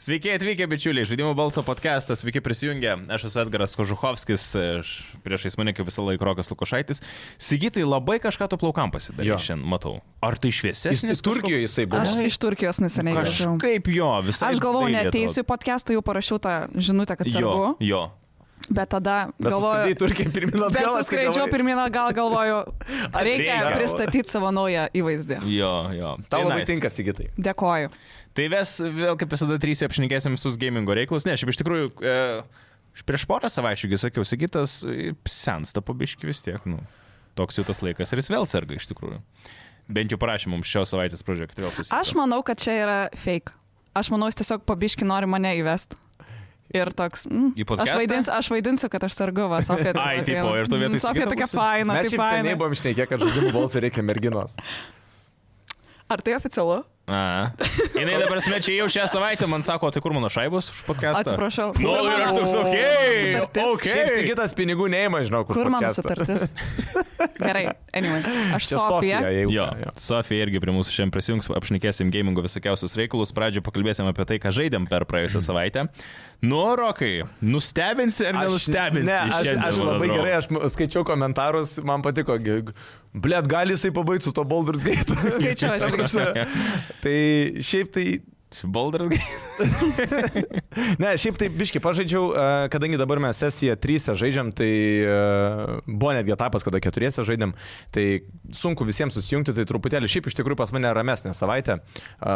Sveiki atvykę, bičiuliai, žaidimų balso podcastas, sveiki prisijungę. Aš esu Edgaras Kožuhovskis, aš priešais mane kaip visą laiką Rokas Lukošaitis. Sigitai labai kažką to plaukam pasidarė Jo. šiandien, matau. Ar tai Jis šviesesnis? jis Turkijoje jisai buvo. Aš- Aš iš Turkijos neseniai grįžau. Kaip jo, visai. Aš galvau, dailiai neteisiu į podcastą, jau parašiau tą žinutę, kad atrodo. sergu, Jo, jo. bet tada Galvoju, į galvoju, Turkiją pirmyn bet atgal. suskraidžiau pirmyn atgal, galvoju, reikia Atgal. pristatyti savo naują įvaizdį. Jo, jo. Tau Tai labai nice. tinka, Sigitai. Dėkoju. Tai ves vėl kaip visada trys apšnekėsim visus gamingo reikalus. Ne, šiaip iš tikrųjų, e, aš prieš porą savaičių, kai sakiau, Sigitas e, sensta pabiški vis tiek, nu, toks jau tas laikas ir jis vėl serga iš tikrųjų. Bent jau prašė mums šios savaitės pradžioje, kad vėl susitiktume. Aš manau, kad čia yra fake. Aš manau, jis tiesiog pabiški nori mane įvest. Ir toks, mm, Į aš, podcastą? vaidins, aš vaidinsiu, kad aš sergu, va, Sofija. Ai, tokia- tipo, ir tu vietoj Mm, Sofija Sigito tokia būsi? faina, Mes taip šiaip seniai faina. buvom išneikę, kad žaidimų balsų reikia merginos. Ar tai oficialu? Jis dabar smečia jau šią savaitę, man sako, tai kur mano šaibos už podcastą? Atsiprašau. Nu, Kur ir aš mano toks, okei. sutartis? okei. Šiaip Sigitas pinigų neima, žinau, kur. Kur mano podcastą. sutartis? Gerai, anyway. Aš Čia Sofija. Sofija. jeigu Jo, ką, jo. Sofija irgi prie mūsų šiandien prisijungs, apšnekėsim gamingo visokiausius reikalus, pradžio pakalbėsim apie tai, ką žaidėm per praėjusią savaitę. Nu, Rokai, nustebinsi ar Mhm. Aš- nenustebinsi? Ne, aš, šiandien, aš man labai atrodo? gerai, aš ma- skaičiau komentarus, man patiko. gi- g- Blet, gali jisai pabaigti su to Baldur's Gate. Skaičiau, aš irgi. Tai šiaip tai Baldras Gate. Ne, šiaip taip, biški, pažaidžiau, e, kadangi dabar mes sesiją 3 žaidžiam, tai e, buvo netgi etapas, kada 4 žaidėm, tai sunku visiems susijungti, tai truputėlį šiaip iš tikrųjų pas mane ramesnė savaitė. E,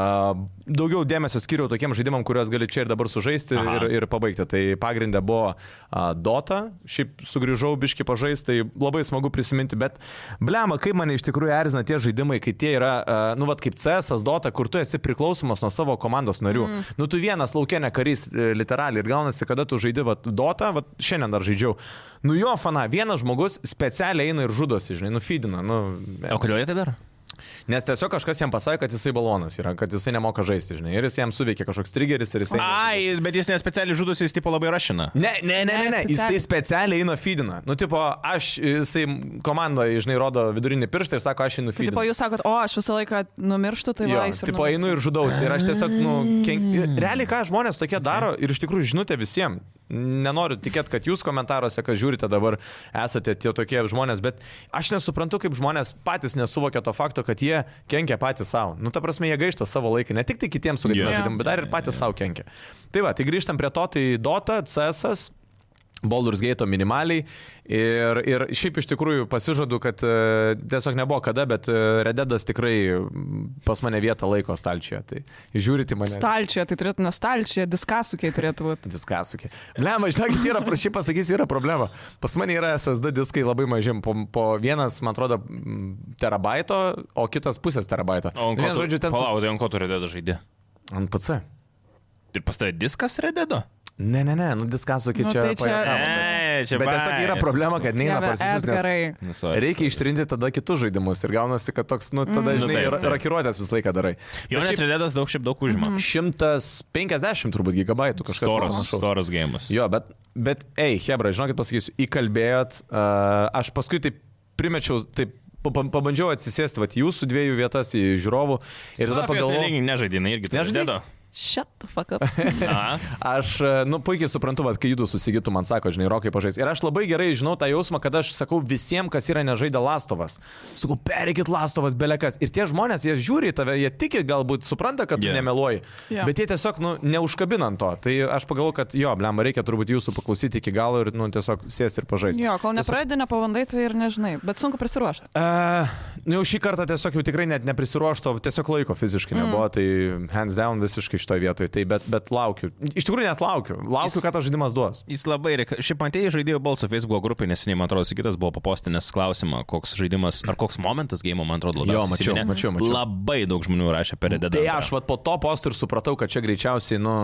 Daugiau dėmesio skiriau tokiem žaidimam, kuriuos gali čia ir dabar sužaisti Aha. ir, ir pabaigti. Tai pagrindė buvo a, Dota, šiaip sugrįžau biški pažaisti, tai labai smagu prisiminti, bet blema, kaip mane iš tikrųjų erzina tie žaidimai, kai tie yra, a, nu vad kaip CS, Dota, kur tu esi priklausomas nuo savo komandos narių. Mm. Nu tu vienas laukia ne karys, e, literaliai, ir gaunasi, kada tu žaidži vat, Dota, vat, šiandien dar žaidžiau. Nu jo, fana, vienas žmogus specialiai eina ir žudosi, žinai, nufidina. Nu, O kodėl jie tai daro? nes tiesiog kažkas jam pasakė, kad jisai balonas yra, kad jisai nemoka žaisti, žinai, ir jis jam suveikė kažkoks trigeris ir jisai... Ai, bet jis nespecialiai žudus, jis tipo labai rašina. Ne, ne, ne, ne, ne. Ne, jisai specialiai. specialiai eina feedina. Nu, tipo, aš, jisai komandoje, žinai, rodo vidurinį pirštą ir sako, aš einu Tai tipo, feedina. jūs sakot, o aš visą laiką numirštu, tai Jo, va, jis ir Mm. tipo, einu ir žudausi. Ir aš tiesiog, nu, ken... realiai ką žmonės tokie daro ir iš tikrųjų žinutė visiems. Nenoriu tikėti, kad jūs komentaruose, kas žiūrite dabar, esate tie tokie žmonės, bet aš nesuprantu, kaip žmonės patys nesuvokia to fakto, kad jie kenkia patys savo. Nu, ta prasme, jie gaišta savo laiką, ne tik tai kitiems sugadina Jo. yeah. žaidimą, bet dar ir patys yeah. savo kenkia. Tai va, tai grįžtam prie to, tai Dota, CS, Baldur's Gate minimaliai. Ir, ir šiaip iš tikrųjų pasižadu, kad e, tiesiog nebuvo kada, bet e, Rededas tikrai mm, pas mane vietą laiko stalčioje. Tai žiūrite mane. Stalčioje, tai turėtų ne stalčioje, diskasukiai turėtų būti. Diskasukė. Blema, žinokit, yra, prašy pasakysiu, yra problema. Pas mane yra SSD diskai labai mažim. Po, po vienas, man atrodo, mm, terabaito, o kitas pusės terabaito. O ant ko? Vienu žodžiu, ten sus- Palauk, tai ant ko turi dėdą žaidė? Ant PC. Ir pas tavai diskas redėdo? Ne, ne, ne, nu diskasukė Nu, čia. tai čia- pajuokavom, Ne, Bet, bet tiesiog yra problema, kad neina parsisiųsti. Edgarai. Mm. Nu, Reikia ištrinti tada kitus žaidimus ir gaunasi, kad toks, nu, tada, Mm. Nu, žinai, taip, ra- taip. rakiruotės visą laiką darai. Jo, nes redėdas daug šiaip daug užima. 150 turbūt gigabaitų Mhm. kažkas Storas, panašaus. storas gėjimas. Jo, bet, bet ei, Hebra, žinokit, pasakysiu, įkalbėjot, uh, aš paskui taip primečiau, taip pa- pa- pabandžiau atsisėsti, va, jūsų dviejų vietas į žiūrovų ir tada pagalvojau. Nežaidinai irgi. Nežaidei? Nežaidinai. Shut the fuck up. Aš, e, nu, puikiai suprantu, kad kai judu susigytų, man sako, žinai, rokai pažais. Ir aš labai gerai žinau tą jausmą, kad aš sakau visiems, kas yra nežaidę lastovas. Sakau, perikit lastovas, belekas. Ir tie žmonės, jie žiūri į tave, jie tiki, galbūt supranta, kad tu Jo. yeah. nemeluoji. Jo. Yeah. Bet jie tiesiog, nu, neužkabinant to. Tai aš pagalvoju, kad jo, blem, reikia turbūt jūsų paklausyti iki galo ir, nu, tiesiog sės ir pažaisti. Jo, kol nepradedi, nepabandai, tai ir nežinai. Bet sunku prisiruošti. Uh, nu jau šį kartą tiesiog jau tikrai net neprisiruošto, tiesiog laiko fiziškai nebuvo, mm. tai hands down visiškai šitoje vietoje, tai bet, bet laukiu. Iš tikrųjų net laukiu, laukiu, Jis- ką tas žaidimas duos. Jis labai, reik- šiaip matėjai žaidėjo balsą Facebook grupėje, neseniai, man atrodo, kitas buvo papostinęs klausimą, koks žaidimas, ar koks momentas gėjimo, man atrodo, labiausiai Jo, mačiau, įsiminė. mačiau, mačiau. Labai daug žmonių rašė per Rededą. Tai aš vat, po to posto ir supratau, kad čia greičiausiai, nu,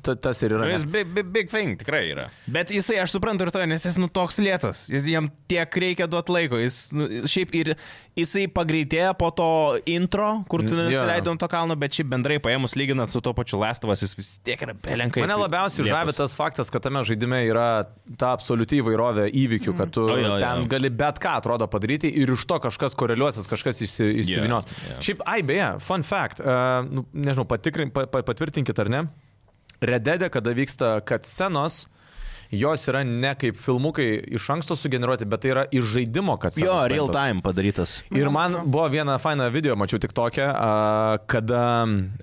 ta, tas ir yra. Nu, jis Nes... big, big, big thing tikrai yra. Bet jisai, aš suprantu ir to, nes jis nu toks lėtas. Jis jam tiek reikia duoti laiko. Jis nu, šiaip ir jisai pagreitėja po to intro, kur tu Mm, jo. nusileidom to kalno, bet šiaip bendrai paėmus lyginant su to pačiu Lestovas, jis vis tiek yra belenkai. Mane labiausiai žavi tas faktas, kad tame žaidime yra ta absoliuti įvairovė įvykių, kad tu O, oh, jo, jo, jo. ten jo. gali bet ką atrodo padaryti ir iš to kažkas koreliuosis, kažkas išsi, išsivinios. Jo, jo. e, Šiaip, ai beje, fun fact, uh, nu, nežinau, patikrin, pa, pa, patvirtinkit ar ne. Rededė, kada vyksta scenos, jos yra ne kaip filmukai iš anksto sugeneruoti, bet tai yra iš žaidimo scenos. Jo, real time padarytas. Ir man Jo. buvo viena faina video, mačiau tik tokią, kada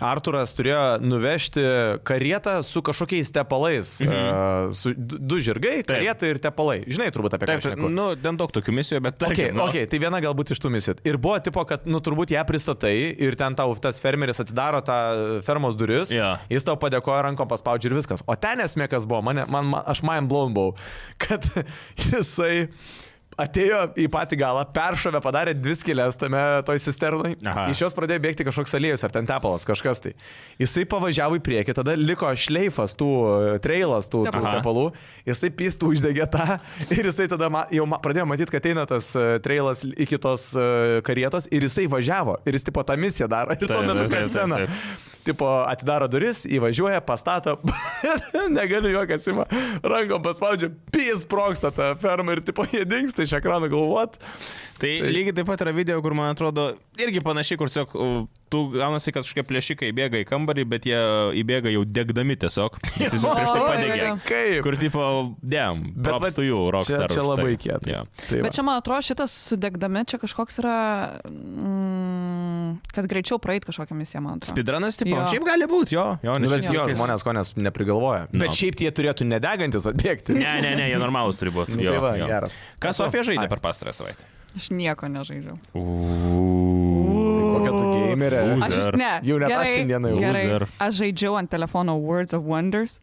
Arturas turėjo nuvežti karietą su kažkokiais tepalais. Mhm. Su du du žirgai, Taip. karieta ir tepalai. Žinai, turbūt apie ką Taip, aš kalbu. nu, ten daug tokių misijų, bet Okei, tarkim, nu. okay, okay, tai viena galbūt iš tų misijų. Ir buvo tipo, kad, nu, turbūt ją pristatai ir ten tau tas fermeris atidaro tą fermos duris, Jo. jis tau padėkoja rankom paspaudžiu ir viskas. O ten esmė kas buvo, mane, man, man, aš mind blown buvau, kad jisai atėjo į patį galą, peršovė, padarė dvi skylės tame toj cisternai, Aha. iš jos pradėjo bėgti kažkoks aliejus ar ten tepalas, kažkas tai. Jisai pavažiavo į priekį, tada liko šleifas tų, e, treilas tų, tų Aha. tepalų kvepalų, jisai pistų uždegė tą ir jisai tada ma, jau ma, pradėjo matyti, kad eina tas uh, trailas iki tos uh, karietos ir jisai važiavo ir jis tipo tą misiją daro ir tuo Taip, metu taip, kad taip, sceną. taip. Tipo atidaro duris, įvažiuoja, pastato, negaliu juokas ima, rankom paspaudžia, pys proksta tą fermą ir tipo jie dinksta iš ekrano galvot. Tai lygiai taip pat yra video, kur man atrodo, irgi panašiai, kur tiesiog u, tu gaunasi, kad kažkokie plėšikai įbėga į kambarį, bet jie e, įbėga jau degdami tiesiog. Jis jau prieš tai Oi, padegė. oi, Kaip? Kur tipo, dėm, Bet props vat tu jų, rockstar. Čia, už čia tai. labai kietai. Jo. Tai va. Bet čia man atrodo, šitas sudegdami, čia kažkoks yra, mm, kad greičiau praeit kažkokią misiją, man atrodo. Speedrunas, tipo, Jo. šiaip gali būti, jo, jo, Nu, nes bet čia jo, viskas- žmonės ko nes neprigalvoja. Nu. Bet šiaip tie turėtų nedegantis atbėgti. Ne, ne, ne, jie normalūs turi būti. Nu, Jo, tai va, jo. geras. Ką Sofija žaidė Ai. per pastarąją savaitę? Aš nieko nežaidžiu. Kokia tu gamerė? Už- Aš Loser. ne. Jau net aš gerai, šiandieną jau gerai. loser. Aš žaidžiau ant telefono Words of Wonders.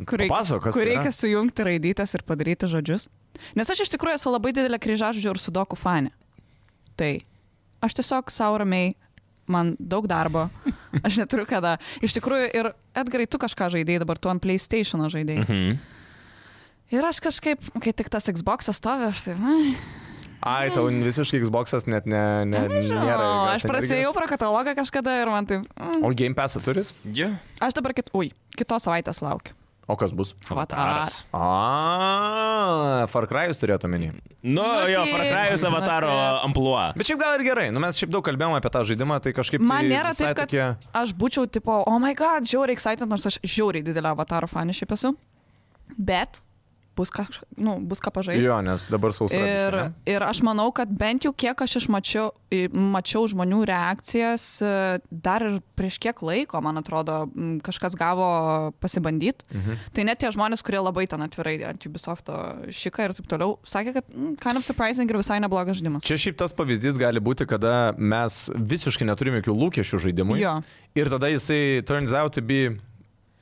Kur reikia, Papasakok, kas kur tai yra. reikia sujungti raidytas ir padaryti žodžius. Nes aš iš tikrųjų esu labai didelė kryžažodžių ir sudokų fane. Tai aš tiesiog sauramiai, man daug darbo, aš neturiu kada. Iš tikrųjų ir Edgarai, tu kažką žaidėjai, dabar tu ant PlayStation žaidėjai. Mhm. Ir aš kažkaip, kai tik tas Xbox stovi, aš tai... ai, Ai, tau visiškai Xbox'as net ne, ne, žinau, nėra. jokios aš prasidėjau energijos. pro katalogą kažkada ir man tai... mm. O Game Pass'ą turit? Jo. Aš dabar kit, ui, kitos savaitės laukiu. O kas bus? Avataras. A, Far Cry'us turėtų omeny. Nu, Nu, jo, taip, Fratrajus nu, avataro taip. ampluo. Bet šiaip gal ir gerai, nu mes šiaip daug kalbėjome apie tą žaidimą, tai kažkaip... Man tai nėra visai taip, kad Tokie... aš būčiau tipo, oh my god, žiauriai excited, nors aš žiauriai didelę avataro fanį šiaip esu. Bet bus ką, nu, bus ką pažaisti. Jo, nes dabar sausra. Ir, biškį, ne? ir aš manau, kad bent jau kiek aš išmačiau i- mačiau žmonių reakcijas, e, dar ir prieš kiek laiko, man atrodo, m, kažkas gavo pasibandyti. Mhm. Tai net tie žmonės, kurie labai ten atvirai ant Ubisofto šiką ir taip toliau, sakė, kad mm, kind of surprising ir visai neblogas žaidimas. Čia šiaip tas pavyzdys gali būti, kada mes visiškai neturime jokių lūkesčių žaidimui. Jo. Ir tada jisai turns out to be...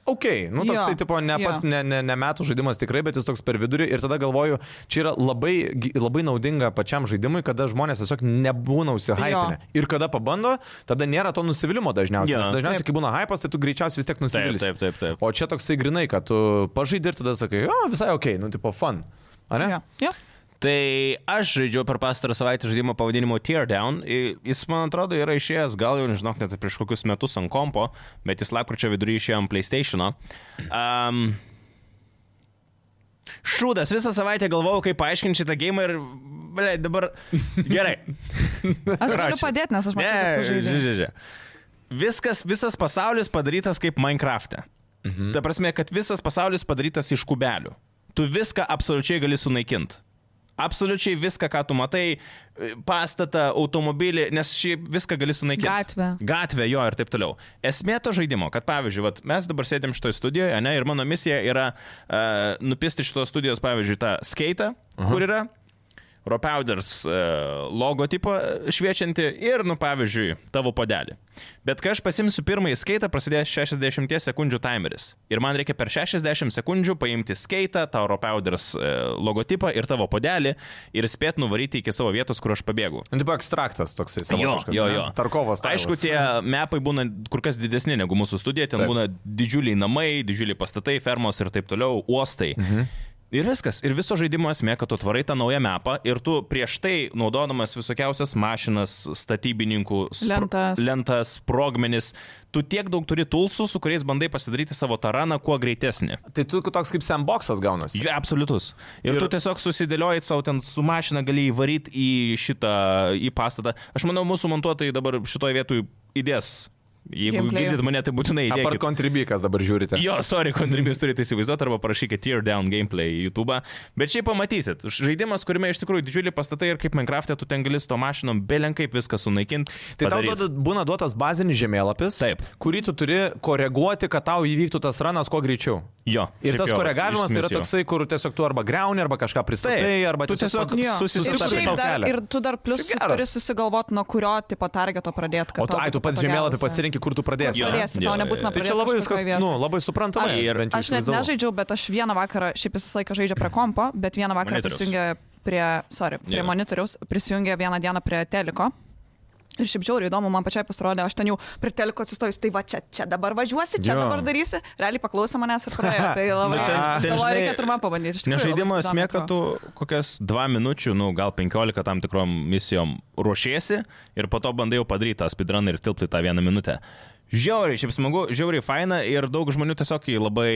Ok, nu Jo, toksai tipo ne jo. pats, ne, ne, ne metų žaidimas tikrai, bet jis toks per vidurį ir tada galvoju, čia yra labai, gi- labai naudinga pačiam žaidimui, kada žmonės tiesiog nebūna užsihypinę. Ir kada pabando, tada nėra to nusivylimų dažniausiai. Jo. Nes dažniausiai, kai būna hypas, tai tu greičiausiai vis tiek Taip, nusivylis. taip, taip, taip. O čia toksai grinai, kad tu pažaidai ir tada sakai, o visai ok, nu tipo fun. Ar ne? Jo. Jo. Tai aš žaidžiau per pastarą savaitę žaidimą pavadinimu Teardown. I- Jis, man atrodo, yra išėjęs gal jau, nežinok, net prieš kokius metus ant kompo, bet jis lapkričio vidury išėjo ant PlayStation'o. Um, Šūdas, visą savaitę galvojau, kaip paaiškinti šitą gėjimą ir, ble, dabar gerai. Aš galiu Rašė. padėti, nes aš mačiau, kad tu žaidži. Ne, žiūrėk. Viskas, visas pasaulis padarytas kaip Minecraft'e. Mhm. Ta prasme, kad visas pasaulis padarytas iš kubelių. Tu viską absoliučiai gali sunaikinti. Absoliučiai viską, ką tu matai, e, pastatą, automobilį, nes šiaip viską gali sunaikinti. Gatvę. Gatvę jo ir taip toliau. Esmė to žaidimo, kad pavyzdžiui, vat, mes dabar sėdėm šitoje studijoje, ne, ir mano misija yra uh, nupisti šitos studijos, pavyzdžiui, tą skaitą, Aha. kur yra, Ropauders e, logotipą šviečianti ir, nu, pavyzdžiui, tavo padelį. Bet kai aš pasimsiu pirmąjį skaitą, prasidės 60 sekundžių timeris. Ir man reikia per 60 sekundžių paimti skaitą, tą Ropauders logotipą ir tavo padelį ir spėt nuvaryti iki savo vietos, kur aš pabėgu. Nu, tipo ekstraktas toksai savo. jo, jo. Tarkovas. Aišku, tie mepai būna kur kas didesni negu mūsų studija, ten Taip. Taip. būna didžiuliai namai, didžiuliai pastatai, fermos ir taip toliau, uostai. Mhm. Ir viskas. Ir viso žaidimo esmė, kad tu tvarai tą naują mapą ir tu prieš tai naudodamas visokiausias mašinas, statybininkų, Lentas. lentas sprogmenis, tu tiek daug turi tulsų, su kuriais bandai pasidaryti savo taraną kuo greitesnį. Tai tu toks kaip sandboxas gaunasi. Jo, absoliutus. Ir, Ir- ir tu tiesiog susidėliojai savo ten su mašina, gali įvaryti į šitą, į pastatą. Aš manau, mūsų montuotojai dabar šitoje vietoje įdės Jeigu Gameplay'u. girdit mane, tai būtinai Apart įdėkit. kontribikas dabar žiūrite. Jo, sorry, kontribijus turite įsivaizduoti arba parašykit tear down gameplay į YouTube. Bet šiaip pamatysit, žaidimas, kuriame iš tikrųjų didžiulį pastatai ir kaip Minecraft'e tu ten gali su to mašinom belenkaip viską sunaikinti. Tai tau duoda, būna duotas bazinis žemėlapis, Taip. kurį tu turi koreguoti, kad tau įvyktų tas ranas kuo greičiau. Jo. Ir šiaip tas jo, koregavimas iš yra esmės jo. toksai, kur tiesiog tu arba greuni, arba kažką pristatai, Taip. arba Tu tiesiog Jo. pats- ir, susistabdai šiaip sau dar, kelią. ir tu dar plus Šiaip geras. turi susigalvoti, nuo kurio tipo targeto pradėti. O tu, ai, tu pats žemėlapį pasirinkai, kur tu pradėsi. Jo. ane? Pradėsi, Jo, tau jo, jo. nebūtina Tai pradėti. čia labai viskas, kažkokioj nu, vietoj. labai suprantama. Aš- bent jau Aš net įsivaizdavau. nežaidžiau, bet aš vieną vakarą, šiaip visą laiką žaidžia prie kompo, bet vieną vakarą Monitoriaus. prisijungė prie, sorry, prie Jo. yeah. monitoriaus, prisijungė vieną dieną prie teliko. Ir šiaip žiauriai įdomu, man pačiai pasirodė, aš ten jau prie teliko atsistojus, tai va čia, čia dabar važiuosi, Jo. čia jo. dabar darysi. Realiai paklausė manęs ir praėjo. Tai labai, Nu, ten- ten, galvoju, žinai, reikia ir man pabandyti. iš Ne tikrųjų labai žaidimo įdomu esmė, atrodo. kad tu kokias 2 minučių, nu gal 15 tam tikrom misijom ruošiesi ir po to bandai jau padaryti tą speedrun ir tilpti tą vieną minutę. Žiauriai, šiaip smagu, žiauriai faina ir daug žmonių tiesiog jį labai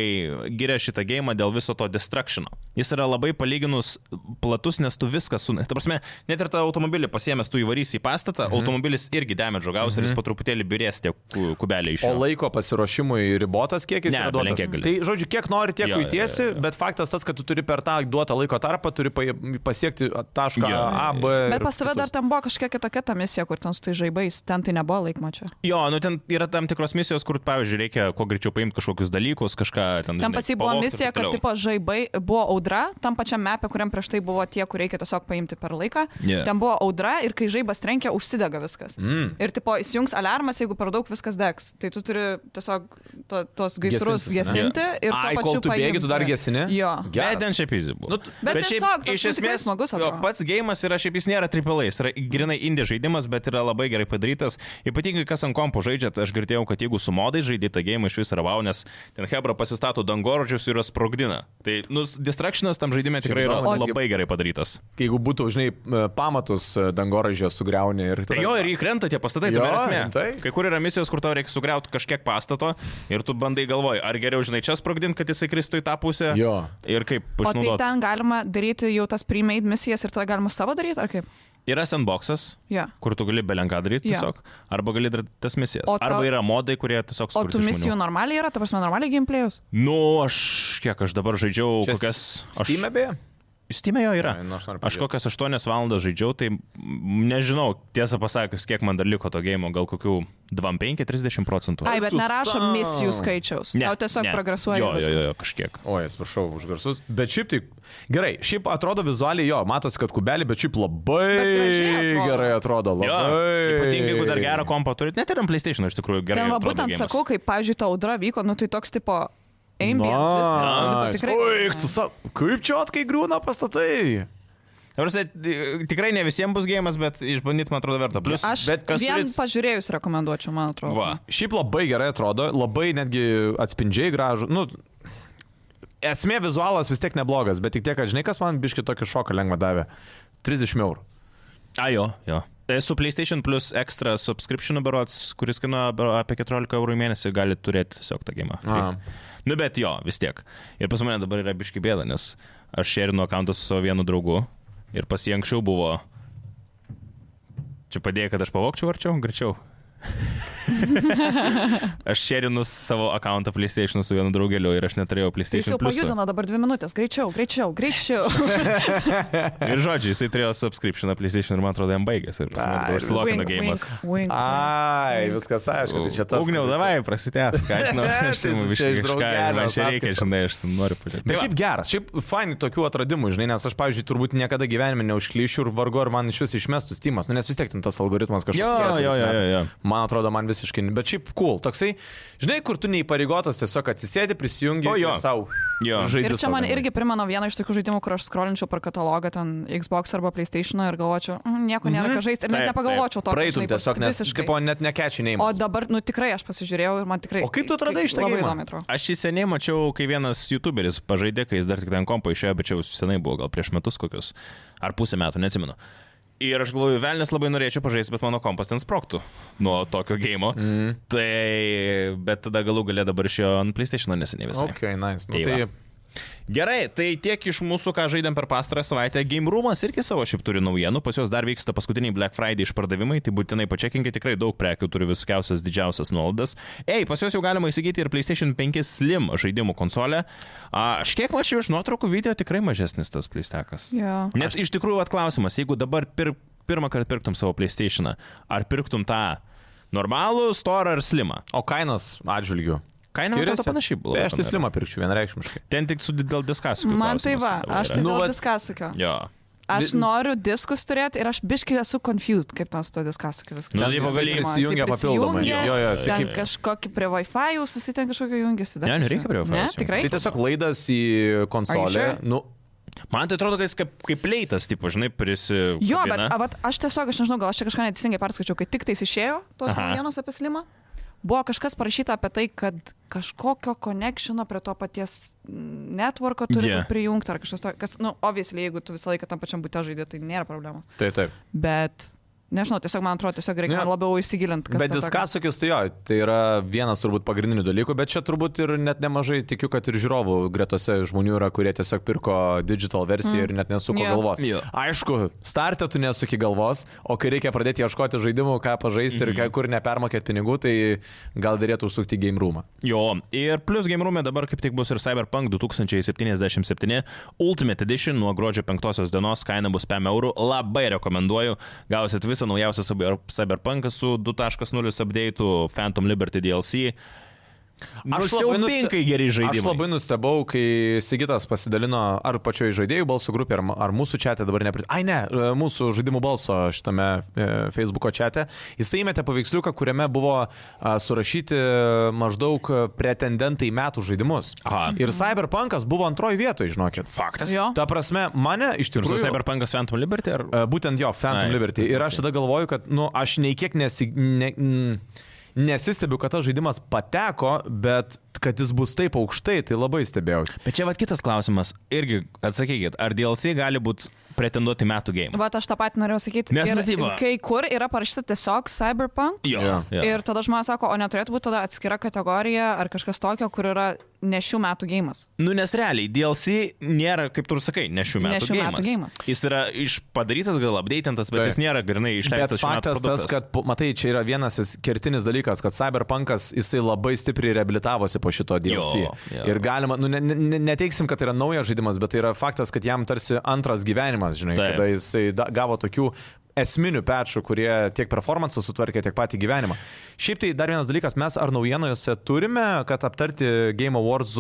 giria šitą gėjimą dėl viso to destructiono. Jis yra labai palyginus platus, nes tu viską su... Ta prasme, net ir tą automobilį pasiemęs, tu įvarysi į pastatą, mhm. automobilis irgi damedžio gaus mhm. ir jis po truputėlį birės tie ku- kubeliai iš O jo. laiko pasiruošimui ribotas kiekis Ne, yra duotas. belenkiek gali. Tai žodžiu, kiek nori, tiek Jo, jo, kuitiesi, jo, jo. bet faktas tas, kad tu turi per tą duotą laiko tarpą, turi pa- pasiekti tašką Jo, jo, jo. A, B. Bet ir pas tave kitus. dar ten buvo kažkokia kitokia ta misija, kur ten su tai žaibais, ten tai nebuvo laikmačio. Jo, nu ten yra tam tikros misijos, kur, pavyzdžiui, reikia kuo greičiau paimti kažkokius dalykus, kažką ten... Nu, Ten žinai, pas jį buvo pavogt ir misija, taip kad toliau. tipo žaibai buvo audra, tam pačiam mepė, kuriam prieš tai buvo tie, kur reikia tiesiog paimti per laiką. Yeah. Ten buvo audra ir kai žaibas trenkia, užsidega viskas. Mm. Ir tipo įsijungs alarmas, jeigu per daug viskas degs. Tai tu turi tiesiog to, tos gaisrus Gesintis, ane? gesinti Jo. ir Ai, tuo kol pačiu tu bėgi, tu dar paimti. gesini? Jo. Geras. Bet ten šiaip įsi buvo. Nu, t- Bet tiesiog toks nu tikrai smagus jo, atrodo. pats gėjimas yra šiaip jis nėra tripelai, jis yra grinai indie žaidimas, bet yra labai gerai padarytas. Ypatingai kas ant kompo žaidžia, tai aš girdėjau, kad jeigu su modai žaidži tą gėjimą iš viso yra vau, nes ten Hebra pasistato dangoržius ir juos sprogdina. Tai, nu, distractionas tam žaidime tikrai yra įdomu, labai gerai padarytas. Jeigu būtų, žinai, e, pamatus dangoražė sugriauni ir... Tai jo ir įkrenta tie pastatai, tai Jo, yra esmė. rimtai? Kai kur yra misijos, kur tau reikia sugriauti kažkiek pastato ir tu bandai galvoji, ar geriau žinai čia sprogdinti, kad jisai kristų į tą pusę. Jo. Ir kaip O tai išnaudoti. ten galima daryti jau tas pre-made misijas ir tada galima savo daryti, ar kaip? Yra sandboxas, Jo. kur tu gali belenką daryti Jo. tiesiog. Arba gali daryti tas misijas. O To... ta- Arba yra modai, kurie tiesiog O tų sukurti iš misijų žmonių. normaliai yra, ta prasme, normaliai gameplayus? Nu, aš kiek aš dabar žaidžiau, Čia Čia kokias... Aš... Steam beje? Steam'e jo yra. Ai, nu, aš noriu aš pridėt. kokias 8 valandas žaidžiau, tai mm, nežinau, tiesą pasakius, kiek man dar liko to gėjimo, gal kokių 25-30 procentų. Ai, bet tu nerašo sau. misijų skaičiaus. Ne, Tau tiesiog ne. progresuoja. Jo, jo, viskas. jo, jo, kažkiek. Oi, atsiprašau už garsus. Bet šiaip tai gerai, šiaip atrodo vizualiai jo, matosi, kad kubelį, bet šiaip labai Bet gražiai atrodo. gerai atrodo. Labai. Jo, ypatingai, jeigu dar gerą kompą turit, net ir ant PlayStation iš tikrųjų gerai. Ten va atrodo būtent geimas. sakau, kaip, pavyzdžiui, ta audra vyko, nu tai toks tipo ambience. Na, viskas, nu, tipo, tikrai- Oi, tu sa... Kaip čia atkai grūna pastatai? Ta prasme, ti- Tikrai ne visiems bus gėjimas, bet išbandyti, man atrodo, verta. Plus, Aš Bet kas vien turit- pažiūrėjus rekomenduočiau, man atrodo. va. Šiaip labai gerai atrodo, labai netgi atspindžiai gražu. Nu, esmė vizualas vis tiek neblogas, bet tik tiek, kad žinai, kas man biški tokį šoką lengvą davė. 30 eurų. A, jo, jo. E, Su PlayStation Plus ekstra subscription berots, kuris kainuoja be- apie 14 eurų į mėnesį, gali turėti tiesiog tą gėjimą. A. Nu, bet jo, vis tiek. Ir pas mane dabar yra biški bėda, nes aš šerinu akantą su savo vienu draugu ir pas jį anksčiau buvo... Čia padėjo, kad aš pavokčiau arčiau, greičiau. aš šerinu savo akantą PlayStation su vienu draugeliu ir aš neturėjau Tai jis PlayStation jau Plus. pajudino dabar dvi minutės, greičiau, greičiau, greičiau. Ir žodžiu, jisai turėjo subscriptioną PlayStation ir man atrodo, jam baigėsi. Ir Ai, dabar slokino Wink, gėjimas. wink, wink. Ai, viskas aišku, tai čia tas. Ugniau, davai, prasitęs, ką aš noriu. Tai Aš ten čia iš biškį kažką, draugelio man čia reikia, sąskaitos. žinai, aš ten noriu pažiūrėti. Bet Tai šiaip va, geras, šiaip faini tokių atradimų, žinai, nes aš, pavyzdžiui, turbūt niekada gyvenime neužklyšiu ir vargu ar man iš vis išmestų Steamas, nu, nes vis tiek ten tas algoritmas kažkoks. Jo, yra, kuris jo, jo, meta. jo, jo. Man atrodo, man visiškai, ne- bet šiaip cool, toksai, žinai, kur tu neįpareigotas tiesiog atsisėdi, prisijungi O, jo. savo Jo. Ir žaidimą. čia man irgi primena vieną iš tokių žaidimų, kur aš skrolinčiau per katalogą ten Xbox arba PlayStation ir galvočiau, "Mm, nieko nėra ką žaisti. Ir net Taip, nepagalvočiau to. Mhm. Praeitum tiesiog, nes tipo, net nekečiai O neįmanoma. dabar, nu tikrai aš pasižiūrėjau ir man tikrai. O kaip tu atradai šitą Labai geimą? įdomu atrodo. aš jį seniai mačiau, kai vienas YouTuberis pažaidė, kai jis dar tik ten kompo išėjo, bet čia jau senai buvo, gal prieš metus kokius, ar pusę metų, neatsimenu. Ir aš galvoju, velnės labai norėčiau pažaisti, bet mano kompas ten sproktų nuo tokio gėjimo. Mm. Mhm. Tai, bet tada galų galę dabar išėjo ant PlayStation neseniai visai. Ok, nice. Nu, Tai va. tai Gerai, tai tiek iš mūsų, ką žaidėm per pastarą savaitę. Game Roomas irgi savo šiaip turi naujienų, pas juos dar vyksta paskutiniai Black Friday išpardavimai, tai būtinai pačekinkit, tikrai daug prekių turi visokiausias didžiausias nuolaidas. Ei, pas juos jau galima įsigyti ir PlayStation 5 Slim žaidimų konsolę. A, Aš kiek mačiau iš nuotraukų video, tikrai mažesnis tas pleistekas. Jo. Net iš tikrųjų atklausimas, jeigu dabar pir, pirmą kartą pirktum savo PlayStationą, ar pirktum tą normalų, storą ar slimą? O kainos atžvilgių. Kaina, man atrodo, Skiriasi? panašiai buvo. Tai aš tai slimą pirkčiau vienareikšmiškai. Ten tik su dėl diskasijų. Man tai va, aš tai Nu, nu, vat- viską sukiu. Jo. Aš noriu diskus turėti ir aš biškai esu confused, kaip ten su to diskas sukiu viskas. Nu, Ten tai jisai pavaliai prisijungia papildomai. prisijungia, Jo, jo, jo, ten sakyk. kažkokį prie Wi-Fi jau susitink kažkokį jungiasi. dar Ne, nereikia kažką. prie Wi-Fi Ne, jungt. tikrai. Tai tiesiog laidas į konsolę. sure? Nu, Man tai atrodo, kad jis kaip, kaip leitas, tipo, žinai, e, prisi. Jo, bet a, vat, aš tiesiog, aš nežinau, gal aš čia kažką neteisingai perskaičiau, kai tik tais išėjo tos Aha. naujienos apie slimą, buvo kažkas parašyta apie tai, kad kažkokio konekšino prie to paties mm, networko Jo. turi yeah. prijungti ar kažkas to, kas, nu, obviously, jeigu tu visą laiką tam pačiam būte žaidė, tai nėra problemos. taip, taip. Bet, nežinau, tiesiog man atrodo, tiesiog reikia Jo. yeah. labiau įsigilinti, kas Bet diskasukis, tai jo, tai yra vienas turbūt pagrindinių dalykų, bet čia turbūt ir net nemažai tikiu, kad ir žiūrovų gretose žmonių yra, kurie tiesiog pirko digital versiją mm. ir net nesuko Jo. yeah. galvos. Jo. Aišku, startę tu nesuki galvos, o kai reikia pradėti ieškoti žaidimų, ką pažaisti mm -hmm. ir ką- kur nepermokėti pinigų, tai gal derėtų užsukti į game roomą. Jo, ir plus Game Room dabar kaip tik bus ir Cyberpunk 2077 Ultimate Edition nuo gruodžio 5 dienos, kaina bus 5 eurų, labai rekomenduoju, gausit visą naujausią cyber- Cyberpunką su 2.0 update, Phantom Liberty DLC. Aš jau nuste- penkai geri žaidimai. Aš labai nustebau, kai Sigitas pasidalino ar pačioje žaidėjų balsų grupėje, ar, ar mūsų čia dabar neprit... Ai ne, e, mūsų žaidimų balso šitame e, Facebook'o čia. Jisai įmetė paveiksliuką, kuriame buvo a, surašyti maždaug pretendentai į metų žaidimus. Aha. Ir Cyberpunkas buvo antroji vietoje, žinokit. Faktas. Jo. Ta prasme, mane iš Ir su tikrųjų... Cyberpunkas Phantom Liberty ar... E, Būtent jo, Phantom Ai, Ai, Liberty. Ir aš tada galvoju, kad, nu, aš nei kiek nesi, ne, n- nesistebiu, kad tas žaidimas pateko, bet kad jis bus taip aukštai, tai labai stebėjausi. Bet čia va kitas klausimas, irgi atsakykit, ar DLC gali būti pretenduoti metų game? Vat aš tą patį norėjau sakyti. Nes, Ir nu, tai va. kai kur yra parašyta tiesiog cyberpunk. Jo. jo. Ir tada žmonės sako, o neturėtų būti tada atskira kategorija ar kažkas tokio, kur yra ne šių metų gėjimas. Nu, nes realiai DLC nėra, kaip tu ir sakai, ne šių Ne metų, šių metų geimas. Jis yra iš padarytas, gal updatintas, bet Taip. Taip. jis nėra grinai Bet išleistas šių metų. faktas tas, produktas. kad, po- matai, čia yra vienas jis- kertinis dalykas, kad Cyberpunkas jisai labai stipriai reabilitavosi po šito DLC. Jo, jo. Ir galima, nu, ne, ne, neteiksim, kad tai yra naujas žaidimas, bet tai yra faktas, kad jam tarsi antras gyvenimas, žinai, Taip. Taip. kada jisai da, gavo tokių esminių pečių, kurie tiek performance sutvarkė, tiek patį gyvenimą. Šiaip tai dar vienas dalykas, mes ar naujienose turime, kad aptarti Game Awards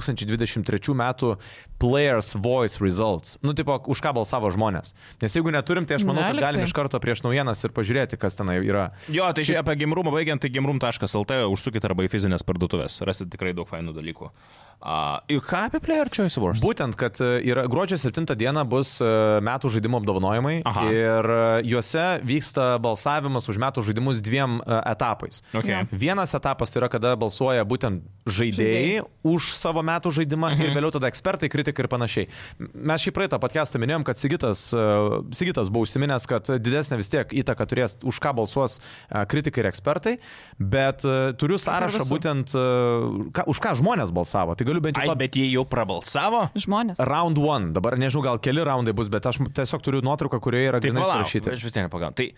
2023 metų Players Voice Results. Nu, tipo, už ką balsavo žmonės. Nes jeigu neturim, tai aš manau, Ne, kad lyg tai. galim iš karto prieš naujienas ir pažiūrėti, kas tenai yra. Jo, tai šiaip apie gimrumą baigiant, tai gimrum.lt užsukit arba į fizinės parduotuvės, rasit tikrai daug fainų dalykų. Uh, ką apie Player Choice Awards? Būtent, kad e, yra gruodžio 7 diena bus e, metų žaidimų apdovanojimai Aha. ir e, juose vyksta balsavimas už metų žaidimus dviem e, etapais. Okay. Vienas etapas yra, kada balsuoja būtent žaidėjai, Žaidėjai. žaidėjai. už savo metų žaidimą mhm. ir vėliau tada ekspertai, kritikai ir panašiai. M- Mes šį praeitą podcastą minėjom, kad Sigitas, e, Sigitas buvo užsiminęs, kad didesnė vis tiek įtaka turės, už ką balsuos e, kritikai ir ekspertai, bet e, turiu sąrašą visur. būtent, e, ką, už ką žmonės balsavo. Tai galiu bent Ai, jau to bet jie jau prabalsavo? Žmonės. Round one, dabar nežinau, gal keli raundai bus, bet aš tiesiog turiu nuotrauką, kurioje yra Taip, grinai Tai palauk, surašyti. Aš vis tiek nepagaunu. Tai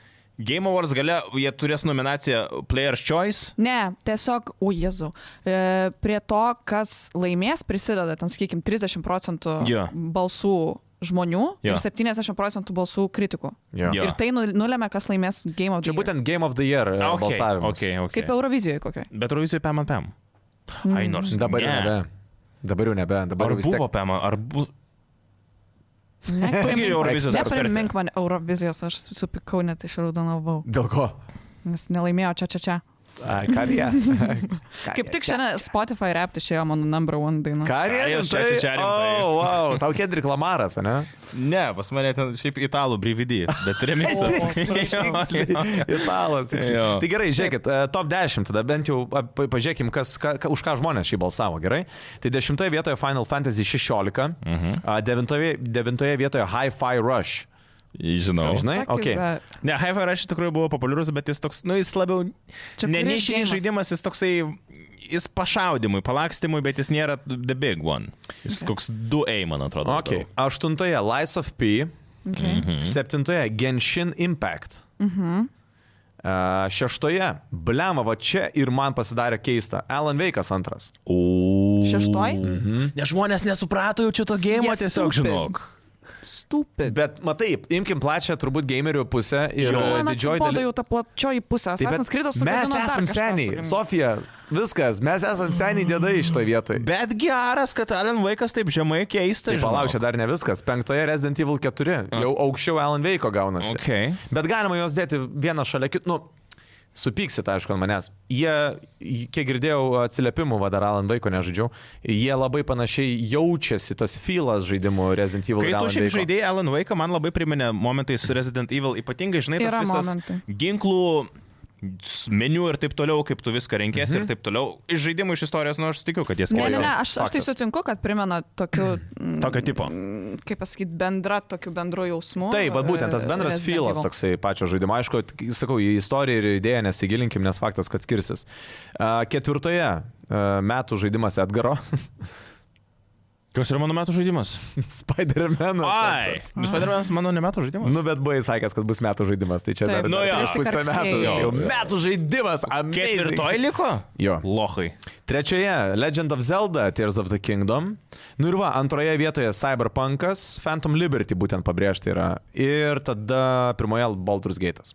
Game Awards gale jie turės nominaciją Player Choice. Ne, tiesiog, u Jezu, e, prie to, kas laimės, prisideda, ten, sakykime, 30 procentų Jo. balsų žmonių Jo. ir 70 procentų balsų kritikų. Jo. Jo. Ir tai nu- nulėmė, kas laimės Game of the Čia Year. būtent Game of the Year e, Okay, balsavimas. okay, okay. Kaip Mm. Eurovizijoje kokiai. Bet Ruizijai PM ant PM. Ai, nors. Dabar jau nebe. Dabar jau nebe. Dabar Ar jau vis tiek. buvo PM, ar buvo... Irgi Eurovizijos Neprimink ekspertė. man Eurovizijos, aš supikau net išraudonavau, Dėl ko? nes nelaimėjo čia čia čia. Karija. Kaip tik šiandien Spotify rap tai išėjo mano number one daina. Karija, Karijos čia, čia, čia rimtai. O, wow, tau Kendrick Lamaras, ne? Ne, pas mane ten šiaip italų brividi, bet remiksas. Italas. tiksliai. Jo. Tai gerai, žiūrėkit, e, top 10, tada bent jau ap- pažiūrėkim, kas, ka, ka, už ką žmonės šį balsavo, gerai? Tai 10 Mhm. vietoje Final Fantasy 16, 9 vietoje Hi-Fi Rush. Žinau. Žinai, Fuck okei. is that? Ne, Haifa Rush iš tikrųjų buvo populiarus, bet jis toks, nu jis labiau... Čia Ne, kuris nišinis geimas? žaidimas, jis toksai... Jis pašaudimui, palakstimui, bet jis nėra the big one. Jis koks 2A, man atrodo. Okay. Aštuntoje Lies of P. Okay. Mhm. Septintoje Genshin Impact. Mhm. Šeštoje, blema, va čia ir man pasidarė keista. Alan Veikas antras. O. Šeštoj? Mhm. Nes žmonės nesuprato jau šito gėjimo Jie tiesiog, stupid. žinok. Stupid. Bet matai, imkim plačią turbūt gamerių pusę ir Jo. e, Man didžioji atsibodo dalis. jau ta plačioji pusė. Taip, bet Esame skridos su mes esam seniai. Sofija, viskas, mes esam seniai dėdai iš to vietoj. Bet geras, kad Alan vaikas taip žemai keista. Tai žinok. palauk, čia dar ne viskas. Penktoje Resident Evil 4. Jau aukščiau Alan Veiko gaunasi. Ok. Bet galima juos dėti vieną šalia kitų. Nu, supyksit, aišku, ant manęs. Jie, kiek girdėjau atsiliepimų, vadar Alan Veiko nežaidžiau, jie labai panašiai jaučiasi tas filas žaidimų Resident Evil. Kai ir tu Alan šiaip Wake'o. žaidėjai Alan Vaiką, man labai priminė momentais Resident Evil, ypatingai, žinai, tas Yra visas momentai. ginklų s- meniu ir taip toliau, kaip tu viską renkėsi ir taip toliau. Iš žaidimų, iš istorijos, nu aš tikiu, kad jie Ne, ne, skiriasi. ne, aš, aš tai sutinku, kad primena tokiu, mm, Tokio tipo. kaip pasakyti, bendra, tokiu bendru jausmu. Taip, bet būtent tas e, bendras Resident filas Evil. toksai pačio žaidimo. Aišku, t- sakau, į istoriją ir idėją nesigilinkim, nes faktas, kad skirsis. A, Ketvirtoje a, metų žaidimas Edgaro. Kas yra mano metų žaidimas? Spider-Man. Ai, jūs padarėmės mano nemetų žaidimas? Nu, bet buvai sakęs, kad bus metų žaidimas, tai čia Taip, dar, nu dar jo. prieš pusę metų. Prisikarksėjai. Jau Jo, jo. metų žaidimas, amazing. Ketvirtoj liko? Jo. Lohai. Trečioje Legend of Zelda Tears of the Kingdom. Nu ir va, antroje vietoje Cyberpunkas, Phantom Liberty būtent pabrėžti yra. Ir tada pirmoje Baldur's Gate'as.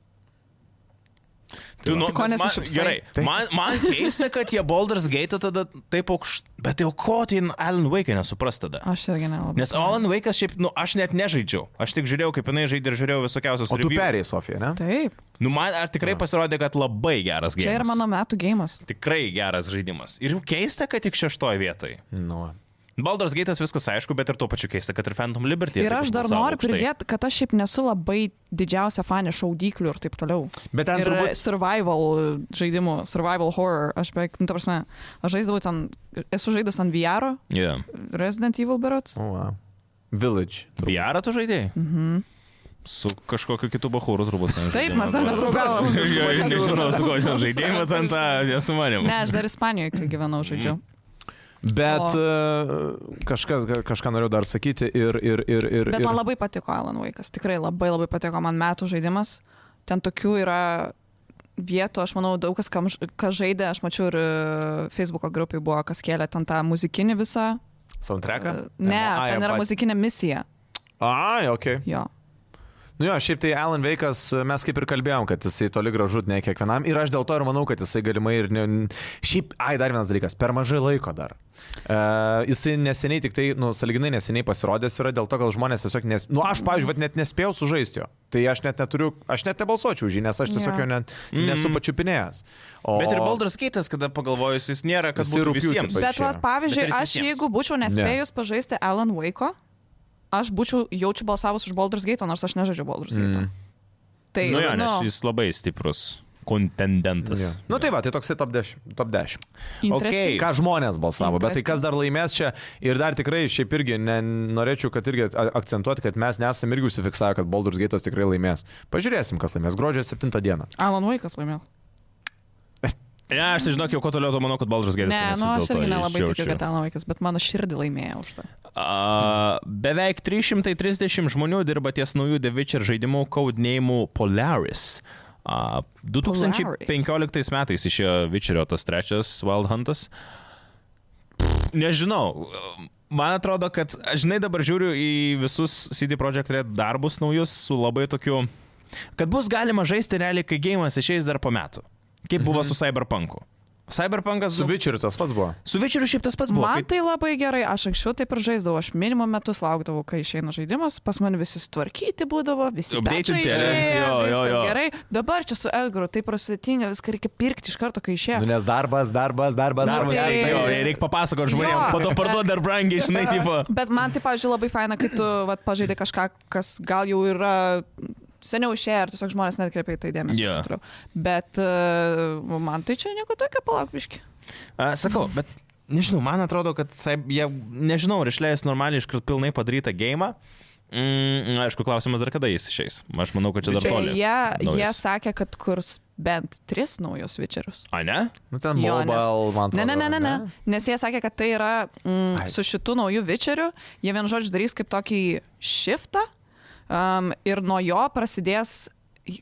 Tu nu, Tai ko bet man, nesišypsai? gerai, man, man keista, kad jie Baldur's Gate tada taip aukštai, bet jau ko tai Alan Vaiką nesupras tada. Aš irgi nelabai. Nes Alan Vaikas šiaip, nu, aš net nežaidžiau. Aš tik žiūrėjau, kaip jinai žaidė ir žiūrėjau visokiausios O tu review. perėjai, Sofija, ne? Taip, Nu, man ar tikrai pasirodė, kad labai geras žaidimas. čia yra mano metų gėjimas. Tikrai geras žaidimas. Ir jau keista, kad tik šeštoje vietoje. Nu. Baldur's Gate'as viskas aišku, bet ir tuo pačiu keista, kad ir Phantom Liberty. Ir taip aš dar užbalsavo noriu aukštai. pridėti, kad aš šiaip nesu labai didžiausia fanė šaudyklių ir taip toliau. Bet ten ir turbūt- survival žaidimų, survival horror, aš beveik, nu, ta prasme, aš žaisdavau ten, esu žaidus ant VR, Yeah. Resident Evil Berots. O, Nu va. Village. Viarą tu žaidėjai? Mhm. Su kažkokiu kitu bahūru turbūt. ten Taip, žaidėm, mes dar atrodo. nesugalvojom. Aš jo ir Nežinau, su ko ten žaidimas ant tą, nesu manim. Ne, aš dar Ispanijoje, kai Mhm. gyvenau, žaidžiu. Bet O. uh, kažkas, ka- kažką noriu dar sakyti ir... ir, ir, ir Bet ir... man labai patiko Alan Vaikas, tikrai labai labai patiko man metų žaidimas. Ten tokių yra vietų, aš manau, daug kas, kam, ž- kas žaidė, aš mačiau ir e, Facebook'o grupiai buvo, kas kėlė ten tą muzikinį visą. Soundtracką? e, Ne, Ai, ten yra pat- muzikinė misija. Ai, okei. Jo. Nu jo, šiaip tai Alan Veikas, mes kaip ir kalbėjom, kad jisai toli gražu ne kiekvienam ir aš dėl to ir manau, kad jisai galimai ir... Ne, šiaip, ai, dar vienas dalykas, per mažai laiko dar. Uh, jisai neseniai, tik tai, nu, saliginai neseniai pasirodęs yra dėl to, kad žmonės tiesiog nes... Nu, aš, pavyzdžiui, vat net nespėjau sužaisti jo. Tai aš net neturiu, aš net nebalsuočiau už jį, nes aš tiesiog Jo. jo net, nesu pačiupinėjęs. O... Mm. Bet ir Baldur's Gate'as, kada pagalvojus, jis nėra, kad Jisai būtų rugpjūtį visiems. paaiškėjo. Bet, va, pavyzdžiui, Bet ir aš visiems. jeigu būčiau nespėjus pažaisti Alan Wake'o, aš būčiau jaučiu balsavus už Baldur's Gate, nors aš nežaidžiu Baldur's Gate. Tai, Mm. Nu jo, nes nu, jis labai stiprus kontendentas. Ja. Nu tai va, tai toksai top 10. Top 10. Interesting. Okay. Ką žmonės balsavo, bet tai Interesting. kas dar laimės čia ir dar tikrai šiaip irgi ne, norėčiau, kad irgi a- akcentuoti, kad mes nesam irgi užsifiksavę, kad Baldur's Gate'as tikrai laimės. Pažiūrėsim, kas laimės gruodžio 7 dieną. Alan Wake'as laimėjo. Ne, aš tai žinok, jau kuo toliau, to manau, kad Baldur's Gate'as. Ne, laimės nu vis aš dėlto, irgi jį nelabai tikiu, išjaučiu. kad Alan Wake'as, bet mano širdį laimėjo už tai. A, beveik 330 žmonių dirba ties naujų The Witcher žaidimų codename Polaris. A, 2015 metais išėjo Witcherio tas trečias Wild Huntas. Pff, Nežinau. Man atrodo, kad, aš, žinai, dabar žiūriu į visus CD Projekt Red darbus naujus su labai tokiu, kad bus galima žaisti realiai, kai gėjimas išeis dar po metų. Kaip buvo su Cyberpunku. Cyberpunkas Su su, Witcheriu tas pats buvo. su Witcheriu šiaip tas pats buvo. Man kai- tai labai gerai, aš anksčiau taip ir žaisdavau, aš minimum metus laukdavau, kai išeina žaidimas, pas mane visi sutvarkyti būdavo, visi Updated patchai tie, išėjo, jo, jo, viskas jo. gerai. Dabar čia su Elgaru taip prasudėtinga, viską reikia pirkti iš karto, kai išėjo. Nu, nes darbas, darbas, darbas, Darbas, darbas. tai- tai, darbas. jo, reikia papasakoti žmonėm, Jo. po to parduot dar brangiai, žinai, tipo. Bet man tai, pavyzdžiui, labai faina, kai tu vat, pažaidai kažką, kas gal jau yra seniau išėję, ar tiesiog žmonės netkreipia į tai dėmesį. Jo. Bet uh, man tai čia nieko tokio palakviški. A, sakau, bet nežinau, man atrodo, kad sai- jie, nežinau, ar išleis normaliai iškart pilnai padarytą gėjimą. Mm, na, aišku, klausimas dar kada jis išeis. Aš manau, kad čia dar Bet toli. Jie, jie Naujas. sakė, kad kurs bent tris naujus vičerius. A ne? Nu, ten Jo, nes- mobile, man atrodo. Ne, ne, ne, ne, ne. Nes jie sakė, kad tai yra mm, Ai. su šitu nauju vičeriu, jie vien žodžiu darys kaip tokį shiftą um, ir nuo jo prasidės,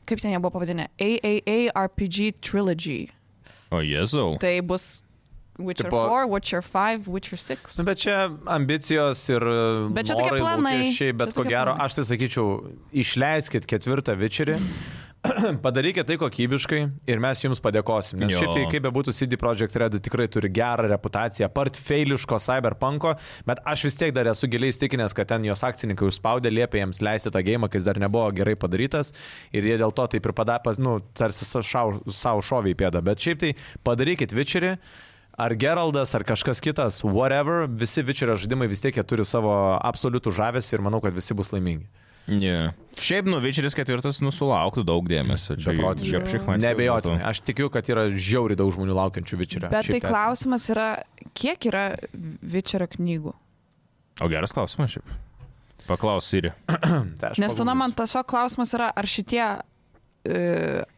kaip ten jie buvo pavadinę, AAA RPG trilogy. O Jėzau. Tai bus Witcher Tipo- 4, Witcher 5, Witcher 6. Nu, bet čia ambicijos ir Bet čia tokie norai, planai. lūkesčiai, bet Čia ko tokie gero, planai. aš tai sakyčiau, išleiskit ketvirtą vičerį, padarykit tai kokybiškai ir mes jums padėkosim. Nes Jo. šiaip tai, kaip bebūtų, CD Projekt Red tikrai turi gerą reputaciją, part feiliško cyberpunko, bet aš vis tiek dar esu giliai įstikinęs, kad ten jos akcininkai užspaudė, liepė jiems leisti tą gėjimą, kai jis dar nebuvo gerai padarytas ir jie dėl to taip ir padapas, nu, tarsi savo šovį į pėdą. Bet šiaip tai padarykit vičerį. Ar Geraldas, ar kažkas kitas, whatever, visi Vičerio žaidimai vis tiek jie turi savo absoliutų žavesį ir manau, kad visi bus laimingi. Yeah. Šiaip, nu, Vičeris ketvirtas nusulauktų daug dėmesio. Čia Beprotiškai. jau psichmatiškai. Nebejotinai. Aš tikiu, kad yra žiauri daug žmonių laukiančių Vičerio. Bet tai Šiaip klausimas yra, kiek yra Witcherio knygų? O geras klausimas šiaip. Paklaus Siri. esam. Tai aš Nes tada paguglinsiu. man tiesiog klausimas yra, ar šitie... e,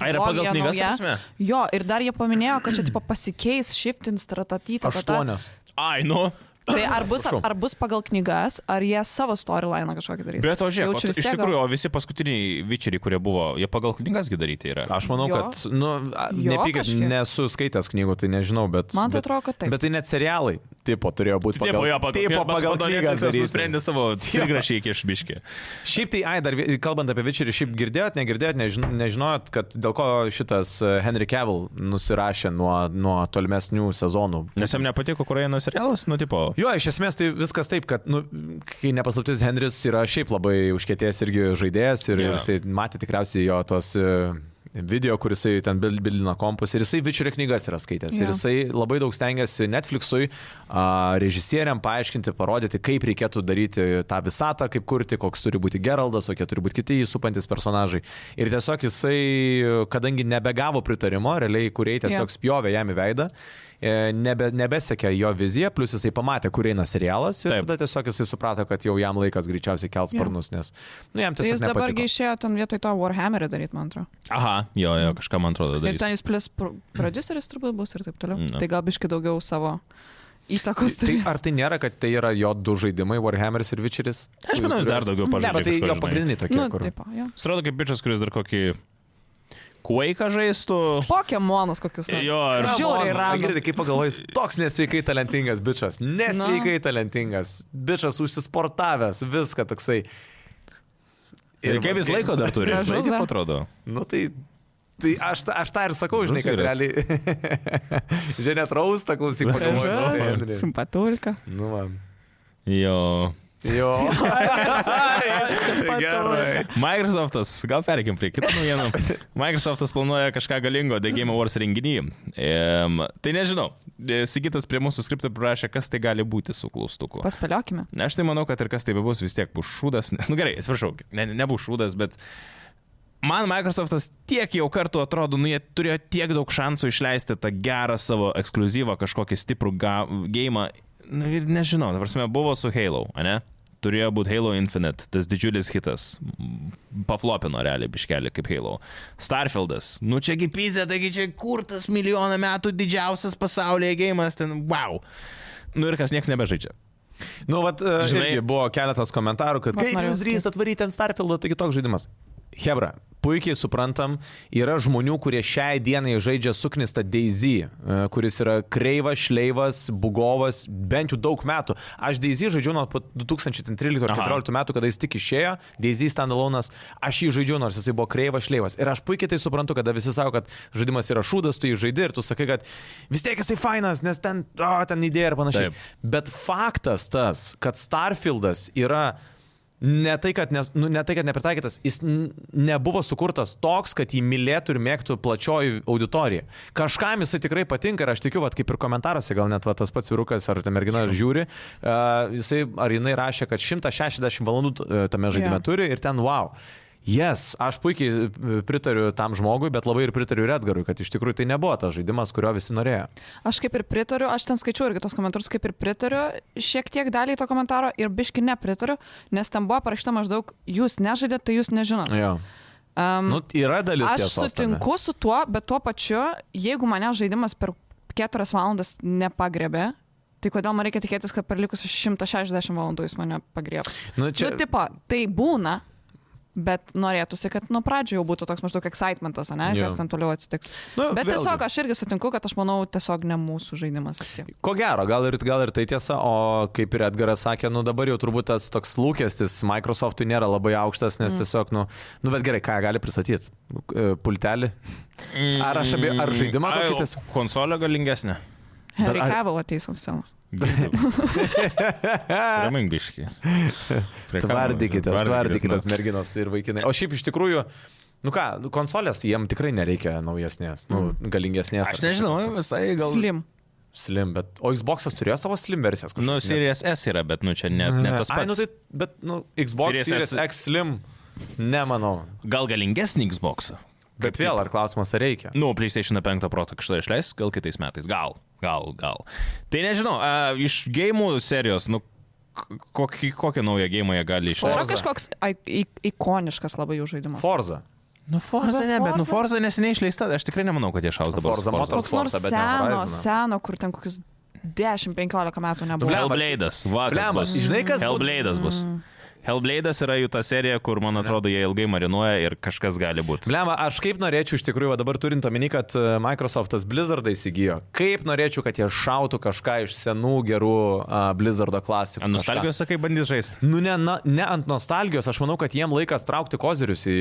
Ai, yra pagal trilogija knygas, ta nauja- prasme? Jo, ir dar jie paminėjo, kad čia tipo, pasikeis, shiftins, tratatyta. Aštuonios. Ai, nu. Tai ar bus, Prašau. ar bus pagal knygas, ar jie savo storyline kažkokį darys. Bet o žiūrėk, Jaučiu o tu- vis iš tiek tikrųjų, o visi paskutiniai Vičeriai, kurie buvo, jie pagal knygasgi daryti yra. Aš manau, Jo. kad, nu, a, Jo, nepykit, kažkiek. nesu skaitęs knygų, tai nežinau, bet... Man tai bet- atrodo, kad taip. Bet tai net serialai, tipo, turėjo būti Taip, jo, pagal, tipo, bet pagal atrodo, knygas Netflixas daryti. nusprendė savo tigrašį iki išbiškį. Šiaip tai, ai, dar vi- kalbant apie Vičerį, šiaip girdėjot, negirdėjot, nežin- nežinojot, kad dėl ko šitas e, Henry Cavill nusirašė nuo, nuo tolimesnių sezonų. Nes jam nepatiko Koreano serialas, nu, tipo. Jo, iš esmės tai viskas taip, kad, nu, kai nepaslaptis, Henris yra šiaip labai užkėtėjęs irgi žaidėjas ir, Jo. yeah. ir jisai matė tikriausiai jo tos e, video, kuris jisai ten bil- bildino kompus ir jisai Vičerio knygas yra skaitęs. Yeah. Jo. Ir jisai labai daug stengiasi Netflixui, a, režisieriam paaiškinti, parodyti, kaip reikėtų daryti tą visatą, kaip kurti, koks turi būti Geraldas, kokie turi būti kiti jį supantis personažai. Ir tiesiog jisai, kadangi nebegavo pritarimo, realiai kuriai tiesiog Jo. yeah. spjovė jam į veidą. e, Nebe, nebesekė jo viziją, plus jisai pamatė, kur eina serialas ir Taip. Taip. tada tiesiog jisai suprato, kad jau jam laikas greičiausiai kelt Jo. sparnus, nes nu, jam Tai tiesiog... jis dabargi nepatiko. išėjo ten vietoj to Warhammer'į daryti, man atrodo. Aha, jo, jo, kažką man atrodo Ir ten daryti. jis plus pro- prodiuseris turbūt bus ir taip toliau. Na. Tai gal biški daugiau savo įtakos Mm, Tai turi. ar tai nėra, kad tai yra jo du žaidimai, Warhammeris ir Witcheris? Aš manau, jis dar daugiau Ne, bet pažadėjo. tai jo pagrindiniai tokie, Nu, kur... taip, jo. Strodo kaip bičias, kuris dar kokį Quake'ą žaistų. Pokemonus kokius. nors. Jo, ir Žiauriai random. Girdai, kaip pagalvojus, toks nesveikai talentingas bičias. Nu. Nesveikai talentingas. Bičias užsisportavęs, viską toksai. Ir Tai kaip jis laiko dar turi? Gražus Žinai, dar. kaip atrodo. Nu tai, tai aš, tą- aš tą ir sakau, žinai, kad Gražus realiai. Žinia, trausta, klausyk, pagalvojus. Simpatulka. Nu, man. Jo. Jo. Gerai. Microsoftas, gal pereikim prie kitų naujienų. Microsoftas planuoja kažką galingo The Game Awards renginį. Ehm, tai nežinau. E, Sigitas prie mūsų skriptų prašė, kas tai gali būti su klaustuku. Paspėliokime. Aš tai manau, kad ir kas tai bebus, vis tiek bus šūdas. Na nu, gerai, atsiprašau, ne, nebus šūdas, bet man Microsoftas tiek jau kartų atrodo, nu jie turėjo tiek daug šansų išleisti tą gerą savo ekskluzyvą kažkokį stiprų ga- gėjimą. Nu ir nežinau, ta prasme, buvo su Halo, ne? Turėjo būti Halo Infinite, tas didžiulis hitas. M, Paflopino realiai biškelį kaip Halo. Starfieldas, nu čiagi pizė, taigi čia kurtas milijoną metų didžiausias pasaulyje gėjimas, ten wow. Nu ir kas nieks nebežaidžia. Nu, vat, Žinai- žinai, irgi buvo keletas komentarų, kad Vat kaip norėjau jūs drįstat atvaryti ant Starfieldo, taigi toks žaidimas. Hebra, puikiai suprantam, yra žmonių, kurie šiai dienai žaidžia suknistą Daisy, e, kuris yra kreivas, šleivas, bugovas, bent jau daug metų. Aš Daisy žaidžiu nuo pat 2013 ar Aha. 2014 metų, kada jis tik išėjo, Daisy standalonas, aš jį žaidžiu, nors jisai buvo kreivas, šleivas. Ir aš puikiai tai suprantu, kada visi sako, kad žaidimas yra šūdas, tu jį žaidži ir tu sakai, kad vis tiek jisai fainas, nes ten, o, ten idėja ir panašiai. Taip. Bet faktas tas, kad Starfieldas yra ne tai, kad, nes, nu, ne tai, kad nepritaikytas, jis n- nebuvo sukurtas toks, kad jį mylėtų ir mėgtų plačioji auditorija. Kažkam jisai tikrai patinka ir aš tikiu, vat, kaip ir komentaruose, gal net va, tas pats virukas ar ta mergina žiūri, uh, jisai ar jinai rašė, kad 160 valandų t- e, tame žaidime Jo. turi ir ten wow. Yes, aš puikiai e, pritariu tam žmogui, bet labai ir pritariu Redgarui, kad iš tikrųjų tai nebuvo tas žaidimas, kurio visi norėjo. Aš kaip ir pritariu, aš ten skaičiu irgi tos komentarus, kaip ir pritariu, šiek tiek daliai to komentaro ir biški nepritariu, nes ten buvo parašyta maždaug, jūs nežaidėte, tai jūs nežinote. Jo. Um, Nu, yra dalis Aš tiesos tame. sutinku su tuo, bet tuo pačiu, jeigu mane žaidimas per 4 valandas nepagrebė, tai kodėl man reikia tikėtis, kad per likusius 160 valandų jis mane pagriebs? Nu, Čia, nu, tipo, tai būna. Bet norėtųsi, kad nuo pradžio jau būtų toks maždaug excitementas, ne, Jo. kas ten toliau atsitiks. Nu, bet vėlgi. tiesiog aš irgi sutinku, kad aš manau, tiesiog ne mūsų žaidimas. ir tiek. Ko gero, gal ir, gal ir tai tiesa, o kaip ir Edgaras sakė, nu dabar jau turbūt tas toks lūkestis Microsoft'ui nėra labai aukštas, nes mm. tiesiog, nu, nu, bet gerai, ką jie gali pristatyti? E, Pultelį? Ar aš abie- Mm. ar žaidimą Ai, kokį o tiesiog? Konsolė galingesnė. Harry ar- Cavill ateis ant scenos. Ramingiški. Tvardykite, tvardykite, nu. merginos ir vaikinai. O šiaip iš tikrųjų, nu ką, nu, konsolės jiem tikrai nereikia naujesnės, nu, galingesnės. Mm. Aš ar nežinau, nu, kažkokios ten. visai gal. Slim. Slim, bet. O Xbox'as turėjo savo slim versijas kažkokias. Nu, Series S yra, bet nu čia net ne tas Ai, nu, pats. tai, bet, nu, Xbox Series Series, S. Series X slim, nemanau. Gal galingesnį Xbox'ą? Bet vėl, ar klausimas, ar reikia? Nu, PlayStation 5 Pro kažkada išleis, gal kitais metais, gal, gal, gal. Tai nežinau, a, iš gėjimų serijos, nu, k- kokį, kokią naują gėjimą jie gali Tai išleisti? yra Forza. kažkoks ai- i- ikoniškas labai jų žaidimas. Forza. Nu, Forza ne, bet, nu, Forza neseniai išleista, aš tikrai nemanau, kad jie šaus dabar. Forza Motor- Koks nors Transportą, bet ne seno, Horizoną. seno, kur ten kokius 10-15 metų nebuvo. Blemba, Hellblade'as, vakas. Blemba, bus. žinai, kas būtų? Hellblade'as bus. Hellblade'as yra jų ta serija, kur, man atrodo, jie ilgai marinuoja ir kažkas gali būti. Blema, aš kaip norėčiau iš tikrųjų, va dabar turint omeny, kad e, Microsoftas Blizzardą įsigijo, kaip norėčiau, kad jie šautų kažką iš senų gerų uh, Blizzardo klasikų. kažką. Nostalgijos, sakai, bandys žaisti. Nu, ne, na, ne ant nostalgijos, aš manau, kad jiem laikas traukti kozirius į,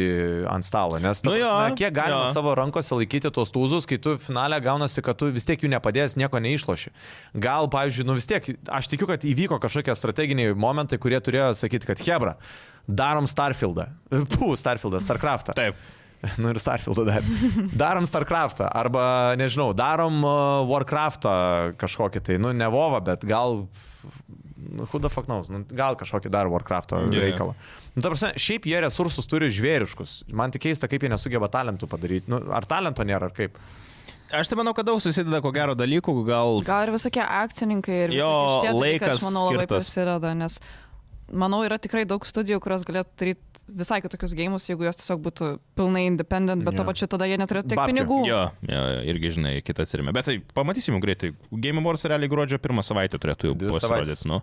ant stalo, nes, na, Nu nu jo, kiek galima jo. jo. savo rankose laikyti tuos tūzus, kai tu finale gaunasi, kad tu vis tiek jų nepadės, nieko neišloši. Gal, pavyzdžiui, nu vis tiek, aš tikiu, kad įvyko kažkokie strateginiai momentai, kurie turėjo sakyti, kad Hebra, darom Starfieldą. Pū, Starfieldą, Starcraftą. Taip. Nu ir Starfieldą dar. Darom Starcraftą arba, nežinau, darom uh, Warcraftą kažkokį tai, nu ne Vovą, bet gal, nu, who the fuck knows, nu, gal kažkokį dar Warcraftą Jo, jo. yeah. reikalą. Nu, ta prasme, šiaip jie resursus turi žvėriškus. Man tik keista, kaip jie nesugeba talentų padaryti. Nu, ar talento nėra, ar kaip. Aš tai manau, kad daug susideda ko gero dalykų, gal Gal ir visokie akcininkai ir Jo, visokie šitie dalykai, laikas aš manau, labai skirtas. prasideda, nes manau, yra tikrai daug studijų, kurios galėtų daryti visai kitokius gėjimus, jeigu jos tiesiog būtų pilnai independent, bet to Jo. pačiu tada jie neturėtų tiek Babkių. pinigų. Jo, jo, irgi žinai, kitą atsirime. Bet tai pamatysim jau greitai. Game Awards realiai gruodžio pirmą savaitę turėtų jau Dvi pasirodyti. Nu.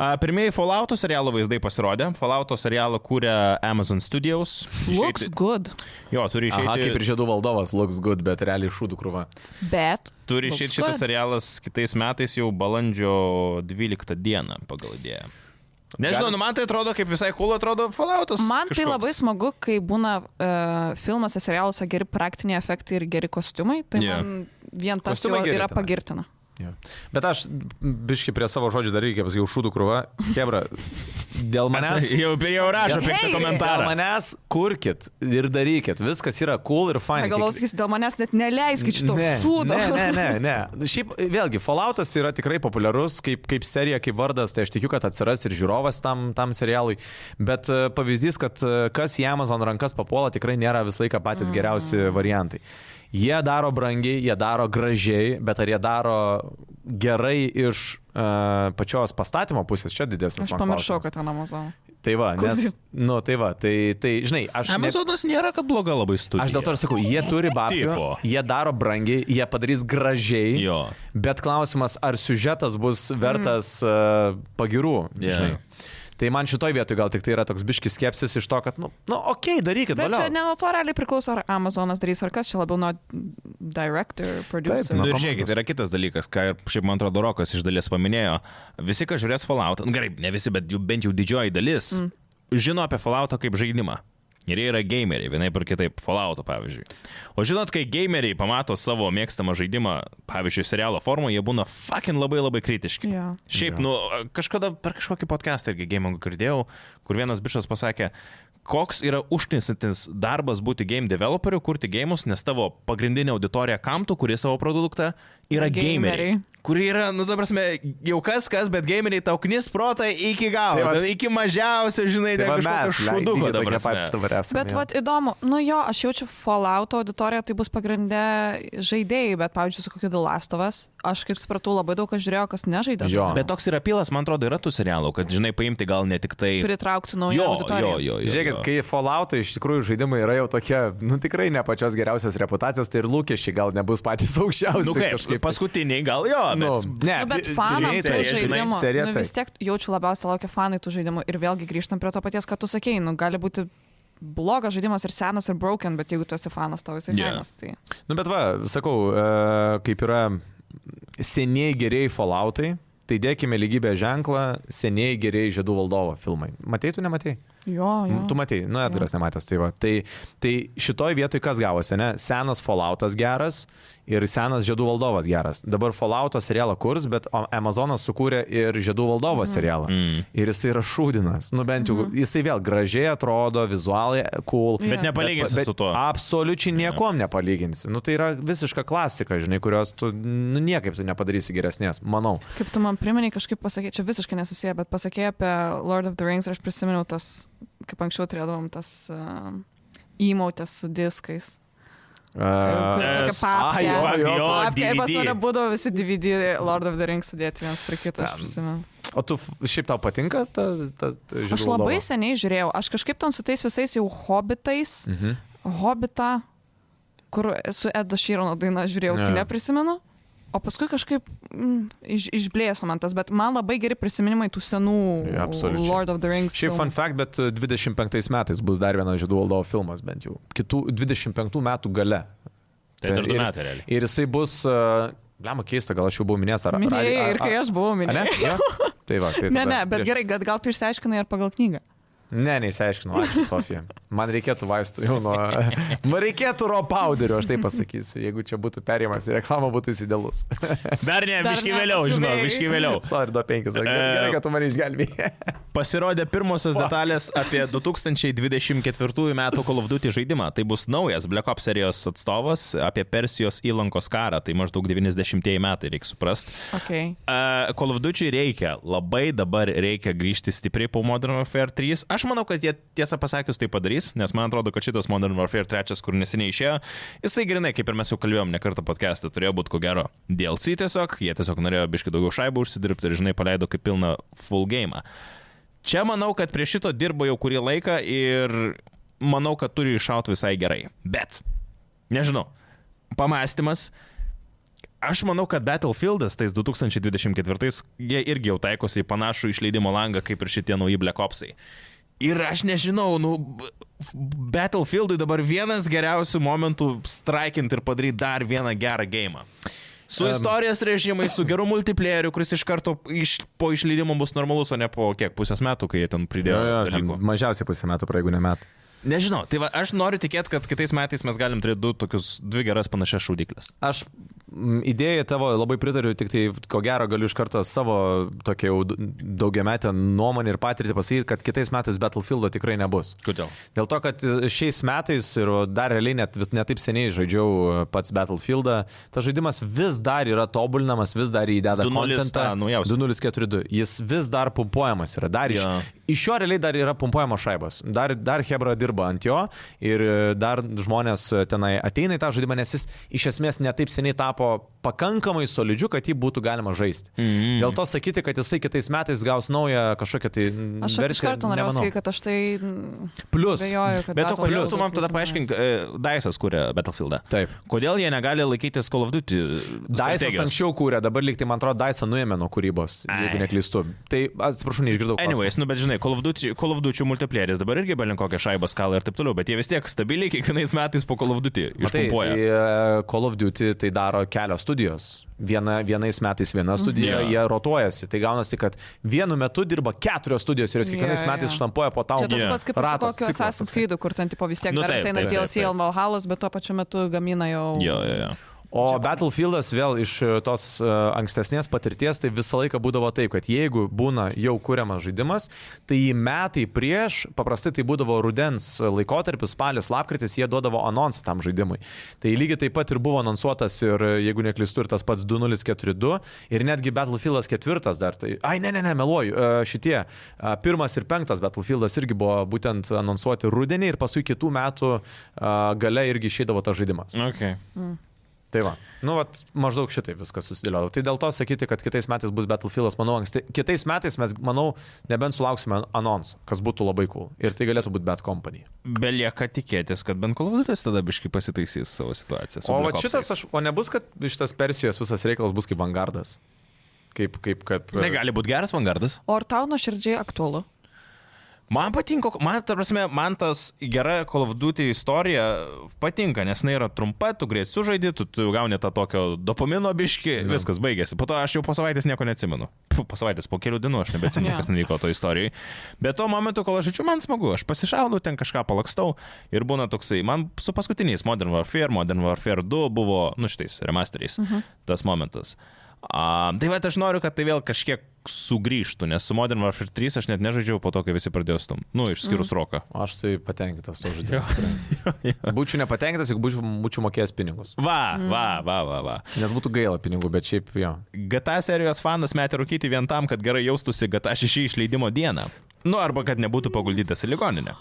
A, Pirmieji Fallout serialo vaizdai pasirodė. Fallout serialą kūrė Amazon Studios. Looks Išeiti- good, Jo, turi išeiti. Aha, kaip ir žiedų valdovas, looks good, bet realiai šūdų krūva. bet. Turi looks išėti šitas good. serialas kitais metais jau balandžio 12 dieną pagal idėją. Nežinau, Gali- nu man tai atrodo kaip visai cool atrodo Falloutas. Man tai kažkoks. labai smagu, kai būna uh, filmuose, serialuose geri praktiniai efektai ir geri kostiumai, tai Jo. yeah. man vien tas Kostiumai jau geri yra tenai. pagirtina. Jo. Bet aš biški prie savo žodžių dar reikia, pasakiau, šūdų krūva. Hebra, dėl manęs. Manęs jau, jau rašo Dėl- penktą Hey! komentarą. Dėl manęs kurkit ir darykit. Viskas yra cool ir fine. Galvau, sakys, dėl manęs net neleiskit šito Ne, šūdo. Ne, ne, ne, ne. Šiaip vėlgi, Falloutas yra tikrai populiarus kaip, kaip serija, kaip vardas, tai aš tikiu, kad atsiras ir žiūrovas tam, tam serialui. Bet e, pavyzdys, kad e, kas į Amazon rankas papuola, tikrai nėra visą laiką patys Mm. geriausi variantai. Jie daro brangiai, jie daro gražiai, bet ar jie daro gerai iš uh, pačios pastatymo pusės, čia didesnis. Aš man pamiršau, klausimas. kad ten Amazon. Tai va, nes, Skuzi. nu, tai va, tai, tai žinai, aš... ne- Amazonas nėra, kad bloga labai studija. Aš dėl to ir sakau, jie turi babkių, Tipo. jie daro brangiai, jie padarys gražiai. Jo. Bet klausimas, ar siužetas bus vertas mm. uh, pagirų. Jo. žinai. Tai man šitoj vietoj gal tik tai yra toks biškis skepsis iš to, kad, nu, nu okei, okay, darykit, Bet valiau. čia ne nuo to realiai priklauso, ar Amazonas darys, ar kas čia labiau nuo director, producer. Nu, nuo ir komandos. žiūrėkit, yra kitas dalykas, ką ir šiaip man atrodo Rokas iš dalies paminėjo. Visi, kas žiūrės Fallout, nu, gerai, ne visi, bet jau, bent jau didžioji dalis, mm. žino apie Falloutą kaip žaidimą. Ir jie yra gameriai, vienaip ar kitaip, Falloutą pavyzdžiui. O žinot, kai gameriai pamato savo mėgstamą žaidimą, pavyzdžiui, serialo formą, jie būna fucking labai labai kritiški. Jo. Šiaip, nu, kažkada per kažkokį podcastą irgi gamingų girdėjau, kur vienas bičias pasakė, koks yra užknisantis darbas būti game developeriu, kurti gėjimus, nes tavo pagrindinė auditorija kam tu, kurie savo produktą, yra gameriai. Gameriai. gameriai. kuri yra, nu, ta prasme, jau kas kas, bet gameriai tau knis protą iki galo. Tai Tai vat- iki mažiausiai, žinai, tai Tai va kažkokio mes šuduko lygiai tokie dabar. patys dabar esame. Bet jo. vat, įdomu, nu jo, aš jaučiu Fallout auditoriją, tai bus pagrindė žaidėjai, bet, pavyzdžiui, su kokiu Dilastovas, aš kaip supratau, labai daug kas žiūrėjo, kas nežaidė. Jo. Bet toks yra pilas, man atrodo, yra tų serialų, kad, žinai, paimti gal ne tik tai... Pritraukti naują Jo, jo, auditoriją. jo, jo. Žiūrėkit, jo. kai Fallout iš tikrųjų žaidimai yra jau tokie, nu tikrai ne pačios geriausios reputacijos, tai ir lūkesčiai gal nebus patys aukščiausi. Nu kaip, kažkaip. tai. kažkaip paskutiniai gal jo, Nu, bet... tai ne, Nu, bet vi- fanams žinai, tų tai, žinai, žaidimų. serija Nu, tai. vis tiek jaučiu labiausiai laukia fanai tų žaidimų. Ir vėlgi grįžtam prie to paties, ką tu sakei. Nu, gali būti blogas žaidimas ir senas ir broken, bet jeigu tu esi fanas, tau jisai Jo. yeah. fanas. Tai... Nu bet va, sakau, e, kaip yra seniai geriai Falloutai, tai dėkime lygybę ženklą seniai geriai Žiedų valdovo filmai. Matei, tu nematei? Jo, Mhm. jo. Tu matei, nu, Edgaras nematęs, tai va. Tai, tai šitoj vietoj kas gavosi, ne? Senas Falloutas geras ir senas Žiedų valdovas geras. Dabar Fallouto serialą kurs, bet o- Amazonas sukūrė ir Žiedų Mhm. valdovo serialą. Mm. Ir jisai yra šūdinas. Nu bent jau, jisai vėl gražiai atrodo, vizualiai cool. Bet Bet nepalyginsi Bet su tuo. Absoliučiai niekom nepalyginsi. Nu, tai yra visiška klasika, žinai, kurios tu nu, niekaip tu nepadarysi geresnės, manau. Kaip tu man primeni, kažkaip pasakė, čia visiškai nesusiję, bet pasakė apie Lord of the Rings ir aš prisiminiau tas, kaip anksčiau turėdavom tas uh, įmautės su diskais. Kur e, tokia s- papkė. ai, jo, jo, Papkė, DVD. pas mane būdavo visi DVD Lord of the Rings sudėti vienas prie kito, Stam. aš prisimenu. O tu f- šiaip tau patinka tas ta, ta, žinai? Aš labai seniai žiūrėjau, aš kažkaip ten su tais visais jau hobitais, Mhm. hobitą, kur su Edo Šyrono daina žiūrėjau, Jo. yeah. neprisimenu. O paskui kažkaip mm, iš, išblėso man tas, bet man labai geri prisiminimai tų senų Jo, absoliučiai. Lord of the Rings. Šiaip fun filmų. fact, bet e, 25 metais bus dar vienas Žydų valdovo filmas, bent jau. Kitų 25 metų gale. Tai dar du ir- metai realiai. Ir jisai bus, lema keista, gal aš jau buvau minėjęs, ar... Minėjai ir kai aš buvau Ne? minėjęs. Jo? Tai va, tai Ne, tada ne, bet prieš- gerai, kad gal tu išsiaiškinai ir pagal knygą. Ne, neišsiaiškinau, ačiū Sofija. Man reikėtų vaistų jau nuo... Man reikėtų ropauderio, aš tai pasakysiu. Jeigu čia būtų perėjimas į reklamą, būtų jis idealus. Dar ne, Dar biški ne, vėliau, žinau, paskubėjai. biški vėliau. Sorry, du penkis. E, Gerai, gerai, kad tu mane išgelbėjai. Pasirodė pirmosios detalės apie 2024 m. Call of Duty žaidimą. Tai bus naujas Black Ops serijos atstovas apie Persijos įlankos karą. Tai maždaug 90-ieji metai, reikia suprasti. Okay. Uh, Call of Duty reikia, labai dabar reikia grįžti stipriai po Modern Warfare 3. Aš manau, kad jie tiesą pasakius tai padarys, nes man atrodo, kad šitas Modern Warfare 3, kur neseniai išėjo, jisai grinai, kaip ir mes jau kalbėjom, ne kartą podcast'e, turėjo būti ko gero DLC tiesiog, jie tiesiog norėjo biškai daugiau šaibų užsidirbti ir, žinai, paleido kaip pilną full game. Čia manau, kad prie šito dirbo jau kurį laiką ir manau, kad turi iššauti visai gerai. Bet, nežinau, pamastymas. Aš manau, kad Battlefieldas tais 2024 jie irgi jau taikosi į panašų išleidimo langą kaip ir šitie nauji Black Opsai. Ir aš nežinau, nu, b- f- Battlefieldui dabar vienas geriausių momentų strikint ir padaryti dar vieną gerą gėjimą. Su istorijos režimai, su geru multiplayeriu, kuris iš karto iš, po išleidimo bus normalus, o ne po kiek pusės metų, kai jie ten pridėjo dalykų. Mažiausiai pusę metų, praeigų ne metų. Nežinau, tai va, aš noriu tikėti, kad kitais metais mes galim turėti du tokius, dvi geras panašias šaudyklės. Aš mm, idėjai tavo labai pritariu, tik tai ko gero galiu iš karto savo tokia jau d- daugiametę nuomonę ir patirtį pasakyti, kad kitais metais Battlefieldo tikrai nebus. Kodėl? Dėl to, kad šiais metais ir dar realiai net vis- netaip seniai žaidžiau e, pats Battlefieldą, tas žaidimas vis dar yra tobulinamas, vis dar įdeda 2.0 kontentą. tą naujausią. 2042. Jis vis dar pumpuojamas yra. Dar iš, Jo. iš jo realiai dar yra pumpuojamos šaibos. Dar, dar Hebra dirba ant jo ir e, dar žmonės e, tenai ateina į tą žaidimą, nes jis iš esmės netaip seniai tapo pakankamai solidžiu, kad jį būtų galima žaisti. Mhm. Dėl to sakyti, kad jisai kitais metais gaus naują kažkokią tai... mm, Aš iš versiją, karto norėjau nemanau. sakyti, kad aš tai Plus. dėjoju, kad... Bet o kodėl Battlefieldas tu man bus tada būtinas. paaiškink, Daisas kūrė Battlefieldą. Taip. Kodėl jie negali laikytis Call of Duty? e, Daisas strategijos? anksčiau kūrė, dabar liktai, man atrodo, Daisą nuėmė nuo kūrybos, Ai. Ai. jeigu neklystu. Tai atsiprašau, neišgirdau. klausimo. Anyways, nu bet žinai, Call of Duty, Call of Duty multiplayeris dabar irgi belin kokią šaibą skalą ir taip toliau, bet jie vis tiek stabiliai kiekvienais metais po Call of Duty Matai, tai išpumpuoja. e, Call of Duty tai daro kelios studijos. Viena, vienais metais viena studija, Jo. yeah. jie rotuojasi. Tai gaunasi, kad vienu metu dirba keturios studijos ir jos kiekvienais yeah, Jo, jo. metais yeah. štampuoja po tau. Čia tas Jo. pats kaip ir su Ratas, kokiu ciklas Assassin's toksai. Creed, kur ten tipo vis tiek Nu nu, dar taip, eina taip, taip, DLC taip. tai- Almahalos, bet tuo pačiu metu gamina jau... Jo, jo, jo. O Battlefieldas vėl iš e, tos e, ankstesnės patirties, tai visą laiką būdavo taip, kad jeigu būna jau kuriamas žaidimas, tai jį metai prieš, paprastai tai būdavo rudens laikotarpis, spalis, lapkritis, jie duodavo anonsą tam žaidimui. Tai lygiai taip pat ir buvo anonsuotas ir, e, jeigu neklystu, ir tas pats 2042 ir netgi Battlefieldas 4 dar. Tai, ai, ne, ne, ne, meluoju, e, šitie e, pirmas ir penktas Battlefieldas irgi buvo būtent anonsuoti rudenį ir paskui kitų metų e, gale irgi išeidavo tas žaidimas. Okay. Tai va. Nu, vat, maždaug šitai viskas susidėliojo. Tai dėl to sakyti, kad kitais metais bus Battlefieldas, manau, anksti. Kitais metais mes, manau, nebent sulauksime anonsų, kas būtų labai cool. Ir tai galėtų būti Bad Company. Belieka tikėtis, kad bent kolovudas tada biškai pasitaisys savo situaciją. su O, Black vat šitas, Opsais. aš, o nebus, kad šitas Persijos visas reikalas bus kaip vangardas. Kaip, kaip, kaip. Tai gali būti geras vangardas. O ar tau nuo širdžiai aktualu? Man patinka, man, ta prasme, man tas gera kolovdutė istorija patinka, nes jinai yra trumpa, tu greit sužaidi, tu, tu gauni tą tokio dopamino biški, ja. viskas baigėsi. Po to aš jau po savaitės nieko neatsimenu. Pfu, po savaitės, po kelių dienų aš nebeatsimenu, Jo. kas nuvyko to istorijai. Bet tuo momentu, kol aš žaidžiu, man smagu, aš pasišaudau, ten kažką palakstau ir būna toksai, man su paskutiniais Modern Warfare, Modern Warfare 2 buvo, nu šitais, remasteriais, mhm. tas momentas. A, tai va, aš noriu, kad tai vėl kažkiek sugrįžtų, nes su Modern Warfare 3 aš net nežaidžiau po to, kai visi pradėjo stum. Nu, išskyrus mm. roką. Aš tai patenkintas to žaidimo. Būčiau nepatenkintas, jeigu būčiau, būčiau mokėjęs pinigus. Va, mm. va, va, va, va. Nes būtų gaila pinigų, bet šiaip jo. GTA serijos fanas metė rūkyti vien tam, kad gerai jaustųsi GTA 6 išleidimo dieną. Nu, arba kad nebūtų paguldytas į ligoninę.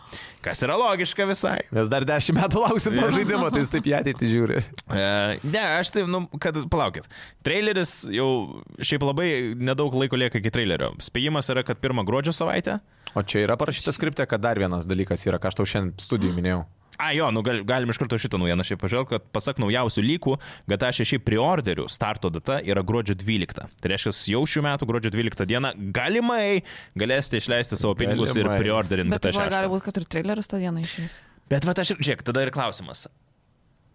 Kas yra logiška visai. Nes dar dešimt metų lauksim to žaidimo, tai jis taip į ateitį žiūri. E, ne, aš tai, nu, kad palaukit. Traileris jau šiaip labai nedaug laiko lieka iki trailerio. Spėjimas yra, kad pirmą gruodžio savaitę. O čia yra parašyta skripte, kad dar vienas dalykas yra, ką aš tau šiandien studijų minėjau. A, jo, nu, gal, galim iš karto šitą naujieną šiaip pažvelgti, kad pasak naujausių lygų, GTA 6 preorderių starto data yra gruodžio 12. Tai reiškia, jau šių metų gruodžio 12 dieną galimai galėsite išleisti savo pinigus Galimai. ir preorderinti Bet GTA tai 6. gali būti, kad ir traileris tą dieną išės. Bet va, aš ir, žiūrėk, tada ir klausimas.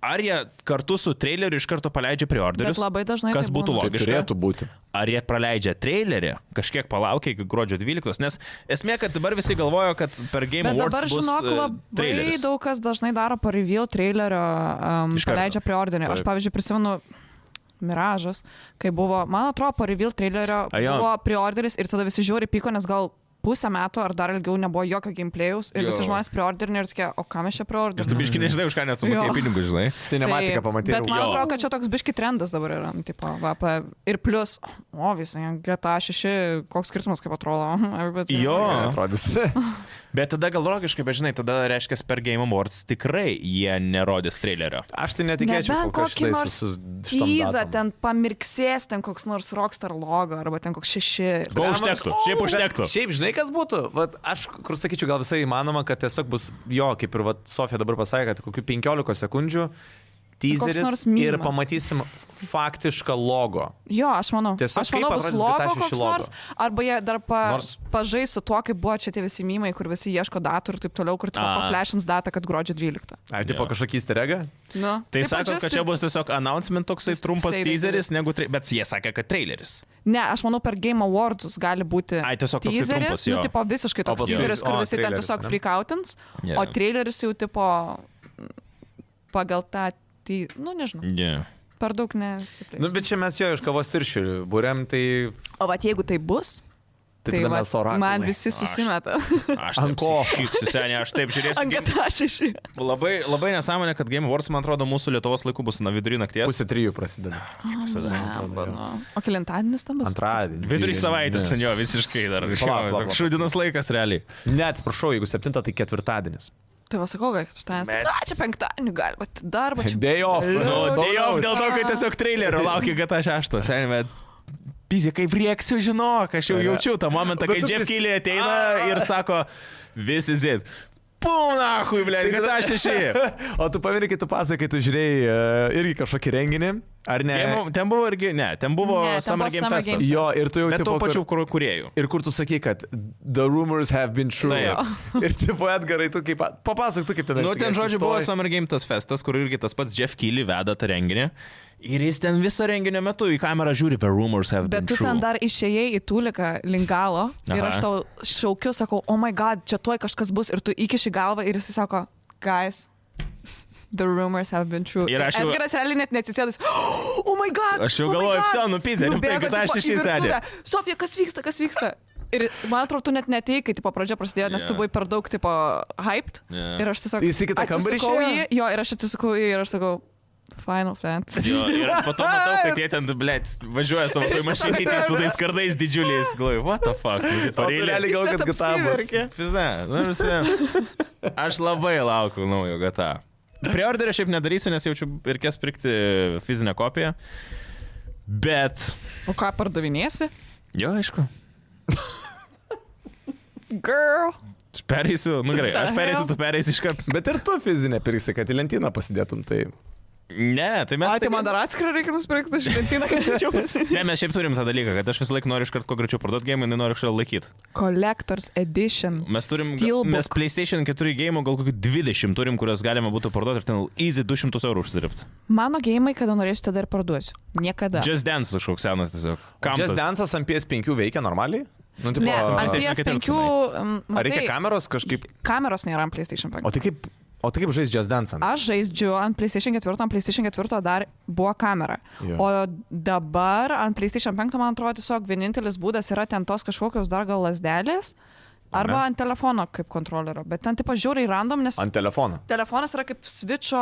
Ar jie kartu su traileriu iš karto paleidžia preorderius? Bet labai dažnai Kas tai būtų būna. Tai logiška? turėtų būti. ar jie praleidžia trailerį, kažkiek palaukia iki gruodžio 12, nes esmė, kad dabar visi galvoja, kad per Game Bet Awards dabar, bus, žinok, e, labai traileris. daug kas dažnai daro po review trailerio, um, Iš karto. paleidžia preorderį. Aš, Taip. pavyzdžiui, prisimenu Miražas, kai buvo, man atrodo, po review trailerio A, jo. buvo preorderis ir tada visi žiūri pyko, nes gal pusę metų ar dar ilgiau nebuvo jokio gameplayaus ir Jo. jo. visi žmonės preorderinė ir tokie, o kam aš čia Ir tu preorderinė? biški nežinai, už ką net Jo. sumokėjai pinigus, žinai. Cinematiką pamatyti. Bet man Jo. atrodo, kad čia toks biški trendas dabar yra. nu, Tipo, va, pa, ir plus, o visai, GTA 6, koks skirtumas, kaip atrodo. Everybody's- Jo. atrodys. Bet tada gal logiškai, bet žinai, tada reiškia, per Game Awards tikrai jie nerodys trailerio. Aš tai netikėčiau, Nebent kad kokį šitais nors visus Tyza ten pamirksės, ten koks nors Rockstar logo arba ten koks šeši. Ko užtektų? Šiaip užtektų. Šiaip žinai, kas būtų? Vat aš, kur sakyčiau, gal visai įmanoma, kad tiesiog bus jo, kaip ir vat Sofija dabar pasakė, kad kokių 15 sekundžių teaseris nors ir mymas. pamatysim faktišką logo. Jo, aš manau. Tiesiog aš manau, kaip bus atrodys logo GTA šeši koks logo? nors, arba jie dar pa, Nors- pažais su tuo, kaip buvo čia tie visi mymai, kur visi ieško datų ir taip toliau, kur tipo A. paflešins datą, kad gruodžio 12. Ar tipo Jo. kažkokį įsteregą? Nu, Tai tipo sako, just kad čia bus tiesiog announcement toksai Just trumpas say that teaseris, negu tra... bet jie sakė, kad traileris. Ne, aš manau, per Game Awards gali būti. Ai, tiesiog toksai teaseris, trumpas, jo. nu, tipo visiškai toks paskui- teaseris, kur o, visi ten traileris, tiesiog ne? freakautins, Jo. yeah. o traileris jau tipo pagal tą, tai, nu nežinau, Yeah. per daug nesiplės. Nu, bet čia mes jo iš kavos tiršių būrėm, tai, O vat jeigu tai bus, tai, tai tada vat mes orakulai. man visi Aš- susimeta. Aš Ant taip ko? šyksiu, seniai, aš taip žiūrėsiu. Ant GTA 6. Labai, labai nesąmonė, kad Game Awards, man atrodo, mūsų Lietuvos laiku bus na vidurį nakties. Pusė trijų prasideda. Kaip visada. O kelintadienis tam bus? Antradienį. Vidurį Dvi- savaitės ne. ten jo visiškai dar. Palauk, Jo, palauk, palauk. Toks šūdinas laikas realiai. Ne, atsiprašau, jeigu septinta, tai ketvirtadienis. Tai vasakau, kad ketvirtadienis. tai, Na, čia penktadienį galima, tai darbą čia. Day off. Nu, Nu, Galiu. so tai jau loud. dėl to, kad tiesiog trailerio laukia GTA 6. Senime, pizė, kaip rieksiu, žinok, aš jau Ne. jaučiu tą momentą, Bet kai tu Ah! Jeff pris- Kyliai ateina ir sako, visi zit. Punahui, ble, Tai GTA 6. O tu pameni, kai tu pasakai, kai tu žiūrėjai e, irgi kažkokį renginį, ar ne? Game- Ten buvo irgi, ne, ten buvo Ne, ten Summer buvo Game Summer Festas. Game Jo, ir tu jau Bet tipo, tų pačių kur, kur- kuriejų. ir kur tu sakai, kad the rumors have been true. Taip. Ir tipo, Edgarai, tu kaip... Papasakok, tu kaip ten Nu, esi, ten, kai žodžiu, buvo atsistoji. Summer Game tas festas, kur irgi tas pats Jeff Kyliai veda tą renginį. Ir jis ten visą renginio metu į kamerą žiūri, the rumors have been Bet tu true. ten dar išėjai į tūliką lingalo ir Aha. aš tau šaukiu, sakau, oh my god, čia tuoj kažkas bus ir tu įkiši galvą ir jis sako, guys, The rumors have been true. Ir aš jau- Edgaras realiai net neatsisėdus. Oh my god! Aš jau oh my galvoju, God!" "Pse, nu pizė, rimtai, Nubėgo, kad aš tipo, į šešis virtuvę. vedė. Sofija, kas vyksta, kas vyksta? Ir man atrodo, tu net netei, kai tipo, pradžia prasidėjo, nes tu Jo. buvai per daug tipo hyped. Jo. Ir aš tiesiog... Jis į kitą kambarį atsisukau išėjo? jį, Jo, ir aš atsisukau į jį ir aš sakau, Final Fantasy. Jo, ir po to matau, kad jie ten, blėt, važiuoja savo toj mašinytėje su tais kardais didžiuliais. Galvoju, what the fuck? nu, tipo, O tu really? realiai Jis gal net kad gitabas. apsiverkė. Pizda, nu visi. Aš labai laukiu naujo gata. Preorderio šiaip nedarysiu, nes jaučiu reikės pirkti fizinę kopiją. Bet. O ką pardavinėsi? Jo, aišku. Girl. Pereisiu, nu gerai, aš The pereisiu, hell? tu pereisi iš karto. Bet ir tu fizinę pirksi, kad į lentyną pasidėtum. Tai Ne, tai mes. Ai, tai man dar atskirą reikia nusipirkti šį lentyną, kad galėčiau Ne, pasidėti. mes šiaip turim tą dalyką, kad aš visą laiką noriu iš karto kuo greičiau parduoti gėjimą, jinai nori kažkaip laikyti. Collectors Edition. Mes turim, Steelbook. mes PlayStation 4 gėjimų gal kokių 20 turim, kurias galima būtų parduoti ir ten easy 200 eurų užsidirbti. Mano gėjimai, kada norėsiu, tada ir parduosiu. Niekada. Just Dance kažkoks senas tiesiog. Kam? Just tas? Dance'as ant PS5 veikia normaliai? Nu, tipo, Ne, ant PlayStation keturi PS5. Ar Ar reikia tai- kameros kažkaip? Kameros nėra ant PlayStation 5. O tai kaip, o tai kaip žais Just Dance? ant? Aš žaidžiu ant PlayStation 4, ant PlayStation 4 dar buvo kamera. Jo. Jo. O dabar ant PlayStation 5, man atrodo, tiesiog vienintelis būdas yra ten tos kažkokios dar gal lasdelės arba Ane? ant telefono kaip kontrolerio. Bet ten tipo žiūri random, nes Ant telefono. telefonas yra kaip switcho,